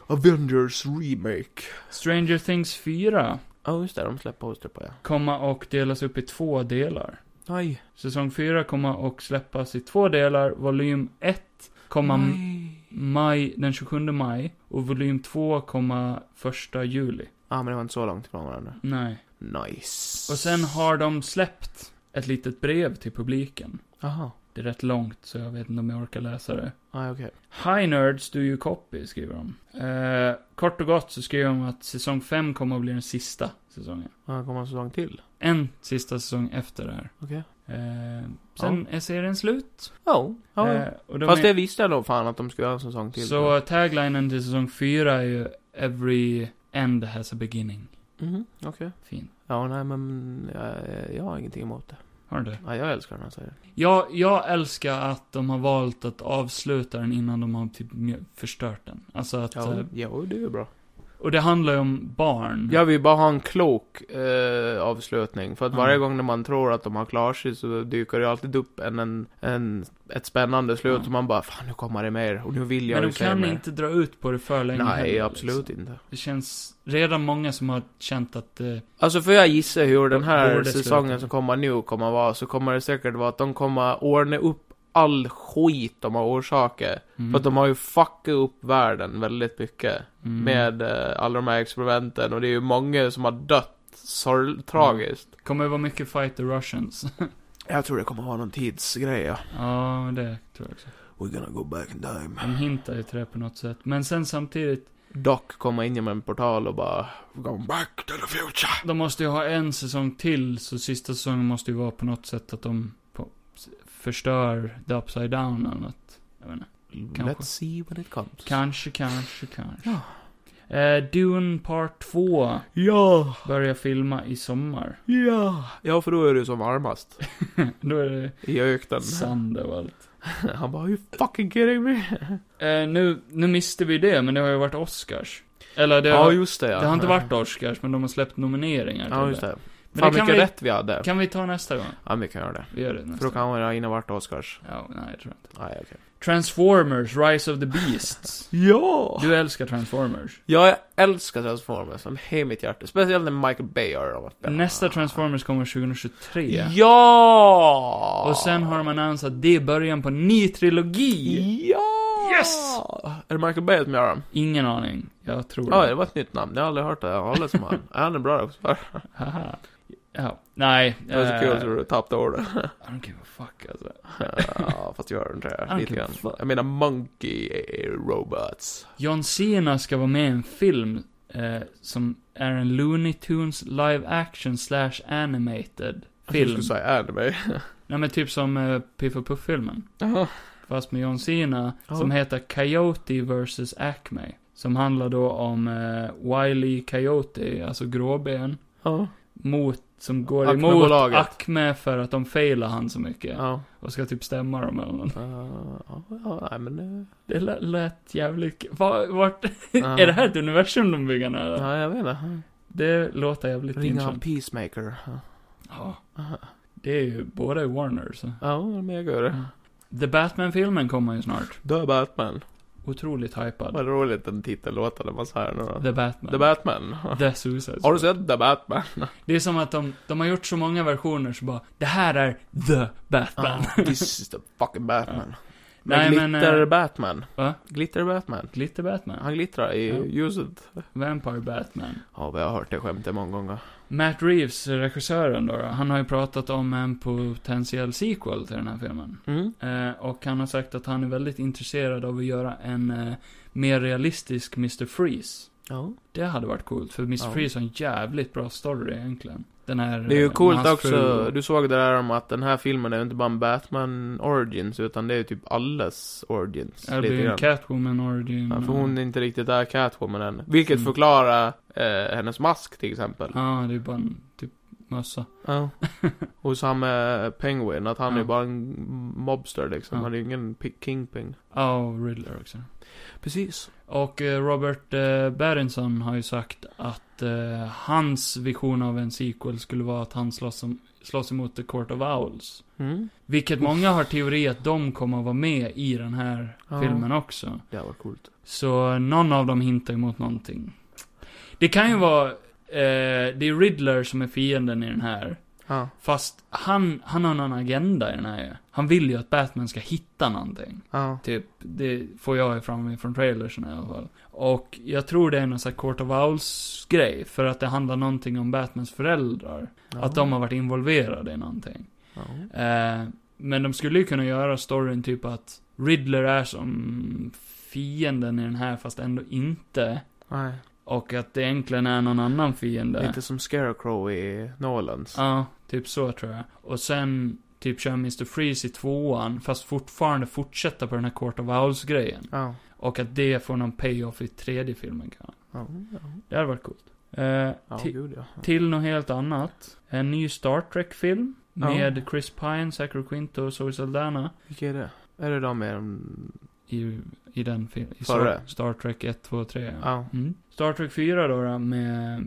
Speaker 2: Avengers Remake.
Speaker 1: Stranger Things 4
Speaker 2: Ja, just det. De släpper poster på det.
Speaker 1: kommer och delas upp i två delar.
Speaker 2: Nej.
Speaker 1: Säsong 4 kommer och släppas i två delar. Volym 1 kommer
Speaker 2: Nej.
Speaker 1: maj, den 27 maj och volym 2 kommer 1 juli.
Speaker 2: Ja, men det var inte så långt ifrån varandra.
Speaker 1: Nej.
Speaker 2: Nice.
Speaker 1: Och sen har de släppt ett litet brev till publiken.
Speaker 2: Jaha.
Speaker 1: Det är rätt långt så jag vet inte om jag orkar läsa det.
Speaker 2: Nej, okej.
Speaker 1: High Nerds Do You Copy skriver de. Eh, kort och gott så skriver de att säsong 5 kommer att bli den sista säsongen.
Speaker 2: Han kommer en säsong till.
Speaker 1: En sista säsong efter det här.
Speaker 2: Okej.
Speaker 1: Eh, sen är serien slut.
Speaker 2: Ja. ja.
Speaker 1: Eh, och de
Speaker 2: Fast
Speaker 1: är-
Speaker 2: det visste jag nog fan att de skulle göra en säsong till.
Speaker 1: Så taglinen till säsong 4 är ju Every end has a beginning.
Speaker 2: Mhm, okej.
Speaker 1: Fin.
Speaker 2: Ja, nej men eh, jag, jag har ingenting emot det.
Speaker 1: Har du det?
Speaker 2: Ja, jag älskar den här serien.
Speaker 1: Jag, jag älskar att de har valt att avsluta den innan de har typ mjö- förstört den. Alltså att...
Speaker 2: Ja,
Speaker 1: eh,
Speaker 2: ja det är ju bra.
Speaker 1: Och det handlar ju om barn.
Speaker 2: Mm. Jag vill bara ha en klok eh, avslutning. För att varje
Speaker 1: Mm.
Speaker 2: gång när man tror att de har klarat sig så dyker det alltid upp en, en, en, ett spännande slut.
Speaker 1: Ja.
Speaker 2: Och man bara, fan nu kommer det mer. Och nu vill jag
Speaker 1: Men de
Speaker 2: ju se
Speaker 1: kan
Speaker 2: mer.
Speaker 1: inte dra ut på det för länge
Speaker 2: Nej,
Speaker 1: heller,
Speaker 2: absolut
Speaker 1: liksom.
Speaker 2: inte.
Speaker 1: Det känns redan många som har känt att eh,
Speaker 2: Alltså för jag gissar hur den här
Speaker 1: Borde sluta.
Speaker 2: säsongen som kommer nu kommer vara, så kommer det säkert vara att de kommer ordna upp all skit de har orsakat.
Speaker 1: mm,
Speaker 2: För att de har ju fuckat upp världen väldigt mycket.
Speaker 1: mm.
Speaker 2: Med eh, alla de här experimenten och det är ju många som har dött sorg- tragiskt.
Speaker 1: Kommer det vara mycket fight the Russians?
Speaker 2: Mm. Jag tror det kommer vara någon tidsgrej ja.
Speaker 1: ja, det tror jag också.
Speaker 2: We're gonna go back in time.
Speaker 1: De hintar ju till det på något sätt. Men sen samtidigt,
Speaker 2: Doc kommer in genom en portal och bara We're going back to the future.
Speaker 1: De måste ju ha en säsong till, så sista säsongen måste ju vara på något sätt att de på, s- förstör the upside down eller något. Jag vet inte. Kanske.
Speaker 2: Let's see when it comes.
Speaker 1: Kanske, kanske, kanske. Eh, Dune Part 2
Speaker 2: Ja,
Speaker 1: börjar filma i sommar.
Speaker 2: ja. Ja, för då är du som varmast.
Speaker 1: Då är det
Speaker 2: I öknen.
Speaker 1: sand och allt.
Speaker 2: Han bara, are you fucking kidding me?
Speaker 1: Eh, nu, nu miste vi det, men det har ju varit Oscars. Eller det
Speaker 2: Ja,
Speaker 1: har,
Speaker 2: just det ja.
Speaker 1: det har inte varit Oscars, men de har släppt nomineringar till
Speaker 2: Ja, just det.
Speaker 1: Men
Speaker 2: Fan
Speaker 1: det kan
Speaker 2: vilken
Speaker 1: vi,
Speaker 2: rätt vi hade.
Speaker 1: kan vi ta nästa gång.
Speaker 2: Ja, vi kan göra det.
Speaker 1: Vi gör det
Speaker 2: För då
Speaker 1: nästa gång.
Speaker 2: kan det ha innan varit Oscars.
Speaker 1: Ja, nej, jag tror inte.
Speaker 2: Nej, okej.
Speaker 1: Transformers, Rise of the Beasts.
Speaker 2: Ja!
Speaker 1: Du älskar Transformers.
Speaker 2: Ja, jag älskar Transformers som hela mitt hjärta. Speciellt när Michael Bay gör dem.
Speaker 1: Nästa Transformers kommer 2023.
Speaker 2: Ja!
Speaker 1: Och sen har de annonserat att det är början på en ny trilogi.
Speaker 2: Ja!
Speaker 1: Yes!
Speaker 2: Är det Michael Bay som gör dem?
Speaker 1: Ingen aning. Jag tror
Speaker 2: Ja, det
Speaker 1: det.
Speaker 2: var ett nytt namn. Jag har aldrig hört det. Jag har aldrig som han. Ja, Han är bra också.
Speaker 1: Haha. Ja. Nej.
Speaker 2: Det var så
Speaker 1: eh,
Speaker 2: kul så du tappade ordet.
Speaker 1: I don't give a fuck alltså.
Speaker 2: Ja, fast jag gör inte det.
Speaker 1: don't
Speaker 2: Lite
Speaker 1: give a
Speaker 2: grann.
Speaker 1: fuck.
Speaker 2: Jag menar Monkey eh, Robots.
Speaker 1: John Cena ska vara med i en film eh, som är en Looney Tunes live action slash animated
Speaker 2: Jag
Speaker 1: film.
Speaker 2: skulle säga anime.
Speaker 1: Nej men typ som eh, Piff och Puff-filmen.
Speaker 2: Jaha.
Speaker 1: fast med John Cena,
Speaker 2: Ja.
Speaker 1: som heter Coyote vs. Acme. Som handlar då om eh, Wiley Coyote, alltså gråben,
Speaker 2: Ja.
Speaker 1: mot, som går emot
Speaker 2: Acme-bolaget.
Speaker 1: Acme för att de failar han så mycket.
Speaker 2: Ja.
Speaker 1: Och ska typ stämma dem eller något.
Speaker 2: Uh, ja, ja, nej men... Uh,
Speaker 1: Det lä- lät jävligt... Var, vart,
Speaker 2: Ja.
Speaker 1: är det här typ- ett universum de bygger nära?
Speaker 2: ja, jag vet inte.
Speaker 1: Det låter jävligt
Speaker 2: Ringa han
Speaker 1: intressant.
Speaker 2: Peacemaker. Ja,
Speaker 1: Ja. Det är ju, båda är Warner så.
Speaker 2: Ja, men jag gör det.
Speaker 1: The Batman-filmen kommer ju snart.
Speaker 2: Dö Batman.
Speaker 1: Otroligt hypad.
Speaker 2: Vad roligt den titeln låter när man säger den. då.
Speaker 1: The Batman.
Speaker 2: The Batman.
Speaker 1: The Suicide
Speaker 2: Har
Speaker 1: Squad.
Speaker 2: du sett The Batman?
Speaker 1: Det är som att de, de har gjort så många versioner så bara, det här är the Batman.
Speaker 2: Ja, Ah, This is the fucking Batman. Med
Speaker 1: Nej, men,
Speaker 2: glitter
Speaker 1: eh,
Speaker 2: Batman.
Speaker 1: va?
Speaker 2: Glitter Batman.
Speaker 1: Glitter Batman.
Speaker 2: Han glittrar i
Speaker 1: Ja.
Speaker 2: ljuset.
Speaker 1: Vampire Batman.
Speaker 2: Ja, vi har hört det skämtet många gånger.
Speaker 1: Matt Reeves, regissören då, då, han har ju pratat om en potentiell sequel till den här filmen.
Speaker 2: Mm.
Speaker 1: Eh, och han har sagt att han är väldigt intresserad av att göra en eh, mer realistisk Mr. Freeze.
Speaker 2: Ja.
Speaker 1: Det hade varit coolt, för Mr.
Speaker 2: Ja.
Speaker 1: Freeze har en jävligt bra story egentligen. Den här...
Speaker 2: Det är ju
Speaker 1: eh,
Speaker 2: coolt
Speaker 1: hans
Speaker 2: också,
Speaker 1: fru-
Speaker 2: du såg det där om att den här filmen är ju inte bara en Batman Origins, utan det är ju typ allas Origins.
Speaker 1: Ja, Det
Speaker 2: lite
Speaker 1: blir ju
Speaker 2: grann.
Speaker 1: en Catwoman origin.
Speaker 2: Ja, för
Speaker 1: och-
Speaker 2: hon är inte riktigt där Catwoman än. Vilket
Speaker 1: Mm.
Speaker 2: förklarar eh, hennes mask till exempel.
Speaker 1: Ja, det är bara en typ mössa.
Speaker 2: Ja. Och samma Penguin, att han
Speaker 1: Ja.
Speaker 2: är bara en mobster liksom.
Speaker 1: Ja.
Speaker 2: Han är ju ingen pi- kingpin.
Speaker 1: Ja, och Riddler också.
Speaker 2: Precis.
Speaker 1: Och eh, Robert eh, Pattinson har ju sagt att eh, hans vision av en sequel skulle vara att han slåss, om, slåss emot The Court of Owls.
Speaker 2: Mm.
Speaker 1: Vilket många har teori att de kommer att vara med i den här
Speaker 2: Ja.
Speaker 1: filmen också.
Speaker 2: Det var coolt.
Speaker 1: Så någon av dem hintar emot någonting. Det kan ju vara, eh, det är Riddler som är fienden i den här.
Speaker 2: Ja.
Speaker 1: Fast han, han har en annan agenda i den här ju. Han vill ju att Batman ska hitta någonting.
Speaker 2: Ja.
Speaker 1: Typ, det får jag ifrån mig från trailersen i alla fall. Och jag tror det är någon sån här Court of Owls-grej, för att det handlar någonting om Batmans föräldrar.
Speaker 2: ja.
Speaker 1: Att de har varit involverade i någonting.
Speaker 2: Ja.
Speaker 1: Eh, men de skulle ju kunna göra storyn typ att Riddler är som fienden i den här, fast ändå inte.
Speaker 2: Nej.
Speaker 1: Och att det egentligen är någon annan fiende.
Speaker 2: Lite som Scarecrow i Nolans.
Speaker 1: Ja, typ så tror jag. Och sen typ kör Mr. Freeze i tvåan, fast fortfarande fortsätta på den här Court of Owls-grejen.
Speaker 2: Ja.
Speaker 1: Och att det får någon payoff i tredje filmen kanske.
Speaker 2: Ja. Ja.
Speaker 1: Det hade varit coolt. Eh,
Speaker 2: Ja,
Speaker 1: ti-
Speaker 2: gud ja. Ja.
Speaker 1: till något helt annat. En ny Star Trek-film.
Speaker 2: Ja.
Speaker 1: Med Chris Pine, Zachary Quinto och Zoe Saldana.
Speaker 2: Vilka är det? Är det de med de...
Speaker 1: I, i den filmen. I
Speaker 2: Förre.
Speaker 1: Star, Star Trek 1, 2, 3.
Speaker 2: Ja.
Speaker 1: Mm. Star Trek 4 då, då med,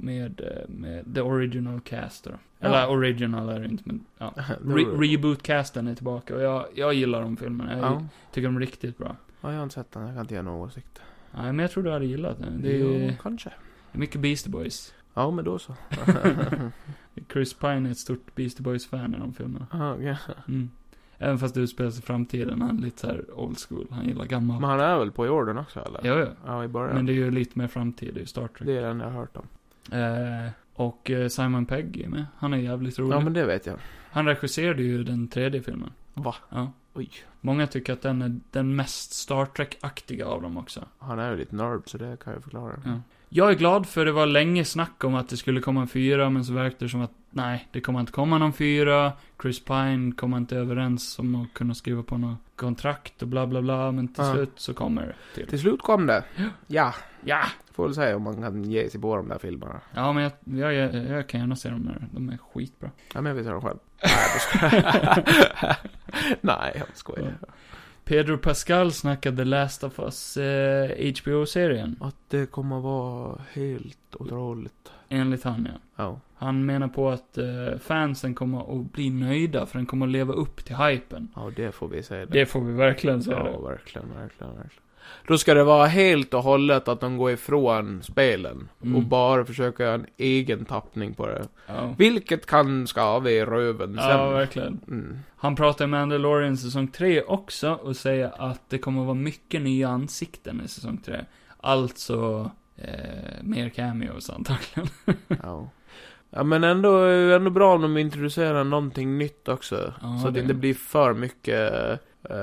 Speaker 1: med, eh, med the original cast då. Eller
Speaker 2: Ja.
Speaker 1: original är det inte, men ja.
Speaker 2: Det
Speaker 1: Re-
Speaker 2: var-
Speaker 1: Reboot-casten är tillbaka och jag, jag gillar de filmerna. Jag
Speaker 2: Ja.
Speaker 1: tycker de är riktigt bra.
Speaker 2: ja, jag har inte sett den. Jag kan inte ge någon åsikt.
Speaker 1: Nej, men jag tror du hade gillat den. Det
Speaker 2: Jo,
Speaker 1: är
Speaker 2: kanske.
Speaker 1: mycket Beastie Boys.
Speaker 2: Ja, men då så.
Speaker 1: Chris Pine är ett stort Beastie Boys-fan i de filmerna.
Speaker 2: Ja, Ah, okej.
Speaker 1: Mm. Även fast det utspelar sig i framtiden, han är lite så här old school, han gillar gammalt.
Speaker 2: Men han är väl på Jordan också, eller?
Speaker 1: Ja, ja.
Speaker 2: Ja, i början.
Speaker 1: Men det är ju lite mer framtid i Star Trek.
Speaker 2: Det är den jag har hört om.
Speaker 1: Eh, och eh, Simon Pegg är med. Han är jävligt rolig.
Speaker 2: Ja, men det vet jag.
Speaker 1: Han regisserade ju den tredje filmen.
Speaker 2: Va?
Speaker 1: Ja.
Speaker 2: Oj.
Speaker 1: Många tycker att den är den mest Star Trek-aktiga av dem också.
Speaker 2: Han är ju lite nörd, så det kan jag förklara.
Speaker 1: Ja. Jag är glad för det var länge snack om att det skulle komma en fyra, men så verkade det som att nej, det kommer inte komma någon fyra. Chris Pine kommer inte överens om att kunna skriva på något kontrakt och bla bla bla, men till
Speaker 2: Ja.
Speaker 1: slut så kommer det. Till.
Speaker 2: Till slut kom det. Ja.
Speaker 1: Ja!
Speaker 2: Får väl säga om man kan ge sig på de där filmerna.
Speaker 1: Ja, men jag, jag, jag, jag kan gärna se dem här. De är skitbra.
Speaker 2: Ja, men jag vill se dem själv. Nej, jag skojar. Nej, jag skojar.
Speaker 1: Pedro Pascal snackade The Last of Us eh, HBO-serien,
Speaker 2: Att det kommer vara helt otroligt.
Speaker 1: enligt han ja.
Speaker 2: Ja.
Speaker 1: Han menar på att eh, fansen kommer att bli nöjda, för den kommer att leva upp till hypen.
Speaker 2: Ja, det får vi säga.
Speaker 1: Det får vi verkligen säga.
Speaker 2: Ja, verkligen, verkligen, verkligen. Då ska det vara helt och hållet att de går ifrån spelen
Speaker 1: Mm.
Speaker 2: och bara försöker göra en egen tappning på det.
Speaker 1: Ja.
Speaker 2: Vilket kan skava i röven
Speaker 1: Ja,
Speaker 2: sen.
Speaker 1: verkligen.
Speaker 2: Mm.
Speaker 1: Han pratar med Mandalorian säsong 3 också och säger att det kommer att vara mycket nya ansikten i säsong 3. Alltså, eh, mer cameos antagligen.
Speaker 2: Ja. ja, men ändå, ändå bra om de introducerar någonting nytt också.
Speaker 1: Ja,
Speaker 2: så att
Speaker 1: det-
Speaker 2: det inte blir för mycket, eh,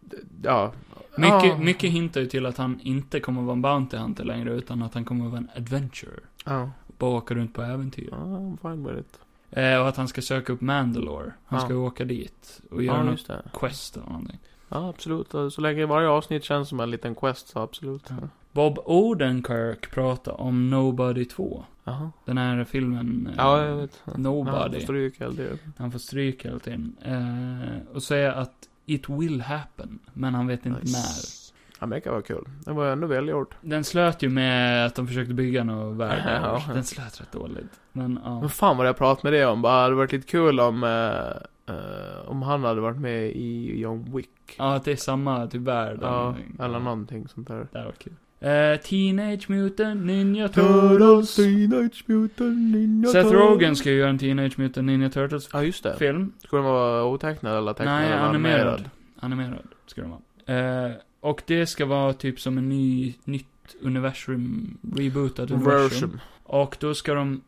Speaker 2: d- ja.
Speaker 1: Mycket,
Speaker 2: ja.
Speaker 1: mycket hintar ju till att han inte kommer att vara en Bounty Hunter längre, utan att han kommer att vara en Adventurer.
Speaker 2: Ja,
Speaker 1: Bara åka runt på äventyr.
Speaker 2: ja I'm fine with it.
Speaker 1: Eh, och att han ska söka upp Mandalore. Han ska
Speaker 2: Ja.
Speaker 1: åka dit och göra
Speaker 2: Ja,
Speaker 1: något
Speaker 2: just det.
Speaker 1: quest eller någonting.
Speaker 2: Ja, absolut. Så länge varje avsnitt känns som en liten quest, så absolut.
Speaker 1: Ja. Bob Odenkirk pratar om Nobody 2.
Speaker 2: Jaha.
Speaker 1: Den här filmen. eh,
Speaker 2: Ja, jag vet. Han får
Speaker 1: Nobody.
Speaker 2: stryk hela tiden.
Speaker 1: Han får stryk hela tiden. Eh, och säga att it will happen, men han vet inte när.
Speaker 2: Ja, men det kan vara kul. Det var ändå välgjort.
Speaker 1: Den slöt ju med att de försökte bygga någon värld.
Speaker 2: Ja.
Speaker 1: Den slöt rätt dåligt. Men ja.
Speaker 2: Men fan vad jag pratat med det om. Bara, det hade varit lite kul om, eh, eh, om han hade varit med i John Wick.
Speaker 1: Ja, att det är samma typ värld.
Speaker 2: Ja, eller någonting sånt där.
Speaker 1: Det här var kul. Eh, Teenage Mutant Ninja
Speaker 2: Turtles,
Speaker 1: Turtles.
Speaker 2: Teenage Mutant Ninja
Speaker 1: Seth
Speaker 2: Turtles.
Speaker 1: Rogen ska ju göra en Teenage Mutant Ninja Turtles
Speaker 2: Ja, just det.
Speaker 1: film.
Speaker 2: Ska den vara otecknad eller tecknad
Speaker 1: Nej,
Speaker 2: eller
Speaker 1: animerad. Animerad ska den vara. Eh, och det ska vara typ som en ny, nytt universum, rebootad universum.
Speaker 2: Versum.
Speaker 1: Och då ska de...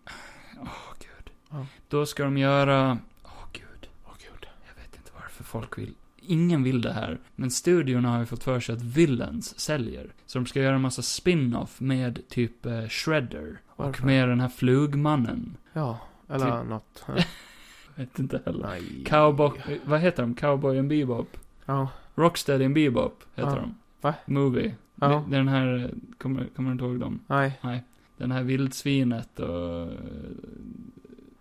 Speaker 1: Åh, gud.
Speaker 2: Ja.
Speaker 1: Då ska de göra... Åh, gud.
Speaker 2: Åh gud.
Speaker 1: Jag vet inte varför folk vill... Ingen vill det här. Men studiorna har ju fått för sig att villains säljer. Så de ska göra en massa spin-off med typ eh, Shredder. Och
Speaker 2: Varför?
Speaker 1: med den här flugmannen.
Speaker 2: Ja, eller
Speaker 1: Typ-
Speaker 2: något.
Speaker 1: Jag vet inte heller.
Speaker 2: Nej.
Speaker 1: Cowboy... eh, Vad heter de? Cowboy and Bebop?
Speaker 2: Ja.
Speaker 1: Rocksteady and Bebop heter
Speaker 2: Ja.
Speaker 1: de.
Speaker 2: Va?
Speaker 1: Movie.
Speaker 2: Ja.
Speaker 1: Det- det är Den här... eh, Kommer, kommer du inte ihåg dem?
Speaker 2: Nej.
Speaker 1: Den här vildsvinet och... eh,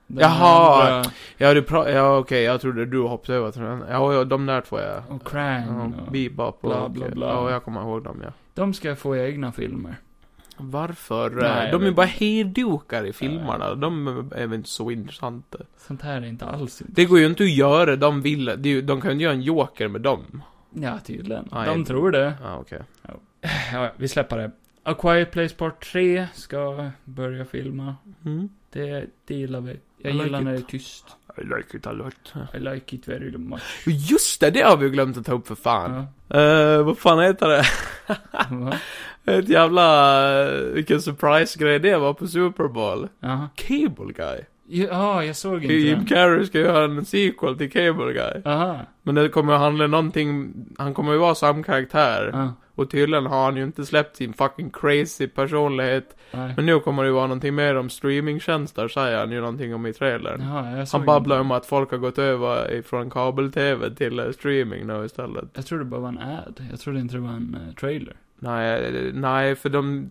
Speaker 1: Den
Speaker 2: Jaha.
Speaker 1: andra-
Speaker 2: Ja, du pra- ja okej, jag trodde du hoppade över till den. Ja, ja de där två ja.
Speaker 1: Och Krang.
Speaker 2: Ja,
Speaker 1: och-
Speaker 2: Bebop och...
Speaker 1: Mm. bla, bla, bla.
Speaker 2: Ja, jag kommer ihåg dem ja.
Speaker 1: De ska få egna filmer.
Speaker 2: Varför? eh,
Speaker 1: Nej, jag
Speaker 2: de är
Speaker 1: vet
Speaker 2: bara hejdukar i filmerna. De är väl inte så intressanta.
Speaker 1: Sånt här är inte alls
Speaker 2: Det går ju inte att göra de vill. det är ju- De kan ju inte göra en joker med dem.
Speaker 1: Ja, tydligen.
Speaker 2: Nej.
Speaker 1: De tror det.
Speaker 2: Ja, ah, okej.
Speaker 1: Ja, ja, vi släpper det. A Quiet Place Part 3 ska börja filma.
Speaker 2: Mm.
Speaker 1: Det, det gillar vi. Jag
Speaker 2: I like
Speaker 1: gillar när det
Speaker 2: it.
Speaker 1: är tyst.
Speaker 2: I like it a lot.
Speaker 1: I like it very much.
Speaker 2: Just det, det har vi ju glömt att ta upp för fan.
Speaker 1: Ja.
Speaker 2: Eh, vad fan heter det?
Speaker 1: Va?
Speaker 2: Ett jävla... eh, vilken surprise-grej det var på Super Bowl.
Speaker 1: Jaha.
Speaker 2: Cable Guy.
Speaker 1: Ja, jag såg inte
Speaker 2: Jim
Speaker 1: den.
Speaker 2: Carrey ska göra en sequel till Cable Guy.
Speaker 1: Aha.
Speaker 2: Men det kommer att handla någonting... Han kommer ju vara samma karaktär.
Speaker 1: Ja.
Speaker 2: Och tydligen har han ju inte släppt sin fucking crazy personlighet.
Speaker 1: Nej.
Speaker 2: Men nu kommer det ju vara någonting mer om streamingtjänster, säger han ju någonting om i trailern.
Speaker 1: Jaha, jag såg
Speaker 2: Han babblar
Speaker 1: inte.
Speaker 2: om att folk har gått över ifrån kabel-tv till eh, streaming nu istället.
Speaker 1: Jag trodde det bara var en ad. Jag trodde inte det var en eh, trailer.
Speaker 2: Nej, eh, nej, för de,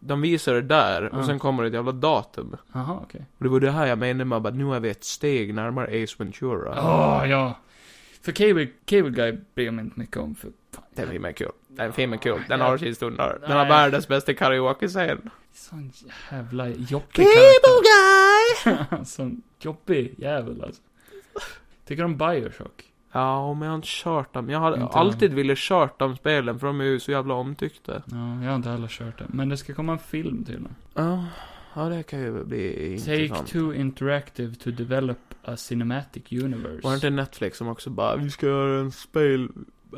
Speaker 2: de visar det där,
Speaker 1: Ja.
Speaker 2: och sen kommer det ett jävla datum.
Speaker 1: Jaha, okej.
Speaker 2: Och det var det här jag menade med att nu är vi ett steg närmare Ace Ventura.
Speaker 1: Åh, ja. För Cable, Cable Guy bryr jag mig inte mycket om, för
Speaker 2: Den filmen är kul. Den filmen är kul. Den har sin stund där. Den har
Speaker 1: Nej.
Speaker 2: världens bästa karaoke-scen.
Speaker 1: Sån jävla jobbig
Speaker 2: Cable
Speaker 1: karaktär.
Speaker 2: guy!
Speaker 1: Sån jobbig jävel alltså. Tycker om Bioshock?
Speaker 2: Ja, men jag har inte kört dem. Jag har
Speaker 1: Inte
Speaker 2: alltid velat kört de spelen, för de är ju så jävla omtyckta.
Speaker 1: Ja, jag har inte heller kört det. Men det ska komma en film till den.
Speaker 2: Ja, ja det kan ju bli intressant.
Speaker 1: Take-Two Interactive to develop a cinematic universe.
Speaker 2: Var det inte Netflix som också bara, vi ska göra en spel,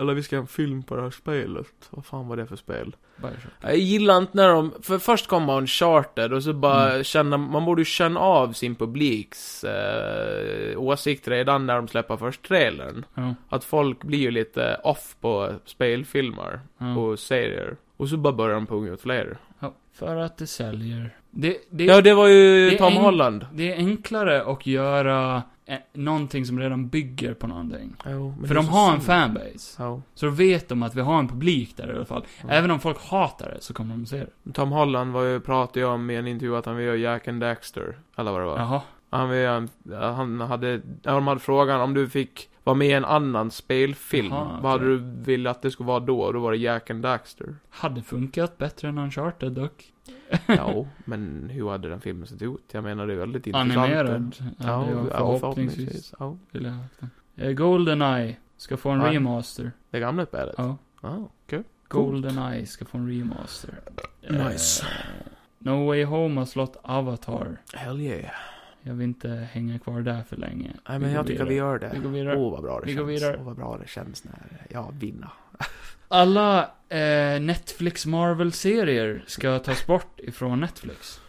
Speaker 2: eller vi ska göra en film på det här spelet. Vad fan var det för spel?
Speaker 1: Bioshock?
Speaker 2: Jag gillar inte när de, för först kom man charter och så bara
Speaker 1: Mm.
Speaker 2: känna, man borde ju känna av sin publiks eh, åsikt redan när de släpper först trailern.
Speaker 1: Ja.
Speaker 2: Att folk blir ju lite off på spelfilmer
Speaker 1: ja.
Speaker 2: och serier. Och så bara börjar de punga ut fler.
Speaker 1: ja. För att det säljer. Det, det,
Speaker 2: ja, det var ju
Speaker 1: det är
Speaker 2: Tom
Speaker 1: en-
Speaker 2: Holland.
Speaker 1: det är enklare att göra eh, någonting som redan bygger på någonting.
Speaker 2: Jo, men
Speaker 1: För
Speaker 2: det är
Speaker 1: de
Speaker 2: så
Speaker 1: har en
Speaker 2: synd.
Speaker 1: fanbase.
Speaker 2: Ja.
Speaker 1: Så då vet de att vi har en publik där i alla fall.
Speaker 2: Ja.
Speaker 1: Även om folk hatar det så kommer de se det.
Speaker 2: Tom Holland var ju, pratade ju om i en intervju att han ville göra Jack and Daxter. Eller vad det var.
Speaker 1: Jaha.
Speaker 2: Han, vill göra en- han hade, de hade frågan om du fick vara med i en annan spelfilm,
Speaker 1: Jaha,
Speaker 2: vad hade
Speaker 1: okej.
Speaker 2: du velat att det skulle vara då? Och Då var det Jack and Daxter.
Speaker 1: Hade funkat bättre än Uncharted dock.
Speaker 2: ja, men hur hade den filmen sett ut? Jag menar, det är väldigt intressant.
Speaker 1: Animerad.
Speaker 2: Ja,
Speaker 1: hade jag
Speaker 2: ja,
Speaker 1: förhoppningsvis.
Speaker 2: förhoppningsvis. Ja.
Speaker 1: Vill jag ha den. Eh, Goldeneye ska få en
Speaker 2: Nej.
Speaker 1: remaster.
Speaker 2: Det gamla spelet? Ja.
Speaker 1: Ja.
Speaker 2: okej. Coolt.
Speaker 1: Goldeneye ska få en remaster. Eh,
Speaker 2: Nice.
Speaker 1: no Way Home har slått Avatar.
Speaker 2: Hell yeah.
Speaker 1: Jag vill inte hänga kvar där för länge. Vi
Speaker 2: Nej, men
Speaker 1: går
Speaker 2: jag tycker
Speaker 1: vidare.
Speaker 2: vi gör det. Oh.
Speaker 1: Vi går vidare.
Speaker 2: Åh, vad bra det
Speaker 1: Vi går
Speaker 2: känns.
Speaker 1: vidare.
Speaker 2: Åh, vad bra det känns när jag vinner.
Speaker 1: Alla eh, Netflix Marvel-serier ska tas bort ifrån Netflix.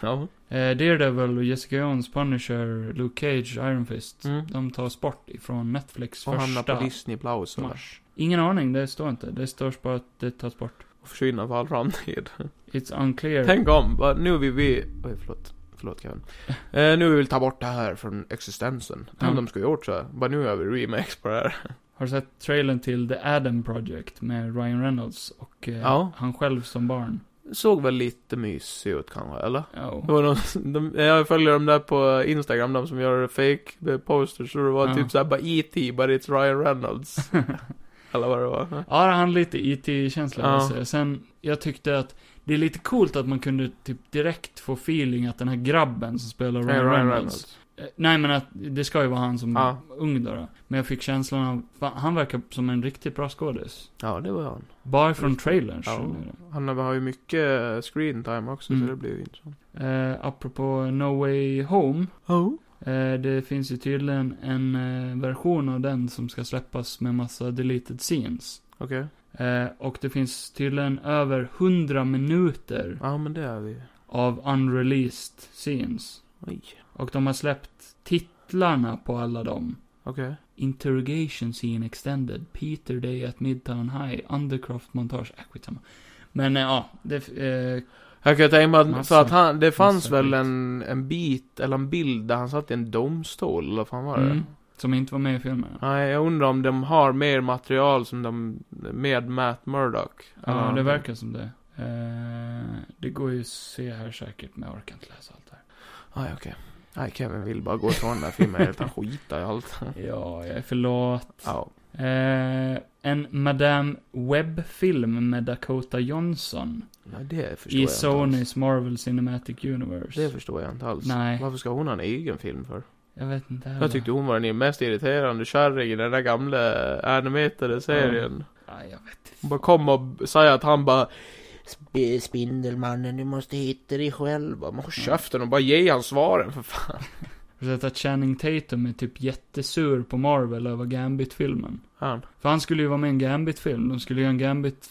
Speaker 2: Ja.
Speaker 1: Eh, Daredevil, Jessica Jones, Punisher, Luke Cage, Iron Fist.
Speaker 2: Mm.
Speaker 1: De tas bort ifrån Netflix
Speaker 2: Och hamna på
Speaker 1: första
Speaker 2: Disney Plus eller?
Speaker 1: mars. Ingen aning, det står inte. Det står bara att det tas bort.
Speaker 2: Och försvinna för all framtid.
Speaker 1: It's unclear.
Speaker 2: Tänk om, va, nu vill vi... Oj, förlåt. Förlåt Kevin. Eh, nu vill vi ta bort det här från existensen. Tänk
Speaker 1: Ja.
Speaker 2: om de skulle gjort så. här. Bara nu gör vi remakes på det här.
Speaker 1: Har du sett trailern till The Adam Project med Ryan Reynolds och eh,
Speaker 2: Ja.
Speaker 1: han själv som barn?
Speaker 2: Såg väl lite mysig ut kanske, eller?
Speaker 1: Ja.
Speaker 2: Det var någon, de, eh, jag följer dem där på Instagram, de som gör fake eh, posters, så det var
Speaker 1: Ja.
Speaker 2: typ såhär bara E.T. but it's Ryan Reynolds. eller vad det var.
Speaker 1: Ja, det hann lite IT-känsla
Speaker 2: Ja.
Speaker 1: ja. Sen, jag tyckte att det är lite coolt att man kunde typ direkt få feeling att den här grabben som spelar Ryan,
Speaker 2: Nej,
Speaker 1: Reynolds. Eh, Nej, men att det ska ju vara han som
Speaker 2: Ja.
Speaker 1: ung då, då. Men jag fick känslan av, fan, han verkar som en riktigt bra skådis.
Speaker 2: Ja, det var han.
Speaker 1: Bara från trailern
Speaker 2: Ja.
Speaker 1: känner jag det.
Speaker 2: Han har ju mycket eh, screen time också,
Speaker 1: Mm.
Speaker 2: så det blir ju intressant.
Speaker 1: Eh, apropå No Way Home.
Speaker 2: Oh.
Speaker 1: Eh, det finns ju tydligen en eh, version av den som ska släppas med massa deleted scenes.
Speaker 2: Okej.
Speaker 1: Eh, och det finns tydligen över 100 minuter
Speaker 2: Ja, men det är vi.
Speaker 1: av unreleased scenes.
Speaker 2: Oj.
Speaker 1: Och de har släppt titlarna på alla dem.
Speaker 2: Okej.
Speaker 1: Interrogation Scene Extended, Peter Day at Midtown High, Undercroft Montage, äh, skitsamma. Men eh, ja, det, eh,
Speaker 2: Jag kan tänka mig att,
Speaker 1: Massa-
Speaker 2: för att han, det fanns
Speaker 1: massa
Speaker 2: väl
Speaker 1: skit.
Speaker 2: en, en bit, eller en bild där han satt i en domstol, eller vad fan var det?
Speaker 1: Mm. som inte var med i filmen.
Speaker 2: Nej, jag undrar om de har mer material som de, med Matt Murdock.
Speaker 1: Ja,
Speaker 2: Eller-
Speaker 1: det verkar som det. Äh, Eh, det går ju att se här säkert, men jag orkar inte läsa allt här.
Speaker 2: Aj, okej. Nej, Kevin vill bara gå ifrån den här filmen helt. Han skitar i allt.
Speaker 1: Ja, jag är för lat.
Speaker 2: Ja.
Speaker 1: Eh, en Madame Webb-film med Dakota Johnson.
Speaker 2: Nej, det förstår
Speaker 1: I
Speaker 2: jag inte alls.
Speaker 1: Sonys Marvel Cinematic Universe.
Speaker 2: Det förstår jag inte alls.
Speaker 1: Nej.
Speaker 2: Varför ska hon ha en egen film för?
Speaker 1: Jag vet inte heller.
Speaker 2: Jag tyckte hon var den mest irriterande kärringen i den där gamla animerade serien.
Speaker 1: Nej, jag vet inte.
Speaker 2: Hon bara kom och säger att han bara "Sp- Spindelmannen, du måste hitta dig själv. Bara, Men håll käften och bara ge han svaren för fan.
Speaker 1: Jag har sett att Channing Tatum är typ jättesur på Marvel över Gambit-filmen.
Speaker 2: Han.
Speaker 1: För han skulle ju vara med i en Gambit-film. De skulle göra en Gambit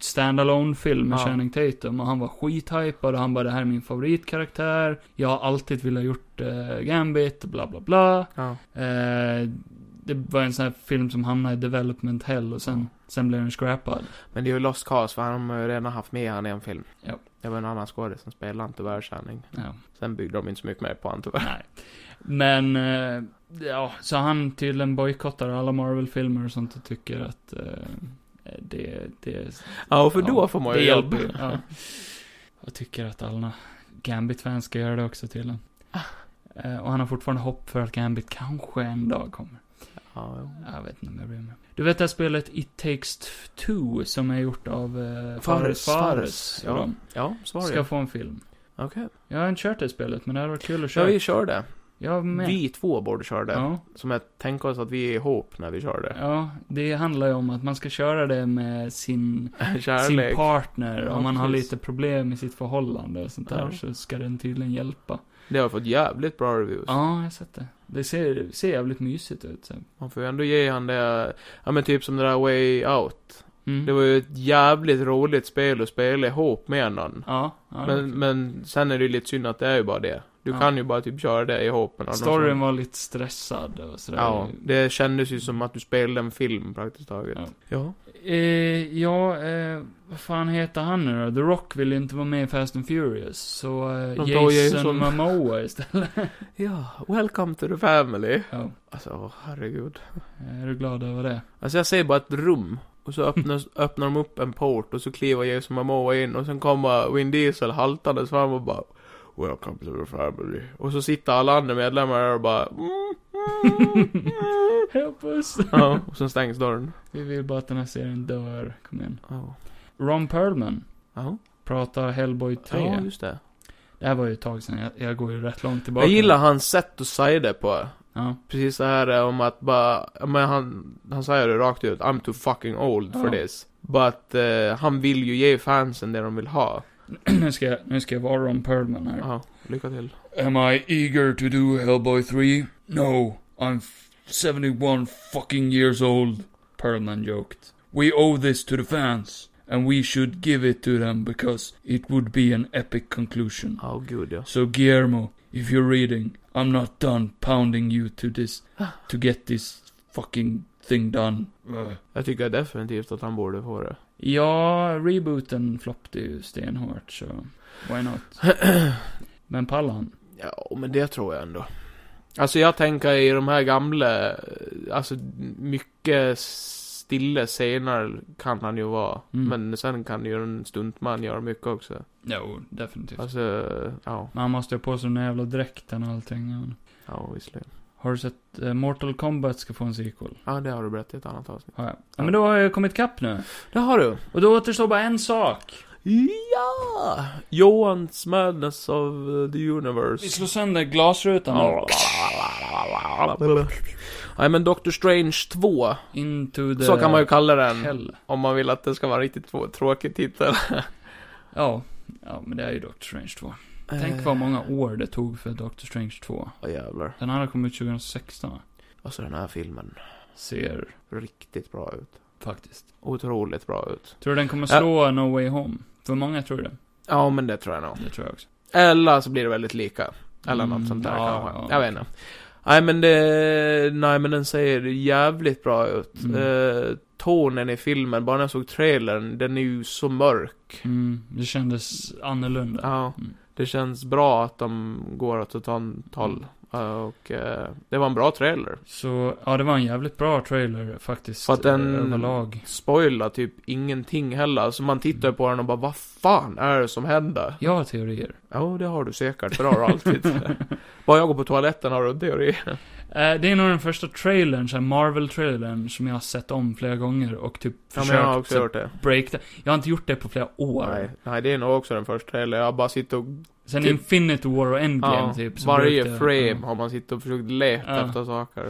Speaker 1: standalone film med
Speaker 2: Ja.
Speaker 1: Channing Tatum. Och han var skithypad och han bara, det här är min favoritkaraktär. Jag har alltid velat gjort eh, Gambit, bla bla bla.
Speaker 2: Ja.
Speaker 1: Eh, det var en sån här film som hamnade i development hell och sen, sen blev den scrappad.
Speaker 2: Men det är ju Lost Cause för han har ju redan haft med han i en film.
Speaker 1: Ja.
Speaker 2: Det var en annan skådis som spelade han tyvärr sanning.
Speaker 1: Ja,
Speaker 2: Sen byggde de inte så mycket mer på han tyvärr.
Speaker 1: nej. Men, eh, ja, så han tydligen bojkottar alla Marvel-filmer och sånt och tycker att eh, det, det...
Speaker 2: Ja, och för då får man ju
Speaker 1: det
Speaker 2: hjälp.
Speaker 1: hjälper ju, Ja. Jag tycker att alla Gambit-fans ska göra det också tydligen. Eh, och han har fortfarande hopp för att Gambit kanske en dag kommer.
Speaker 2: Ja, jo.
Speaker 1: Jag vet inte om jag bryr mig. Du vet det här spelet It Takes Two som är gjort av eh,
Speaker 2: Fares,
Speaker 1: Fares
Speaker 2: Fares,
Speaker 1: Fares.
Speaker 2: ja.
Speaker 1: Ja.
Speaker 2: ja svar
Speaker 1: Ska
Speaker 2: ja.
Speaker 1: få en film.
Speaker 2: Okej.
Speaker 1: Jag har inte kört det spelet, men det hade varit kul att
Speaker 2: Ja,
Speaker 1: köra.
Speaker 2: vi kör det.
Speaker 1: Jag med.
Speaker 2: Vi två borde köra det.
Speaker 1: Ja,
Speaker 2: Som jag tänker oss att vi är ihop när vi kör det.
Speaker 1: ja, det handlar ju om att man ska köra det med sin, sin
Speaker 2: Kärlek.
Speaker 1: partner.
Speaker 2: Ja,
Speaker 1: om man har
Speaker 2: precis.
Speaker 1: lite problem i sitt förhållande och sånt där
Speaker 2: Ja.
Speaker 1: så ska den tydligen hjälpa.
Speaker 2: Det har fått jävligt bra reviews.
Speaker 1: Ja, jag har sett det. Det ser, ser jävligt mysigt ut. Så.
Speaker 2: Man får ju ändå ge han det, ja men typ som det där Way Out.
Speaker 1: Mm.
Speaker 2: Det var ju ett jävligt roligt spel att spela ihop med någon.
Speaker 1: Ja, ja.
Speaker 2: Men, men sen är det ju lite synd att det är ju bara det. Du
Speaker 1: Ja.
Speaker 2: kan ju bara typ köra det ihop med någon.
Speaker 1: Storyn
Speaker 2: som-
Speaker 1: var lite stressad och sådär.
Speaker 2: Ja, det kändes ju som att du spelade en film praktiskt taget.
Speaker 1: Ja.
Speaker 2: Ja.
Speaker 1: Eh, ja, eh, vad fan heter han nu då? The Rock vill inte vara med i Fast and Furious, så eh,
Speaker 2: De tar
Speaker 1: Jason,
Speaker 2: Jason.
Speaker 1: Momoa istället.
Speaker 2: Ja, welcome to the family.
Speaker 1: ja,
Speaker 2: Alltså, åh, herregud.
Speaker 1: är du glad över det?
Speaker 2: Alltså jag säger bara ett rum. Och så öppnas, öppnar de upp en port och så kliver Jason Momoa in och sen kommer Vin Diesel haltandes fram och bara Welcome to the family. Och så sitter alla andra medlemmar där och bara mm, mm, mm.
Speaker 1: Help us!
Speaker 2: Ja, och sen stängs dörren.
Speaker 1: Vi vill bara att den här serien dör. Kom igen.
Speaker 2: Ja.
Speaker 1: Ron Perlman
Speaker 2: Ja,
Speaker 1: pratar Hellboy 3.
Speaker 2: ja just det.
Speaker 1: Det här var ju ett tag sedan, jag, jag går ju rätt långt tillbaka.
Speaker 2: Jag gillar hans sätt att säga det på.
Speaker 1: Ja,
Speaker 2: Precis så här eh, om att bara, ja, men han, han säger det rakt ut, I'm too fucking old for
Speaker 1: Ja.
Speaker 2: this. But eh, han vill ju ge fansen det de vill ha.
Speaker 1: nu ska jag, nu ska jag vara Ron Perlman här.
Speaker 2: Ja, lycka till.
Speaker 1: Am I eager to do Hellboy 3? No, I'm f- 71 fucking years old, Perlman joked. We owe this to the fans, and we should give it to them because it would be an epic conclusion.
Speaker 2: Ja, gud ja.
Speaker 1: So, Guillermo, if you're reading, I'm not done pounding you to this, to get this fucking thing done. Ugh.
Speaker 2: Jag tycker definitivt att han borde få det.
Speaker 1: Ja, rebooten floppade ju stenhårt, så why not? Men pallar han?
Speaker 2: Ja, men det tror jag ändå. Alltså jag tänker i de här gamla, eh, alltså mycket stilla scener kan han ju vara.
Speaker 1: Mm.
Speaker 2: Men sen kan ju en stuntman göra mycket också.
Speaker 1: Jo, definitivt.
Speaker 2: Alltså, ja,
Speaker 1: Men han måste ha på sig den här jävla dräkten och allting. Ja.
Speaker 2: ja visserligen.
Speaker 1: Har du sett eh, Mortal Kombat ska få en sequel?
Speaker 2: Ja, det har du berättat i ett annat avsnitt.
Speaker 1: Har jag. Ja, men då har jag kommit kapp nu.
Speaker 2: Det har du!
Speaker 1: Och då återstår bara en sak.
Speaker 2: Ja! Johans Madness of eh, the
Speaker 1: Vi
Speaker 2: Universe.
Speaker 1: slår sönder glasrutan. nu.
Speaker 2: Nej men Doctor Strange 2,
Speaker 1: Into the...
Speaker 2: så kan man ju kalla den.
Speaker 1: Hell.
Speaker 2: Om man vill att det ska vara en riktigt trå- tråkig titel.
Speaker 1: Ja. Ja, men det är ju Doctor Strange 2. Tänk vad många år det tog för Doctor Strange 2.
Speaker 2: Åh Eh, jävlar.
Speaker 1: Den här kom ut 2016. va?
Speaker 2: Alltså den här filmen,
Speaker 1: Ser
Speaker 2: riktigt bra ut.
Speaker 1: faktiskt.
Speaker 2: Otroligt bra ut.
Speaker 1: Tror du den kommer slå No Way Home? För många tror det.
Speaker 2: Ja, men det tror jag nog.
Speaker 1: Det tror jag också.
Speaker 2: Eller så blir det väldigt lika. Eller
Speaker 1: Mm,
Speaker 2: något sånt där
Speaker 1: ja,
Speaker 2: kanske.
Speaker 1: ja.
Speaker 2: Jag vet inte. Nej men det, nej men den ser jävligt bra ut.
Speaker 1: Mm.
Speaker 2: Eh, tonen i filmen, bara när jag såg trailern, den är ju så mörk.
Speaker 1: Mm, det kändes annorlunda.
Speaker 2: Ja.
Speaker 1: Mm.
Speaker 2: Det känns bra att de går åt ett annat håll.
Speaker 1: Mm.
Speaker 2: Och eh, det var en bra trailer.
Speaker 1: Så, ja det var en jävligt bra trailer faktiskt.
Speaker 2: För att den-
Speaker 1: eh, Överlag.
Speaker 2: Spoilar typ ingenting heller. Alltså man tittar
Speaker 1: Mm.
Speaker 2: på den och bara vad fan är det som händer?
Speaker 1: Jag har teorier.
Speaker 2: Ja, det har du säkert. Det har du alltid. bara jag går på toaletten har du en teori.
Speaker 1: Eh, det är nog den första trailern, så här Marvel-trailern, som jag har sett om flera gånger och typ
Speaker 2: Ja,
Speaker 1: försökt
Speaker 2: men jag har också
Speaker 1: så-
Speaker 2: gjort det.
Speaker 1: break the... Jag har inte gjort det på flera år.
Speaker 2: Nej, nej, det är nog också den första trailern. Jag har bara suttit och...
Speaker 1: Sen
Speaker 2: Typ-
Speaker 1: Infinity War och Endgame
Speaker 2: Ja,
Speaker 1: typ. så
Speaker 2: varje
Speaker 1: brukar jag-
Speaker 2: frame har man suttit och försökt leta
Speaker 1: Ja.
Speaker 2: efter saker.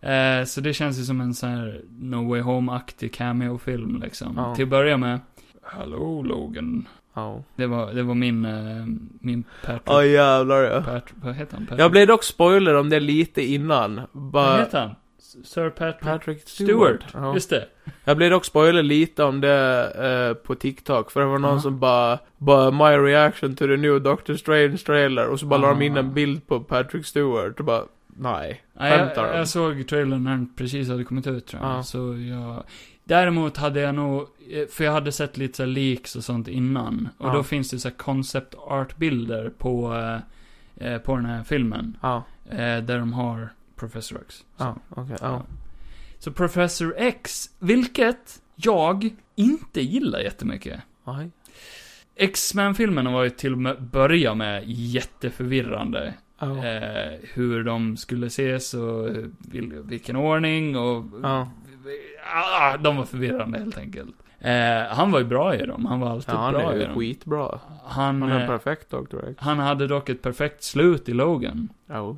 Speaker 1: Eh, så det känns ju som en sån här No Way Home-aktig cameo-film liksom.
Speaker 2: Ja.
Speaker 1: Till att börja med. Hallå Logan.
Speaker 2: Ja.
Speaker 1: Det var, det var min, eh, min Patrick.
Speaker 2: Åh jävlar ja.
Speaker 1: Pat, vad heter han? Patrick?
Speaker 2: Jag blev dock spoiler om det lite innan.
Speaker 1: Vad
Speaker 2: Bara...
Speaker 1: heter han? Sir Patrick,
Speaker 2: Patrick
Speaker 1: Stewart.
Speaker 2: Stewart. Ja.
Speaker 1: Just det.
Speaker 2: Jag blev dock spoiler lite om det eh, på TikTok, för det var någon
Speaker 1: Ja.
Speaker 2: som bara, bara 'My reaction to the new Doctor Strange trailer' och så bara la de in
Speaker 1: Ah.
Speaker 2: en bild på Patrick Stewart och bara, nej.
Speaker 1: Nej, jag,
Speaker 2: Skämtar de?
Speaker 1: jag såg trailern när den precis hade kommit ut tror jag.
Speaker 2: Ja.
Speaker 1: Så jag... Däremot hade jag nog, eh, för jag hade sett lite så här leaks och sånt innan. Och
Speaker 2: Ja.
Speaker 1: då finns det så här concept art-bilder på, eh, eh, på den här filmen.
Speaker 2: Ja,
Speaker 1: Eh, där de har Professor X. Så.
Speaker 2: ja, okej, ja.
Speaker 1: så Professor X, vilket jag inte gillar jättemycket.
Speaker 2: Nej.
Speaker 1: X-Men-filmerna var ju till och med börja med jätteförvirrande.
Speaker 2: Ja.
Speaker 1: Eh, hur de skulle ses och vil- vilken ordning och...
Speaker 2: Ja.
Speaker 1: typ Ah, de var förvirrande helt enkelt. Eh, han var ju bra i dem, han var alltid
Speaker 2: Ja, han
Speaker 1: bra
Speaker 2: är
Speaker 1: i
Speaker 2: ju
Speaker 1: dem.
Speaker 2: skitbra.
Speaker 1: Han,
Speaker 2: Han är en
Speaker 1: eh,
Speaker 2: perfekt Doctor X.
Speaker 1: han hade dock ett perfekt slut i Logan.
Speaker 2: Ja,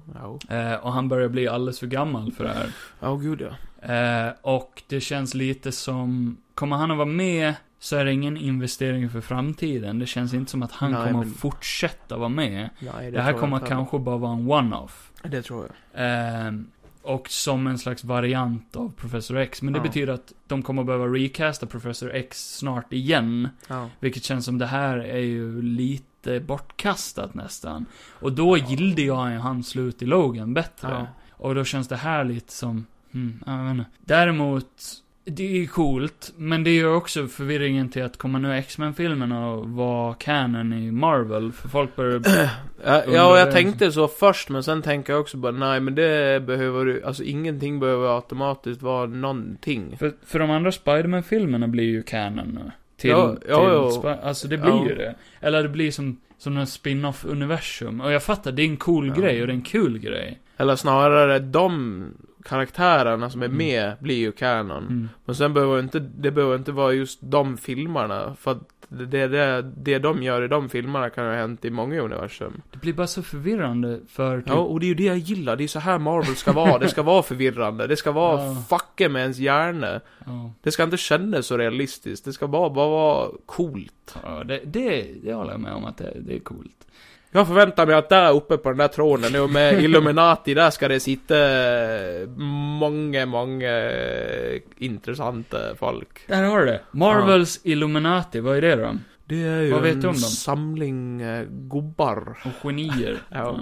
Speaker 2: ja.
Speaker 1: Eh, och han börjar bli alldeles för gammal för det här.
Speaker 2: Ja, gud ja.
Speaker 1: Eh, och det känns lite som, kommer han att vara med så är det ingen investering för framtiden. Det känns inte som att han
Speaker 2: Nej,
Speaker 1: kommer
Speaker 2: men-
Speaker 1: att fortsätta vara med.
Speaker 2: Nej,
Speaker 1: Det, här
Speaker 2: tror jag
Speaker 1: kommer
Speaker 2: inte.
Speaker 1: kanske bara vara en one-off.
Speaker 2: Det tror jag.
Speaker 1: Eh, och som en slags variant av Professor X. Men det
Speaker 2: Ja.
Speaker 1: betyder att de kommer behöva recasta Professor X snart igen.
Speaker 2: Ja.
Speaker 1: Vilket känns som det här är ju lite bortkastat nästan. Och då
Speaker 2: Ja.
Speaker 1: gillade jag ju hans slut i Logan bättre.
Speaker 2: Ja.
Speaker 1: Och då känns det här lite som, hmm, jag vet inte. Däremot, det är ju coolt, men det är ju också förvirringen till att kommer nu X-Men-filmerna och vara canon i Marvel? För folk börjar...
Speaker 2: Ja,
Speaker 1: Undrar
Speaker 2: ja, och
Speaker 1: det.
Speaker 2: jag tänkte så först, men sen tänker jag också bara nej, men det behöver du, alltså ingenting behöver automatiskt vara någonting.
Speaker 1: för, för de andra Spider-Man-filmerna blir ju canon nu. Till,
Speaker 2: Ja, ja,
Speaker 1: till
Speaker 2: ja.
Speaker 1: Spi- Alltså det blir
Speaker 2: Ja.
Speaker 1: ju det. Eller det blir som, som en spin-off universum. Och jag fattar, det är en cool
Speaker 2: Ja.
Speaker 1: grej och det är en kul grej.
Speaker 2: Eller snarare, de karaktärerna som är
Speaker 1: Mm.
Speaker 2: med blir ju kanon.
Speaker 1: Mm.
Speaker 2: Men sen behöver inte, det behöver inte vara just de filmerna, för att det, det, det de gör i de filmerna kan ju ha hänt i många universum.
Speaker 1: Det blir bara så förvirrande för typ,
Speaker 2: Ja, och det är ju det jag gillar, det är så här Marvel ska vara, det ska vara förvirrande, det ska vara
Speaker 1: Ja.
Speaker 2: fucka med ens hjärna.
Speaker 1: ja.
Speaker 2: Det ska inte kännas så realistiskt, det ska bara, bara vara coolt.
Speaker 1: Ja, det, det, det håller jag med om att det, det är coolt.
Speaker 2: Jag förväntar mig att där uppe på den där tronen nu med Illuminati, där ska det sitta många, många intressanta folk.
Speaker 1: Där har du det. Marvels Illuminati, vad är det då?
Speaker 2: Det är ju
Speaker 1: Vad vet
Speaker 2: en
Speaker 1: du om dem?
Speaker 2: samling eh, gubbar.
Speaker 1: Och genier.
Speaker 2: Ja.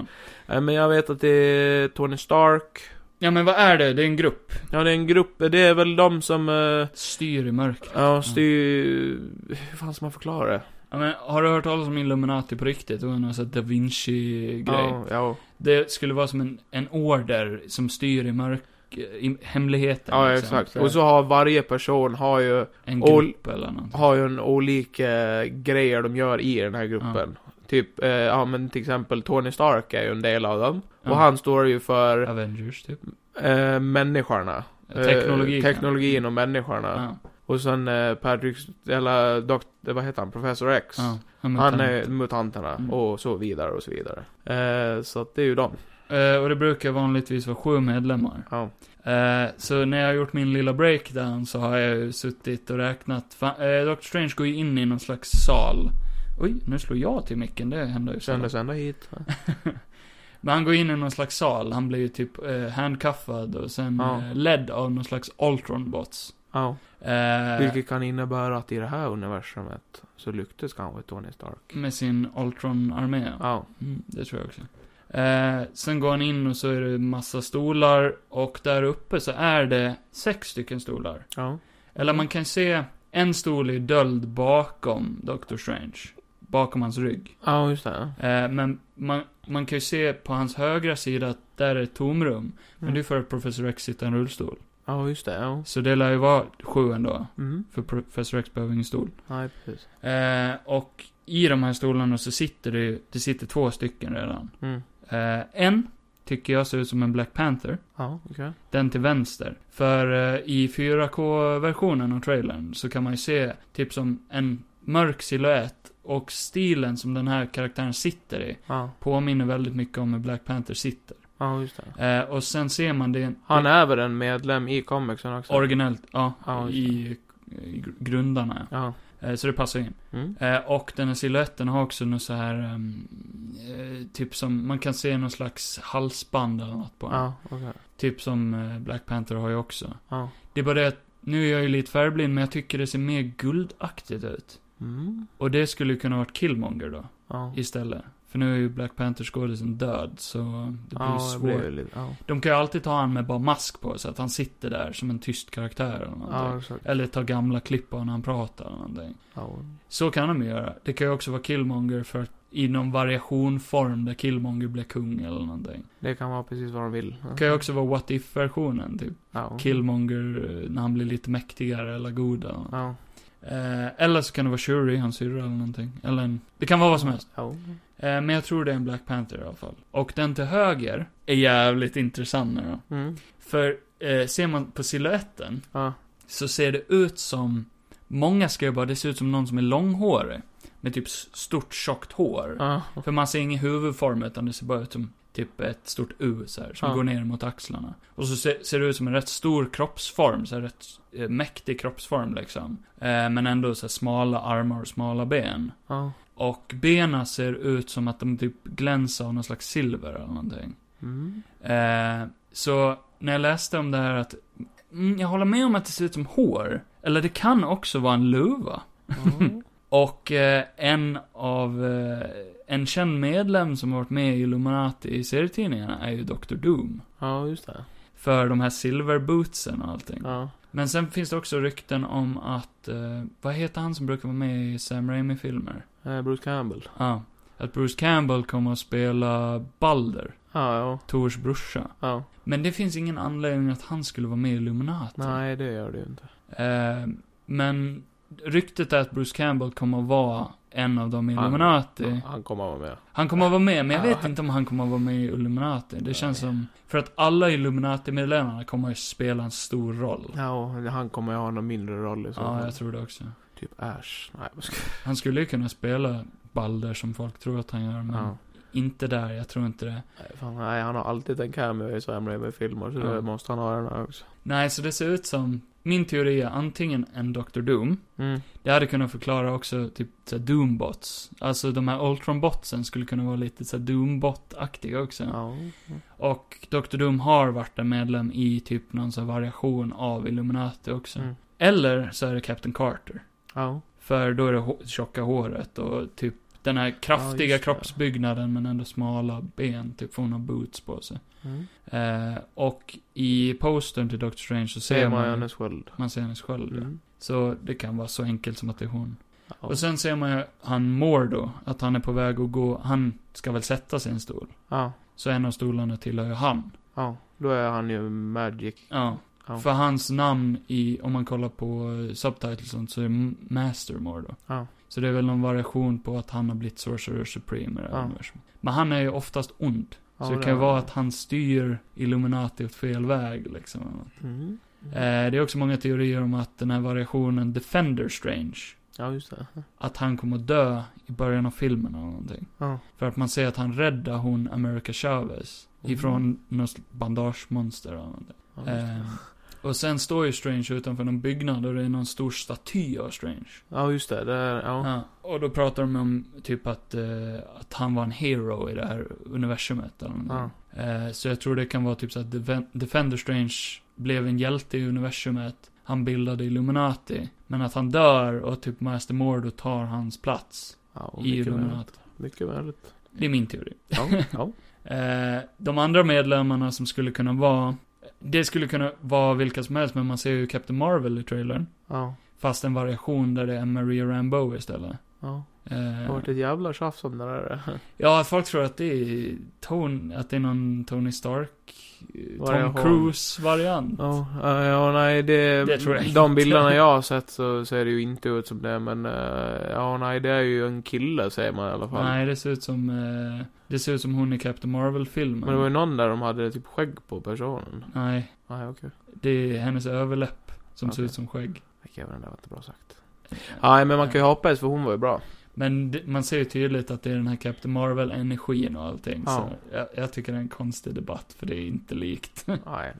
Speaker 2: Eh, Men jag vet att det är Tony Stark.
Speaker 1: ja, men vad är det? Det är en grupp.
Speaker 2: Ja, det är en grupp, det är väl de som... eh,
Speaker 1: Styr i mörkret.
Speaker 2: Ja, styr... Hur fan ska man förklara det?
Speaker 1: Ja, men, har du hört talas om Illuminati på riktigt? Det var någon sån här Da Vinci-grej.
Speaker 2: Ja, ja.
Speaker 1: Det skulle vara som en, en order som styr i mörk... eh, I hemligheten.
Speaker 2: ja
Speaker 1: liksom.
Speaker 2: exakt. Och så har varje person har ju,
Speaker 1: En
Speaker 2: och-
Speaker 1: grupp eller något.
Speaker 2: har ju en olika grejer de gör i den här gruppen. Typ, eh, ja men till exempel Tony Stark är ju en del av dem.
Speaker 1: Ja.
Speaker 2: Och han står ju för
Speaker 1: Avengers, typ.
Speaker 2: eh, människorna. Eh,
Speaker 1: Teknologi.
Speaker 2: teknologin och människorna.
Speaker 1: Ja.
Speaker 2: Och sen eh, Patrick, eller doktor, vad heter han, Professor X.
Speaker 1: ja. Han,
Speaker 2: Han är mutanterna
Speaker 1: Mm.
Speaker 2: och så vidare och så vidare. Eh, så att det är ju dem.
Speaker 1: Eh, och det brukar vanligtvis vara sju medlemmar.
Speaker 2: Ja.
Speaker 1: Eh, så när jag har gjort min lilla breakdown så har jag ju suttit och räknat. Fa- eh, Dr. Strange går ju in i någon slags sal. Oj, nu slår jag till micken, det händer ju sällan.
Speaker 2: Sändes ända hit.
Speaker 1: Men han går in i någon slags sal, han blir ju typ eh, handcuffad och sen
Speaker 2: Ja.
Speaker 1: eh, ledd av någon slags Ultron-bots.
Speaker 2: Ja.
Speaker 1: Eh,
Speaker 2: Vilket kan innebära att i det här universumet så lycktes kanske Tony Stark.
Speaker 1: Med sin Ultron-armé.
Speaker 2: Ja.
Speaker 1: Mm, det tror jag också. Eh, sen går han in och så är det massa stolar och där uppe så är det sex stycken stolar.
Speaker 2: Ja.
Speaker 1: Eller man kan se en stol är döljd bakom Doctor Strange. bakom hans rygg.
Speaker 2: Ja, just det.
Speaker 1: Eh, men man, man kan ju se på hans högra sida att där är ett tomrum. Men
Speaker 2: Mm.
Speaker 1: det är för att Professor X sitter i en rullstol.
Speaker 2: Ja, just det. Ja.
Speaker 1: Så det lär ju vara sju ändå.
Speaker 2: Mm.
Speaker 1: För Professor X behöver ingen stol.
Speaker 2: Nej, precis.
Speaker 1: Eh, och i de här stolarna så sitter det ju, det sitter två stycken redan.
Speaker 2: Mm.
Speaker 1: Eh, en tycker jag ser ut som en Black Panther.
Speaker 2: Ja, okej.
Speaker 1: Den till vänster. För eh, i 4K-versionen av trailern så kan man ju se typ som en mörk silhuett och stilen som den här karaktären sitter i
Speaker 2: Ja.
Speaker 1: påminner väldigt mycket om hur Black Panther sitter.
Speaker 2: ja, just det.
Speaker 1: Eh, och sen ser man det...
Speaker 2: Han är väl en medlem i comicsen också?
Speaker 1: Originellt, ja.
Speaker 2: Ja, just
Speaker 1: I, i gr- grundarna, ja.
Speaker 2: ja.
Speaker 1: Eh, så det passar in.
Speaker 2: Mm.
Speaker 1: Eh, och den här siluetten har också något så här... ehm, eh, typ som, man kan se någon slags halsband eller något på den.
Speaker 2: Ja, okej.
Speaker 1: Typ som eh, Black Panther har ju också.
Speaker 2: Ja.
Speaker 1: Det är bara det att, nu är jag ju lite färgblind, men jag tycker det ser mer guldaktigt ut.
Speaker 2: Mm.
Speaker 1: Och det skulle ju kunna varit Killmonger då,
Speaker 2: Ja.
Speaker 1: istället. För nu är ju Black Panther skådisen död, så det blir ju
Speaker 2: ja, det
Speaker 1: svårt.
Speaker 2: blir ju lite... Ja,
Speaker 1: De kan ju alltid ta han med bara mask på, så att han sitter där som en tyst karaktär eller
Speaker 2: ja
Speaker 1: någonting.
Speaker 2: exakt.
Speaker 1: Eller ta gamla klipp av när han pratar eller någonting.
Speaker 2: Ja.
Speaker 1: Så kan de ju göra. Det kan ju också vara Killmonger för att i någon variationform där Killmonger blir kung eller någonting.
Speaker 2: Det kan vara precis vad de vill.
Speaker 1: Det kan ju också vara What If-versionen, typ.
Speaker 2: ja.
Speaker 1: Killmonger eh, när han blir lite mäktigare eller god eller något.
Speaker 2: Ja.
Speaker 1: eh, Eller så kan det vara Shuri, hans syrra eller någonting. Eller en... Det kan vara vad som helst.
Speaker 2: Ja.
Speaker 1: Eh, men jag tror det är en Black Panther i alla fall. Och den till höger är jävligt intressant nu då.
Speaker 2: Mm.
Speaker 1: För eh, ser man på siluetten
Speaker 2: Ja.
Speaker 1: så ser det ut som... Många skrev bara det ser ut som någon som är långhårig. Med typ s- stort tjockt hår.
Speaker 2: Ja.
Speaker 1: För man ser ingen huvudform utan det ser bara ut som typ ett stort U så här, som
Speaker 2: Ja.
Speaker 1: går ner mot axlarna. Och så ser, ser det ut som en rätt stor kroppsform, så här, rätt eh, mäktig kroppsform liksom. Eh, men ändå så här, smala armar och smala ben.
Speaker 2: Ja.
Speaker 1: Och benen ser ut som att de typ glänser av någon slags silver eller någonting.
Speaker 2: Mm.
Speaker 1: Eh, så när jag läste om det här att, mm, jag håller med om att det ser ut som hår. Eller det kan också vara en luva.
Speaker 2: Ja.
Speaker 1: Och eh, en av, eh, en känd medlem som har varit med i Illuminati i serietidningarna är ju Dr. Doom.
Speaker 2: ja, just det.
Speaker 1: För de här silver bootsen och allting.
Speaker 2: Ja.
Speaker 1: Men sen finns det också rykten om att, eh, vad heter han som brukar vara med i Sam Raimi-filmer?
Speaker 2: Eh, Bruce Campbell.
Speaker 1: Ja. att Bruce Campbell kommer att spela Balder,
Speaker 2: Ja, ja.
Speaker 1: Tors brorsa.
Speaker 2: Ja.
Speaker 1: Men det finns ingen anledning att han skulle vara med i Illuminati.
Speaker 2: Nej, det gör det ju inte.
Speaker 1: Eh, men ryktet är att Bruce Campbell kommer att vara en av dem i
Speaker 2: Han-
Speaker 1: Illuminati.
Speaker 2: Han kommer vara med.
Speaker 1: Han kommer att vara med, men jag
Speaker 2: Ja.
Speaker 1: vet inte om han kommer att vara med i Illuminati. Det känns
Speaker 2: Nej.
Speaker 1: som... För att alla Illuminati-medlemmarna kommer att spela en stor roll.
Speaker 2: Ja, och han kommer ju ha någon mindre roll i så
Speaker 1: Ja,
Speaker 2: fall.
Speaker 1: jag tror det också.
Speaker 2: Typ Ash. Nej, vad ska
Speaker 1: Han skulle ju kunna spela Balder som folk tror att han gör, men
Speaker 2: ja.
Speaker 1: inte där. Jag tror inte det.
Speaker 2: Nej, fan, nej, han har alltid en cameo i Sam Raimi-filmer, så
Speaker 1: Ja.
Speaker 2: då måste han ha den här också.
Speaker 1: Nej, så det ser ut som... Min teori är antingen en Dr. Doom.
Speaker 2: Mm.
Speaker 1: Det hade kunnat förklara också typ så här Doombots. Alltså de här Ultronbotsen skulle kunna vara lite så här Doombot-aktiga också.
Speaker 2: Ja.
Speaker 1: Och Dr. Doom har varit en medlem i typ någon sån här variation av Illuminati också.
Speaker 2: Mm.
Speaker 1: Eller så är det Captain Carter.
Speaker 2: Ja.
Speaker 1: För då är det hå- tjocka håret och typ den här
Speaker 2: Ja,
Speaker 1: kraftiga
Speaker 2: just det.
Speaker 1: kroppsbyggnaden men ändå smala ben, typ får hon har boots på sig.
Speaker 2: Mm.
Speaker 1: Eh, och i postern till Doctor Strange så ser man, man,
Speaker 2: hennes sköld.
Speaker 1: ser hennes sköld.
Speaker 2: Mm.
Speaker 1: Så det kan vara så enkelt som att det är hon.
Speaker 2: Ja.
Speaker 1: Och sen ser man ju han Mordo, att han är på väg att gå, han ska väl sätta sig i en stol.
Speaker 2: Ja.
Speaker 1: Så en av stolarna tillhör ju han.
Speaker 2: Ja. Då är han ju Magic.
Speaker 1: Ja.
Speaker 2: Ja.
Speaker 1: För hans namn i, om man kollar på eh, subtitlesen så är det M- Master Mordo.
Speaker 2: Ja.
Speaker 1: Så det är väl någon variation på att han har blivit Sorcerer Supreme i det här
Speaker 2: Ja.
Speaker 1: universumet. Men han är ju oftast ond.
Speaker 2: Ja,
Speaker 1: så det
Speaker 2: det
Speaker 1: kan ju
Speaker 2: är
Speaker 1: vara
Speaker 2: han.
Speaker 1: att han styr Illuminati åt fel väg liksom. eller något.
Speaker 2: Mm.
Speaker 1: Eh, det är också många teorier om att den här variationen Defender Strange,
Speaker 2: Ja, just det.
Speaker 1: att han kommer att dö i början av filmen eller någonting.
Speaker 2: Ja.
Speaker 1: För att man ser att han räddar hon America Chavez
Speaker 2: Mm.
Speaker 1: ifrån något bandagemonster eller någonting.
Speaker 2: Ja, just det.
Speaker 1: Ehm, och sen står ju Strange utanför någon byggnad och det är någon stor staty av Strange.
Speaker 2: Ja, just det. det är, ja.
Speaker 1: Ja, och då pratar de om typ att, eh, att han var en hero i det här universumet eller
Speaker 2: Ja.
Speaker 1: någonting. eh, Så jag tror det kan vara typ så att Defen- Defender Strange blev en hjälte i universumet. Han bildade Illuminati. Men att han dör och typ Master Mordo tar hans plats
Speaker 2: Ja, och
Speaker 1: i
Speaker 2: mycket möjligt.
Speaker 1: Illuminati.
Speaker 2: Mycket möjligt.
Speaker 1: Det är min teori.
Speaker 2: Ja. ja.
Speaker 1: Eh, de andra medlemmarna som skulle kunna vara, det skulle kunna vara vilka som helst, men man ser ju Captain Marvel i trailern.
Speaker 2: Ja.
Speaker 1: Fast en variation där det är Maria Rambeau istället.
Speaker 2: Ja. Det har
Speaker 1: Eh,
Speaker 2: varit ett jävla tjafs om det där.
Speaker 1: ja, folk tror att det är, Tony, att det är någon Tony Stark, eh, Tom
Speaker 2: Variation.
Speaker 1: Cruise-variant.
Speaker 2: Ja, eh, ja, nej det...
Speaker 1: Det tror jag inte.
Speaker 2: de bilderna jag har sett så ser det ju inte ut som det, men... eh, Ja, nej, det är ju en kille säger man i alla fall.
Speaker 1: Nej, det ser ut som, eh, det ser ut som hon i Captain Marvel-filmen.
Speaker 2: Men det var ju någon där de hade typ skägg på personen.
Speaker 1: Nej,
Speaker 2: Nej, okej.
Speaker 1: det är hennes överläpp som ser
Speaker 2: Okej.
Speaker 1: ut som skägg.
Speaker 2: Okej, den där var inte bra sagt. Nej, men man kan ju hoppas för hon var ju bra.
Speaker 1: Men det, man ser ju tydligt att det är den här Captain Marvel-energin och allting.
Speaker 2: Ja.
Speaker 1: Så jag, jag tycker det är en konstig debatt, för det är inte likt.
Speaker 2: Nej,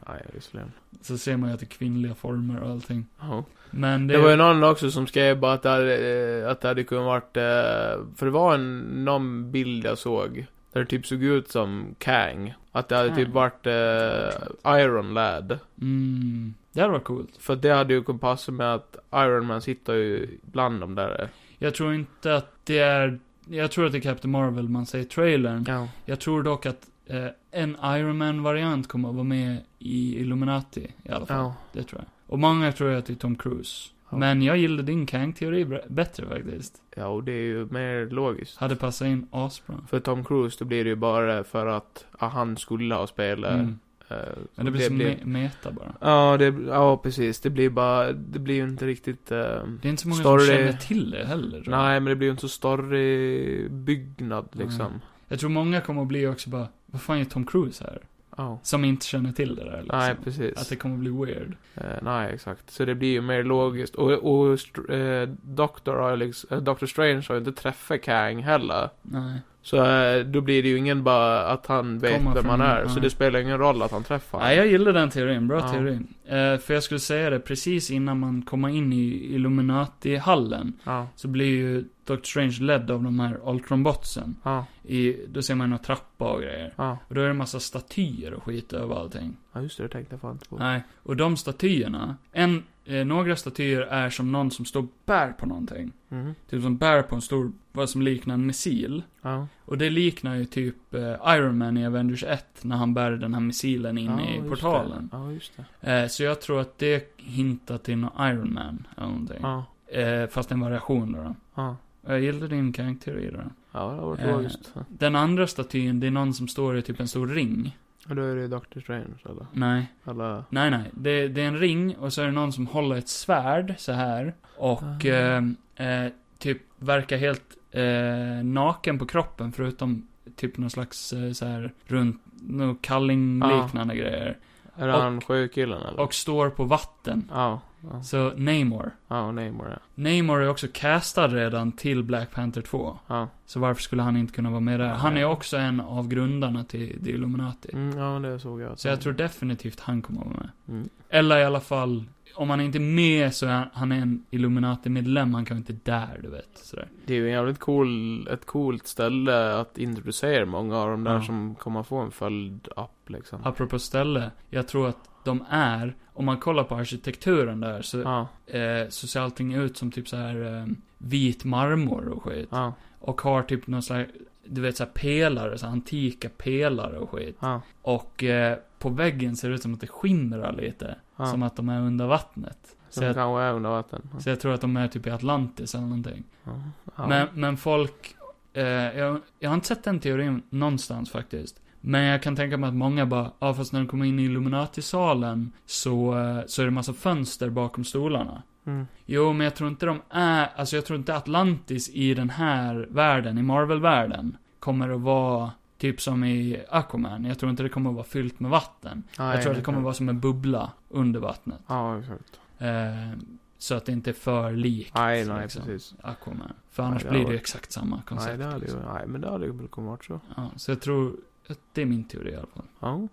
Speaker 2: nej, visserligen.
Speaker 1: så ser man ju att det är kvinnliga former och allting.
Speaker 2: Ja.
Speaker 1: Men det...
Speaker 2: Det var ju någon också som skrev bara att det hade, eh, att det hade kunnat varit... eh, För det var en, någon bild jag såg. Där det typ såg ut som Kang. Att det hade typ
Speaker 1: Kang.
Speaker 2: varit eh, Iron Lad.
Speaker 1: Mm, det här var coolt.
Speaker 2: För det hade ju kunnat passa med att Iron Man sitter ju bland de där.
Speaker 1: Jag tror inte att det är... Jag tror att det är Captain Marvel man säger i trailern.
Speaker 2: Ja.
Speaker 1: Jag tror dock att eh, en Iron Man-variant kommer att vara med i Illuminati i alla fall.
Speaker 2: Ja.
Speaker 1: Det tror jag. Och många tror ju att det är Tom Cruise.
Speaker 2: Ja.
Speaker 1: Men jag gillade din Kang-teori bra- bättre faktiskt.
Speaker 2: Ja, och det är ju mer logiskt.
Speaker 1: Hade passat in asbra.
Speaker 2: För Tom Cruise, då blir det ju bara för att ja, han skulle ha spelat.
Speaker 1: Mm.
Speaker 2: eh, så
Speaker 1: Men det blir som me- meta bara.
Speaker 2: Ja, det, ja, precis. Det blir bara, det blir ju inte riktigt... eh,
Speaker 1: Det är inte så många
Speaker 2: Story-
Speaker 1: som känner till det heller. tror jag.
Speaker 2: nej, men det blir ju inte så större byggnad liksom.
Speaker 1: Jag tror många kommer att bli också bara, vad fan är Tom Cruise här?
Speaker 2: Ja.
Speaker 1: Som inte känner till det där liksom.
Speaker 2: Nej, precis.
Speaker 1: Att det kommer att bli weird.
Speaker 2: Eh, nej, exakt. Så det blir ju mer logiskt. Och, och str- eh, Doctor, har ju liksom, eh, Doctor Strange har ju inte träffat Kang heller.
Speaker 1: Nej.
Speaker 2: Så eh, då blir det ju ingen bara att han vet
Speaker 1: Kommer
Speaker 2: vem
Speaker 1: från-
Speaker 2: han är. Så
Speaker 1: nej.
Speaker 2: det spelar ingen roll att han träffar
Speaker 1: Nej, jag gillar den teorin. Bra
Speaker 2: Ja.
Speaker 1: teori. Eh, för jag skulle säga det, precis innan man kommer in i Illuminati-hallen
Speaker 2: Ja.
Speaker 1: så blir ju Dr. Strange ledd av de här Ultronbotsen.
Speaker 2: Ja.
Speaker 1: I, då ser man några trappa och grejer.
Speaker 2: Ja.
Speaker 1: Och då är det en massa statyer och skit över allting.
Speaker 2: Ja, just det. Det tänkte jag fan inte på.
Speaker 1: Nej. Och de statyerna, en, eh, några statyer är som någon som står och bär på någonting.
Speaker 2: Mhm.
Speaker 1: Typ som bär på en stor, vad som liknar en missil.
Speaker 2: Ja.
Speaker 1: Och det liknar ju typ eh, Iron Man i Avengers 1 när han bär den här missilen in
Speaker 2: ja,
Speaker 1: i
Speaker 2: just
Speaker 1: portalen.
Speaker 2: Det. Ja, just det.
Speaker 1: Eh, så jag tror att det hintar till någon Iron Man eller någonting.
Speaker 2: Ja.
Speaker 1: Eh, fast en variation då. då.
Speaker 2: Ja.
Speaker 1: Jag gillar din karaktär i det.
Speaker 2: Ja, det har varit
Speaker 1: Eh.
Speaker 2: logiskt.
Speaker 1: Den andra statyn, det är någon som står i typ en stor ring.
Speaker 2: Och då är det Doctor Strange, eller?
Speaker 1: Nej.
Speaker 2: Eller...
Speaker 1: Nej, nej. Det, det är en ring och så är det någon som håller ett svärd så här och
Speaker 2: Ah.
Speaker 1: ehm, eh, typ verkar helt eh, naken på kroppen förutom typ någon slags eh, så här runt, någon
Speaker 2: Ah.
Speaker 1: kallingliknande grejer.
Speaker 2: Är det
Speaker 1: Och-
Speaker 2: han sjökillen, eller?
Speaker 1: Och står på vatten.
Speaker 2: Ja. Ja,
Speaker 1: Så Namor.
Speaker 2: ja och Namor, ja.
Speaker 1: Namor är också castad redan till Black Panther 2.
Speaker 2: Ja,
Speaker 1: Så varför skulle han inte kunna vara med där? Han är
Speaker 2: Nej.
Speaker 1: också en av grundarna till The Illuminati.
Speaker 2: mm, ja det såg jag.
Speaker 1: Så jag tror definitivt han kommer att vara med.
Speaker 2: Mm.
Speaker 1: Eller i alla fall, om han inte är med så är han, han är en Illuminati-medlem, han kan ju inte där, du vet. Sådär.
Speaker 2: Det är ju en jävligt cool, ett coolt ställe att introducera många av de där
Speaker 1: Ja.
Speaker 2: som kommer få en följd upp liksom.
Speaker 1: Apropå ställe, jag tror att de är, om man kollar på arkitekturen där, så,
Speaker 2: Ja,
Speaker 1: eh, så ser allting ut som typ så här eh, vit marmor och skit.
Speaker 2: ja,
Speaker 1: Och har typ någon slags, du vet såhär pelare, så här antika pelare och skit.
Speaker 2: ja.
Speaker 1: Och eh, på väggen ser det ut som att det skimrar lite.
Speaker 2: ja.
Speaker 1: Som att de är under vattnet. Så
Speaker 2: Som
Speaker 1: jag,
Speaker 2: kanske är under vatten.
Speaker 1: så jag tror att de är typ i Atlantis eller någonting.
Speaker 2: Ja. Ja.
Speaker 1: Men, men folk, eh, jag, jag har inte sett den teorin någonstans faktiskt. Men jag kan tänka mig att många bara, ja ah, fast när de kommer in i Illuminati-salen så, eh, så är det massa fönster bakom stolarna.
Speaker 2: Mm.
Speaker 1: Jo, men jag tror inte de är, alltså jag tror inte Atlantis i den här världen, i Marvel-världen, kommer att vara typ som i Aquaman. Jag tror inte det kommer att vara fyllt med vatten.
Speaker 2: Nej,
Speaker 1: jag tror att det kommer att vara som en bubbla under vattnet.
Speaker 2: Ja, exakt.
Speaker 1: Eh, så att det inte är för likt.
Speaker 2: Nej, nej,
Speaker 1: liksom.
Speaker 2: precis.
Speaker 1: Aquaman. För
Speaker 2: Nej,
Speaker 1: annars
Speaker 2: det
Speaker 1: blir
Speaker 2: hade
Speaker 1: det ju
Speaker 2: varit-
Speaker 1: exakt samma koncept.
Speaker 2: nej, det hade ju,
Speaker 1: liksom.
Speaker 2: nej, men det hade ju väl kunnat vara så.
Speaker 1: ja, så jag tror att det är min teori i alla fall.
Speaker 2: Ja.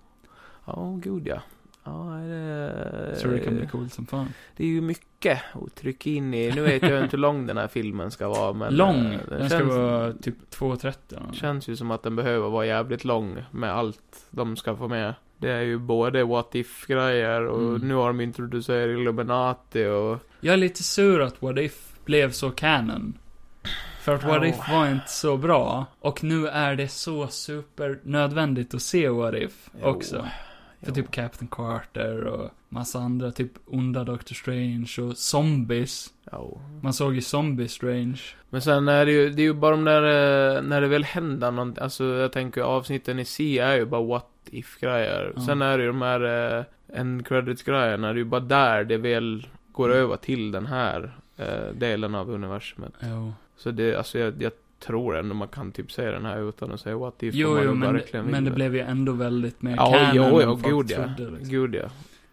Speaker 2: Ja, god ja. Ja, nej, det...
Speaker 1: Jag tror det kan
Speaker 2: Eh,
Speaker 1: bli coolt som fan.
Speaker 2: Det är ju mycket att trycka in i. Nu vet jag ju inte hur lång den här filmen ska vara, men...
Speaker 1: Lång.
Speaker 2: eh,
Speaker 1: Den ska vara typ 2.30 eller något.
Speaker 2: Känns ju som att den behöver vara jävligt lång med allt de ska få med. Det är ju både what if-grejer och
Speaker 1: Mm.
Speaker 2: nu har de introducerat Illuminati och...
Speaker 1: Jag är lite sur att What If blev så canon. För att What
Speaker 2: Ja.
Speaker 1: If var inte så bra. Och nu är det så super nödvändigt att se What If
Speaker 2: Jo.
Speaker 1: också. För typ Captain Carter och massa andra, typ onda Doctor Strange och zombies.
Speaker 2: Ja.
Speaker 1: Man såg ju Zombie Strange.
Speaker 2: Men sen är det ju, det är ju bara de där, eh, när det väl händer någonting, alltså jag tänker avsnitten i sig är ju bara what if-grejer.
Speaker 1: Ja.
Speaker 2: Sen är det ju de här eh, end credits-grejerna, det är ju bara där det väl går
Speaker 1: Mm.
Speaker 2: över till den här eh, delen av universumet.
Speaker 1: Jo,
Speaker 2: Så det, alltså jag, jag tror ändå man kan typ säga den här utan att säga what if. om
Speaker 1: jo,
Speaker 2: man
Speaker 1: jo
Speaker 2: nu
Speaker 1: men,
Speaker 2: verkligen vill
Speaker 1: men det blev ju ändå väldigt mer
Speaker 2: Ja,
Speaker 1: canon
Speaker 2: jo,
Speaker 1: än
Speaker 2: jo,
Speaker 1: folk
Speaker 2: gud ja.
Speaker 1: trodde, liksom.
Speaker 2: Gud ja.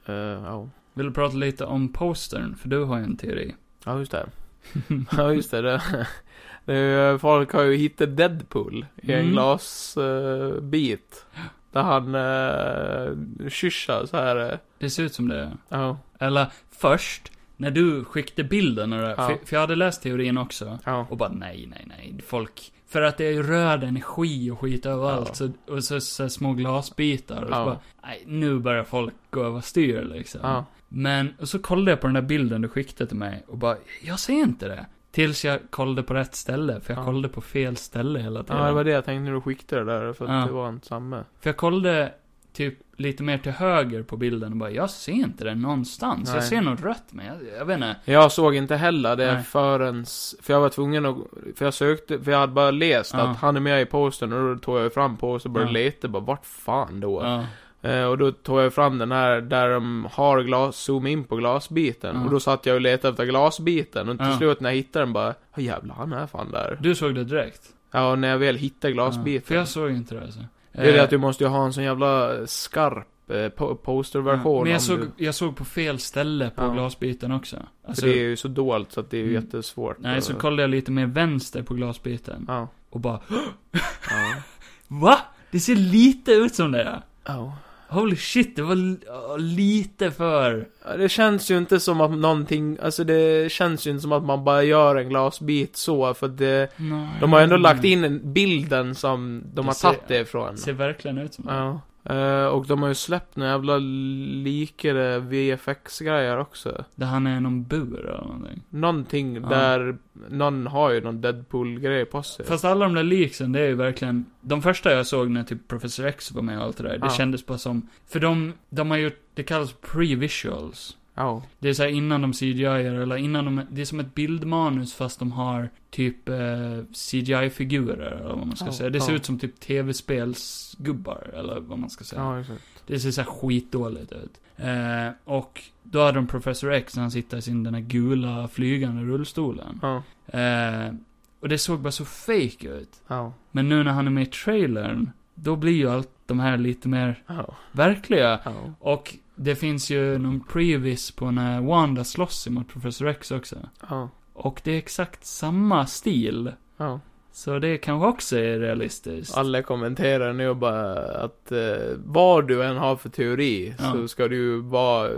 Speaker 2: Eh, ja.
Speaker 1: Vill du prata lite om postern? För du har ju en teori.
Speaker 2: Ja, just det. ja, just det. det. det är, ju- folk har ju hittat Deadpool i en
Speaker 1: Mm.
Speaker 2: glasbit. där han uh, kyssar så här. eh,
Speaker 1: Det ser ut som det.
Speaker 2: Ja,
Speaker 1: Eller först, när du skickade bilden och det,
Speaker 2: Ja.
Speaker 1: för, för jag hade läst teorin också.
Speaker 2: ja.
Speaker 1: Och bara nej, nej, nej. Folk... För att det är ju röd energi och skit överallt.
Speaker 2: Ja.
Speaker 1: Så, och så, så små glasbitar. Och så
Speaker 2: Ja.
Speaker 1: bara, nej, nu börjar folk gå överstyr liksom.
Speaker 2: Ja,
Speaker 1: Men, och så kollade jag på den där bilden du skickade till mig och bara, jag ser inte det. Tills jag kollade på rätt ställe, för jag
Speaker 2: Ja.
Speaker 1: kollade på fel ställe hela tiden.
Speaker 2: ja, det var det jag tänkte när du skickade det där, för att
Speaker 1: Ja.
Speaker 2: det var inte samma.
Speaker 1: För jag kollade typ lite mer till höger på bilden och bara, jag ser inte det någonstans. Jag
Speaker 2: Nej.
Speaker 1: ser något rött, men jag, jag vet inte.
Speaker 2: Jag såg inte heller det
Speaker 1: Nej.
Speaker 2: förrän, s- för jag var tvungen att, för jag sökte, för jag hade bara läst
Speaker 1: Ja.
Speaker 2: att han är med i posten och då tog jag fram posten och började
Speaker 1: Ja.
Speaker 2: leta, bara vart fan då?
Speaker 1: Ja,
Speaker 2: Eh, och då tog jag fram den här där de har glas, zoom in på glasbiten.
Speaker 1: Ja.
Speaker 2: Och då satt jag och letade efter glasbiten. Och till
Speaker 1: Ja.
Speaker 2: slut när jag hittade den bara, ja jävlar han är fan där.
Speaker 1: du såg det direkt.
Speaker 2: Ja, och när jag väl hittade
Speaker 1: Ja, för
Speaker 2: glasbiten.
Speaker 1: jag såg inte det alltså.
Speaker 2: Det är det
Speaker 1: Eh,
Speaker 2: att du måste ju ha en sån jävla skarp eh, po- posterversion.
Speaker 1: ja, Men
Speaker 2: om
Speaker 1: jag såg,
Speaker 2: du,
Speaker 1: jag såg på fel ställe på
Speaker 2: Ja.
Speaker 1: glasbiten också. Alltså,
Speaker 2: för det är ju så dolt så att det är ju
Speaker 1: Mm.
Speaker 2: jättesvårt.
Speaker 1: nej, så
Speaker 2: Eh,
Speaker 1: kollade jag lite mer vänster på glasbiten.
Speaker 2: Ja.
Speaker 1: Och bara,
Speaker 2: Ja.
Speaker 1: va? Det ser lite ut som det. Ja.
Speaker 2: ja.
Speaker 1: Holy shit, det var l- ja, lite för...
Speaker 2: Ja, Det känns ju inte som att någonting, alltså det känns ju inte som att man bara gör en glasbit så, för att det,
Speaker 1: Nej.
Speaker 2: de har ju ändå lagt in en- bilden som de
Speaker 1: Mm. Det
Speaker 2: har
Speaker 1: ser-
Speaker 2: tagit det ifrån.
Speaker 1: Det ser verkligen ut som det.
Speaker 2: Ja. Eh, och de har ju släppt några jävla likare VFX-grejer också.
Speaker 1: Där han är i någon bur eller någonting.
Speaker 2: Någonting
Speaker 1: Ja.
Speaker 2: där någon har ju någon Deadpool-grej på sig.
Speaker 1: Fast alla de där leaksen, det är ju verkligen... De första jag såg när typ Professor X var med och allt det där, det
Speaker 2: Ja.
Speaker 1: kändes bara som... För de, de har gjort, det kallas pre-visuals.
Speaker 2: Ja.
Speaker 1: Det är såhär innan de cgi eller innan de... Det är som ett bildmanus fast de har typ eh, CGI-figurer, eller vad man ska
Speaker 2: Ja,
Speaker 1: säga. Det ser
Speaker 2: ja.
Speaker 1: ut som typ tv-spelsgubbar, eller vad man ska säga.
Speaker 2: Ja, exakt.
Speaker 1: Det ser så här skitdåligt ut. Eh, och då hade de Professor X när han sitter i sin den här gula flygande rullstolen.
Speaker 2: Ja.
Speaker 1: Eh, och det såg bara så fake ut.
Speaker 2: Ja.
Speaker 1: Men nu när han är med i trailern, då blir ju allt de här lite mer
Speaker 2: Ja.
Speaker 1: verkliga.
Speaker 2: Ja.
Speaker 1: Och det finns ju någon previs på när Wanda slåss emot Professor X också.
Speaker 2: Ja.
Speaker 1: Och det är exakt samma stil.
Speaker 2: ja.
Speaker 1: Så det kanske också är realistiskt.
Speaker 2: Alla kommenterar nu bara att eh, vad du än har för teori
Speaker 1: Ja.
Speaker 2: så ska du ju vara,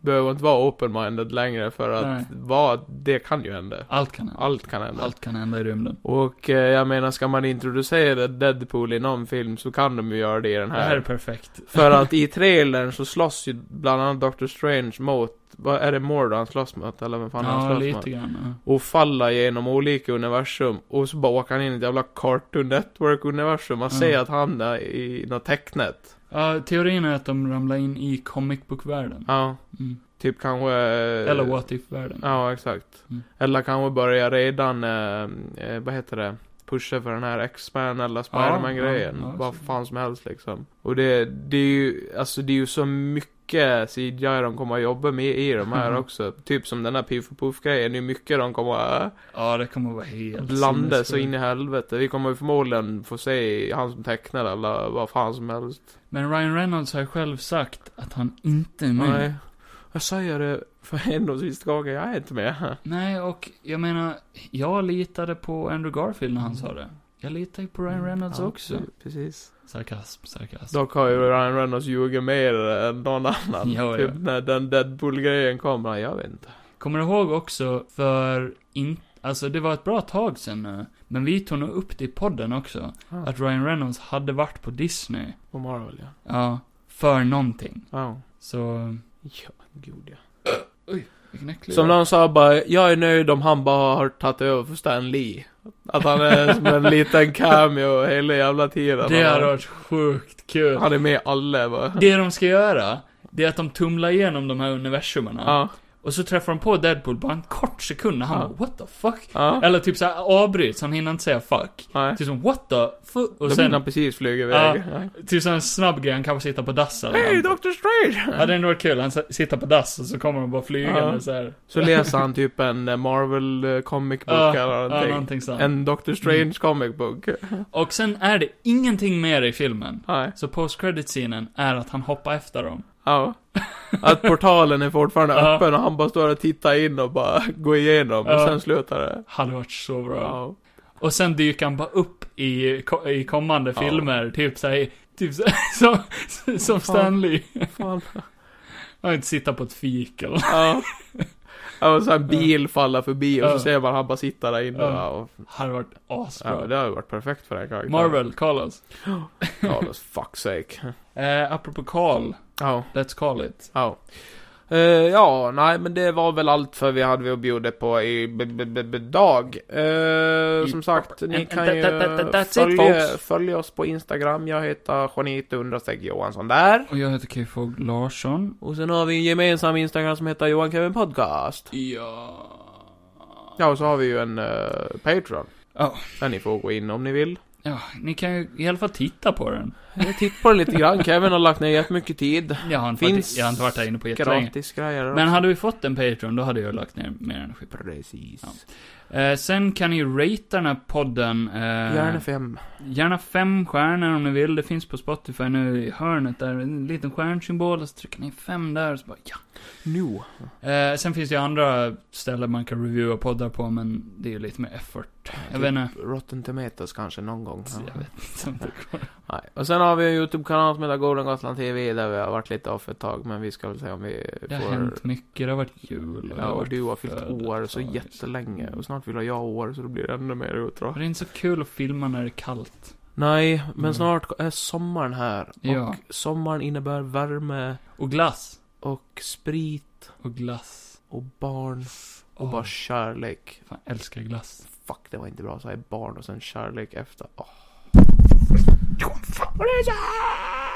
Speaker 2: behöver inte vara open-minded längre för
Speaker 1: Nej.
Speaker 2: att vad, det kan ju hända.
Speaker 1: Allt kan hända.
Speaker 2: Allt kan hända.
Speaker 1: Allt kan hända i rymden.
Speaker 2: Och eh, jag menar, ska man introducera Deadpool i någon film så kan de ju göra det i den
Speaker 1: Det här är
Speaker 2: här.
Speaker 1: perfekt.
Speaker 2: För att i trailern så slåss ju bland annat Doctor Strange mot, vad är det Mord han slåss mot? Eller vem fan han
Speaker 1: Ja,
Speaker 2: slåss mot?
Speaker 1: lite grann. ja.
Speaker 2: Och falla genom olika universum och så bara åker han in i ett jävla Cartoon Network-universum. Man
Speaker 1: Mm.
Speaker 2: ser att han är i något tecknet.
Speaker 1: Ja, teorin är att de ramlar in i comic book-världen.
Speaker 2: Ja,
Speaker 1: Mm.
Speaker 2: typ kanske... eh,
Speaker 1: Eller what if-världen.
Speaker 2: Ja, exakt.
Speaker 1: Mm.
Speaker 2: Eller kanske börja redan, eh, eh, vad heter det, pusha för den här X-Men eller Spiderman-grejen.
Speaker 1: ja, ja,
Speaker 2: vad
Speaker 1: så-
Speaker 2: fan som helst liksom. Och det, det är ju, alltså det är ju så mycket CGI de kommer att jobba med i de här
Speaker 1: Mhm.
Speaker 2: också. Typ som den här Piff och Puff-grejen, det är mycket de kommer att
Speaker 1: Ja, det kommer vara helt
Speaker 2: blanda så
Speaker 1: sinnessjukt.
Speaker 2: in i helvete. Vi kommer ju förmodligen få se han som tecknar eller vad fan som helst.
Speaker 1: Men Ryan Reynolds har ju själv sagt att han inte är med.
Speaker 2: Nej. Jag säger det för en och sista gången, jag är inte med.
Speaker 1: Nej, och jag menar, jag litade på Andrew Garfield när han sa det. Jag litar ju på Ryan Reynolds
Speaker 2: Mm. Ja,
Speaker 1: också.
Speaker 2: Precis.
Speaker 1: Sarkasm, sarkasm.
Speaker 2: Dock har ju Ryan Reynolds ljugit mer än någon annan.
Speaker 1: Ja,
Speaker 2: typ
Speaker 1: ja.
Speaker 2: när den Deadpool-grejen kom, nej, jag vet inte.
Speaker 1: Kommer du ihåg också för in, alltså det var ett bra tag sen nu, men vi tog nog upp det i podden också,
Speaker 2: Ja.
Speaker 1: att Ryan Reynolds hade varit på Disney.
Speaker 2: Och Marvel, ja.
Speaker 1: Ja, för någonting.
Speaker 2: Ja.
Speaker 1: Så,
Speaker 2: Ja, gud ja.
Speaker 1: vilken äcklig
Speaker 2: Som
Speaker 1: röst.
Speaker 2: någon sa bara, jag är nöjd om han bara har tagit över för Stan Lee. Att han är som en liten cameo hela jävla tiden.
Speaker 1: Det hade
Speaker 2: han,
Speaker 1: varit sjukt kul.
Speaker 2: han är med i alla bara.
Speaker 1: Det de ska göra, det är att de tumlar igenom de här universumerna.
Speaker 2: Ja.
Speaker 1: Och så träffar de på Deadpool bara en kort sekund och han
Speaker 2: Ja.
Speaker 1: bara, what the fuck?
Speaker 2: Ja.
Speaker 1: Eller typ såhär avbryts, han hinner inte säga fuck.
Speaker 2: Nej.
Speaker 1: Typ som what the fuck? Och
Speaker 2: Då sen...
Speaker 1: sen,
Speaker 2: han precis flyger
Speaker 1: Ja.
Speaker 2: iväg. Nej.
Speaker 1: typ som en snabb grej, han kan bara sitta på dass eller
Speaker 2: Hej,
Speaker 1: något.
Speaker 2: Dr. Strange!
Speaker 1: Ja, det hade varit kul. Han s- sitter på dass och så kommer de bara flygande
Speaker 2: Ja.
Speaker 1: så här.
Speaker 2: Så läser han typ en eh, Marvel eh, comic book
Speaker 1: Ja,
Speaker 2: eller
Speaker 1: Ja,
Speaker 2: någonting.
Speaker 1: ah, någonting sånt.
Speaker 2: en Dr. Strange comic book.
Speaker 1: Och sen är det ingenting mer i filmen.
Speaker 2: Nej.
Speaker 1: Så post credit scenen är att han hoppar efter dem.
Speaker 2: Ja. Att portalen är fortfarande
Speaker 1: Ja.
Speaker 2: öppen och han bara står och tittar in och bara går igenom och
Speaker 1: Ja.
Speaker 2: sen slutar det.
Speaker 1: Hade varit så bra.
Speaker 2: Ja.
Speaker 1: Och sen dyker han bara upp i, ko- i kommande
Speaker 2: Ja.
Speaker 1: filmer. Typ såhär, typ så, som, som Stanley.
Speaker 2: Fan.
Speaker 1: Han inte sitta på ett fik eller
Speaker 2: Ja. Ja, och så en bil faller förbi och
Speaker 1: Ja.
Speaker 2: så ser man han bara sitta där inne.
Speaker 1: Ja.
Speaker 2: Ja. Och,
Speaker 1: Hade varit
Speaker 2: ja,
Speaker 1: asbra.
Speaker 2: det har ju varit perfekt för den här karaktären.
Speaker 1: Marvel, call us.
Speaker 2: Ja, that's fuck's sake.
Speaker 1: Eh, apropå call,
Speaker 2: Ja.
Speaker 1: let's call it.
Speaker 2: Ja. Eh, ja, nej men det var väl allt för vi hade vi att bjuda på i b- b- b- b- dag. Eh, som sagt, ni
Speaker 1: and
Speaker 2: kan
Speaker 1: that-
Speaker 2: ju
Speaker 1: that- that- that- that's it,
Speaker 2: följa,
Speaker 1: folks.
Speaker 2: följa oss på Instagram. Jag heter Juanito understreck Johansson där.
Speaker 1: Och jag heter K. Fogg Larsson.
Speaker 2: Och sen har vi en gemensam Instagram som heter Johan Kevin Podcast.
Speaker 1: Ja...
Speaker 2: Ja, och så har vi ju en eh, Patreon.
Speaker 1: Ja.
Speaker 2: Där ni får gå in om ni vill.
Speaker 1: Ja, ni kan ju i alla fall titta på den.
Speaker 2: Titta på det lite grann. Kevin har lagt ner jättemycket tid.
Speaker 1: Jag har inte,
Speaker 2: Finns
Speaker 1: varit, jag har inte varit där inne på jättelänge.
Speaker 2: Gratis grejer
Speaker 1: Men hade vi fått en Patreon, då hade jag lagt ner mer energi på
Speaker 2: Precis.
Speaker 1: Ja. det. Eh, sen kan ni ju rate den här podden. Eh,
Speaker 2: Gärna fem.
Speaker 1: gärna fem stjärnor om ni vill. Det finns på Spotify nu i hörnet där. En liten stjärnsymbol, och så trycker ni fem där, och så bara ja.
Speaker 2: Nu.
Speaker 1: Eh, sen finns det ju andra ställen man kan reviewa poddar på, men det är ju lite mer effort. Jag vet inte.
Speaker 2: Typ Rotten Tomatoes kanske någon gång.
Speaker 1: Jag vet inte. om det går.
Speaker 2: Nej. Och sen har vi en YouTube-kanal som heter Golden Gotland TV där vi har varit lite av ett tag men vi ska väl se om vi
Speaker 1: Det har
Speaker 2: får...
Speaker 1: hänt mycket. Det har varit jul.
Speaker 2: Ja, och du har fyllt
Speaker 1: född,
Speaker 2: år så
Speaker 1: ja, just.
Speaker 2: jättelänge och snart fyller jag år så då blir det ännu mer
Speaker 1: Och
Speaker 2: utdrag.
Speaker 1: Det är inte så kul att filma när det är kallt.
Speaker 2: Nej, men
Speaker 1: Mm.
Speaker 2: snart är sommaren här.
Speaker 1: Ja.
Speaker 2: Och sommaren innebär värme
Speaker 1: Och glass.
Speaker 2: och sprit
Speaker 1: Och glass.
Speaker 2: och barn och
Speaker 1: Åh,
Speaker 2: bara kärlek.
Speaker 1: Fan, älskar glass.
Speaker 2: Fuck, det var inte bra att säga barn och sen kärlek efter. Åh.
Speaker 1: Johan, fan vad det är så här!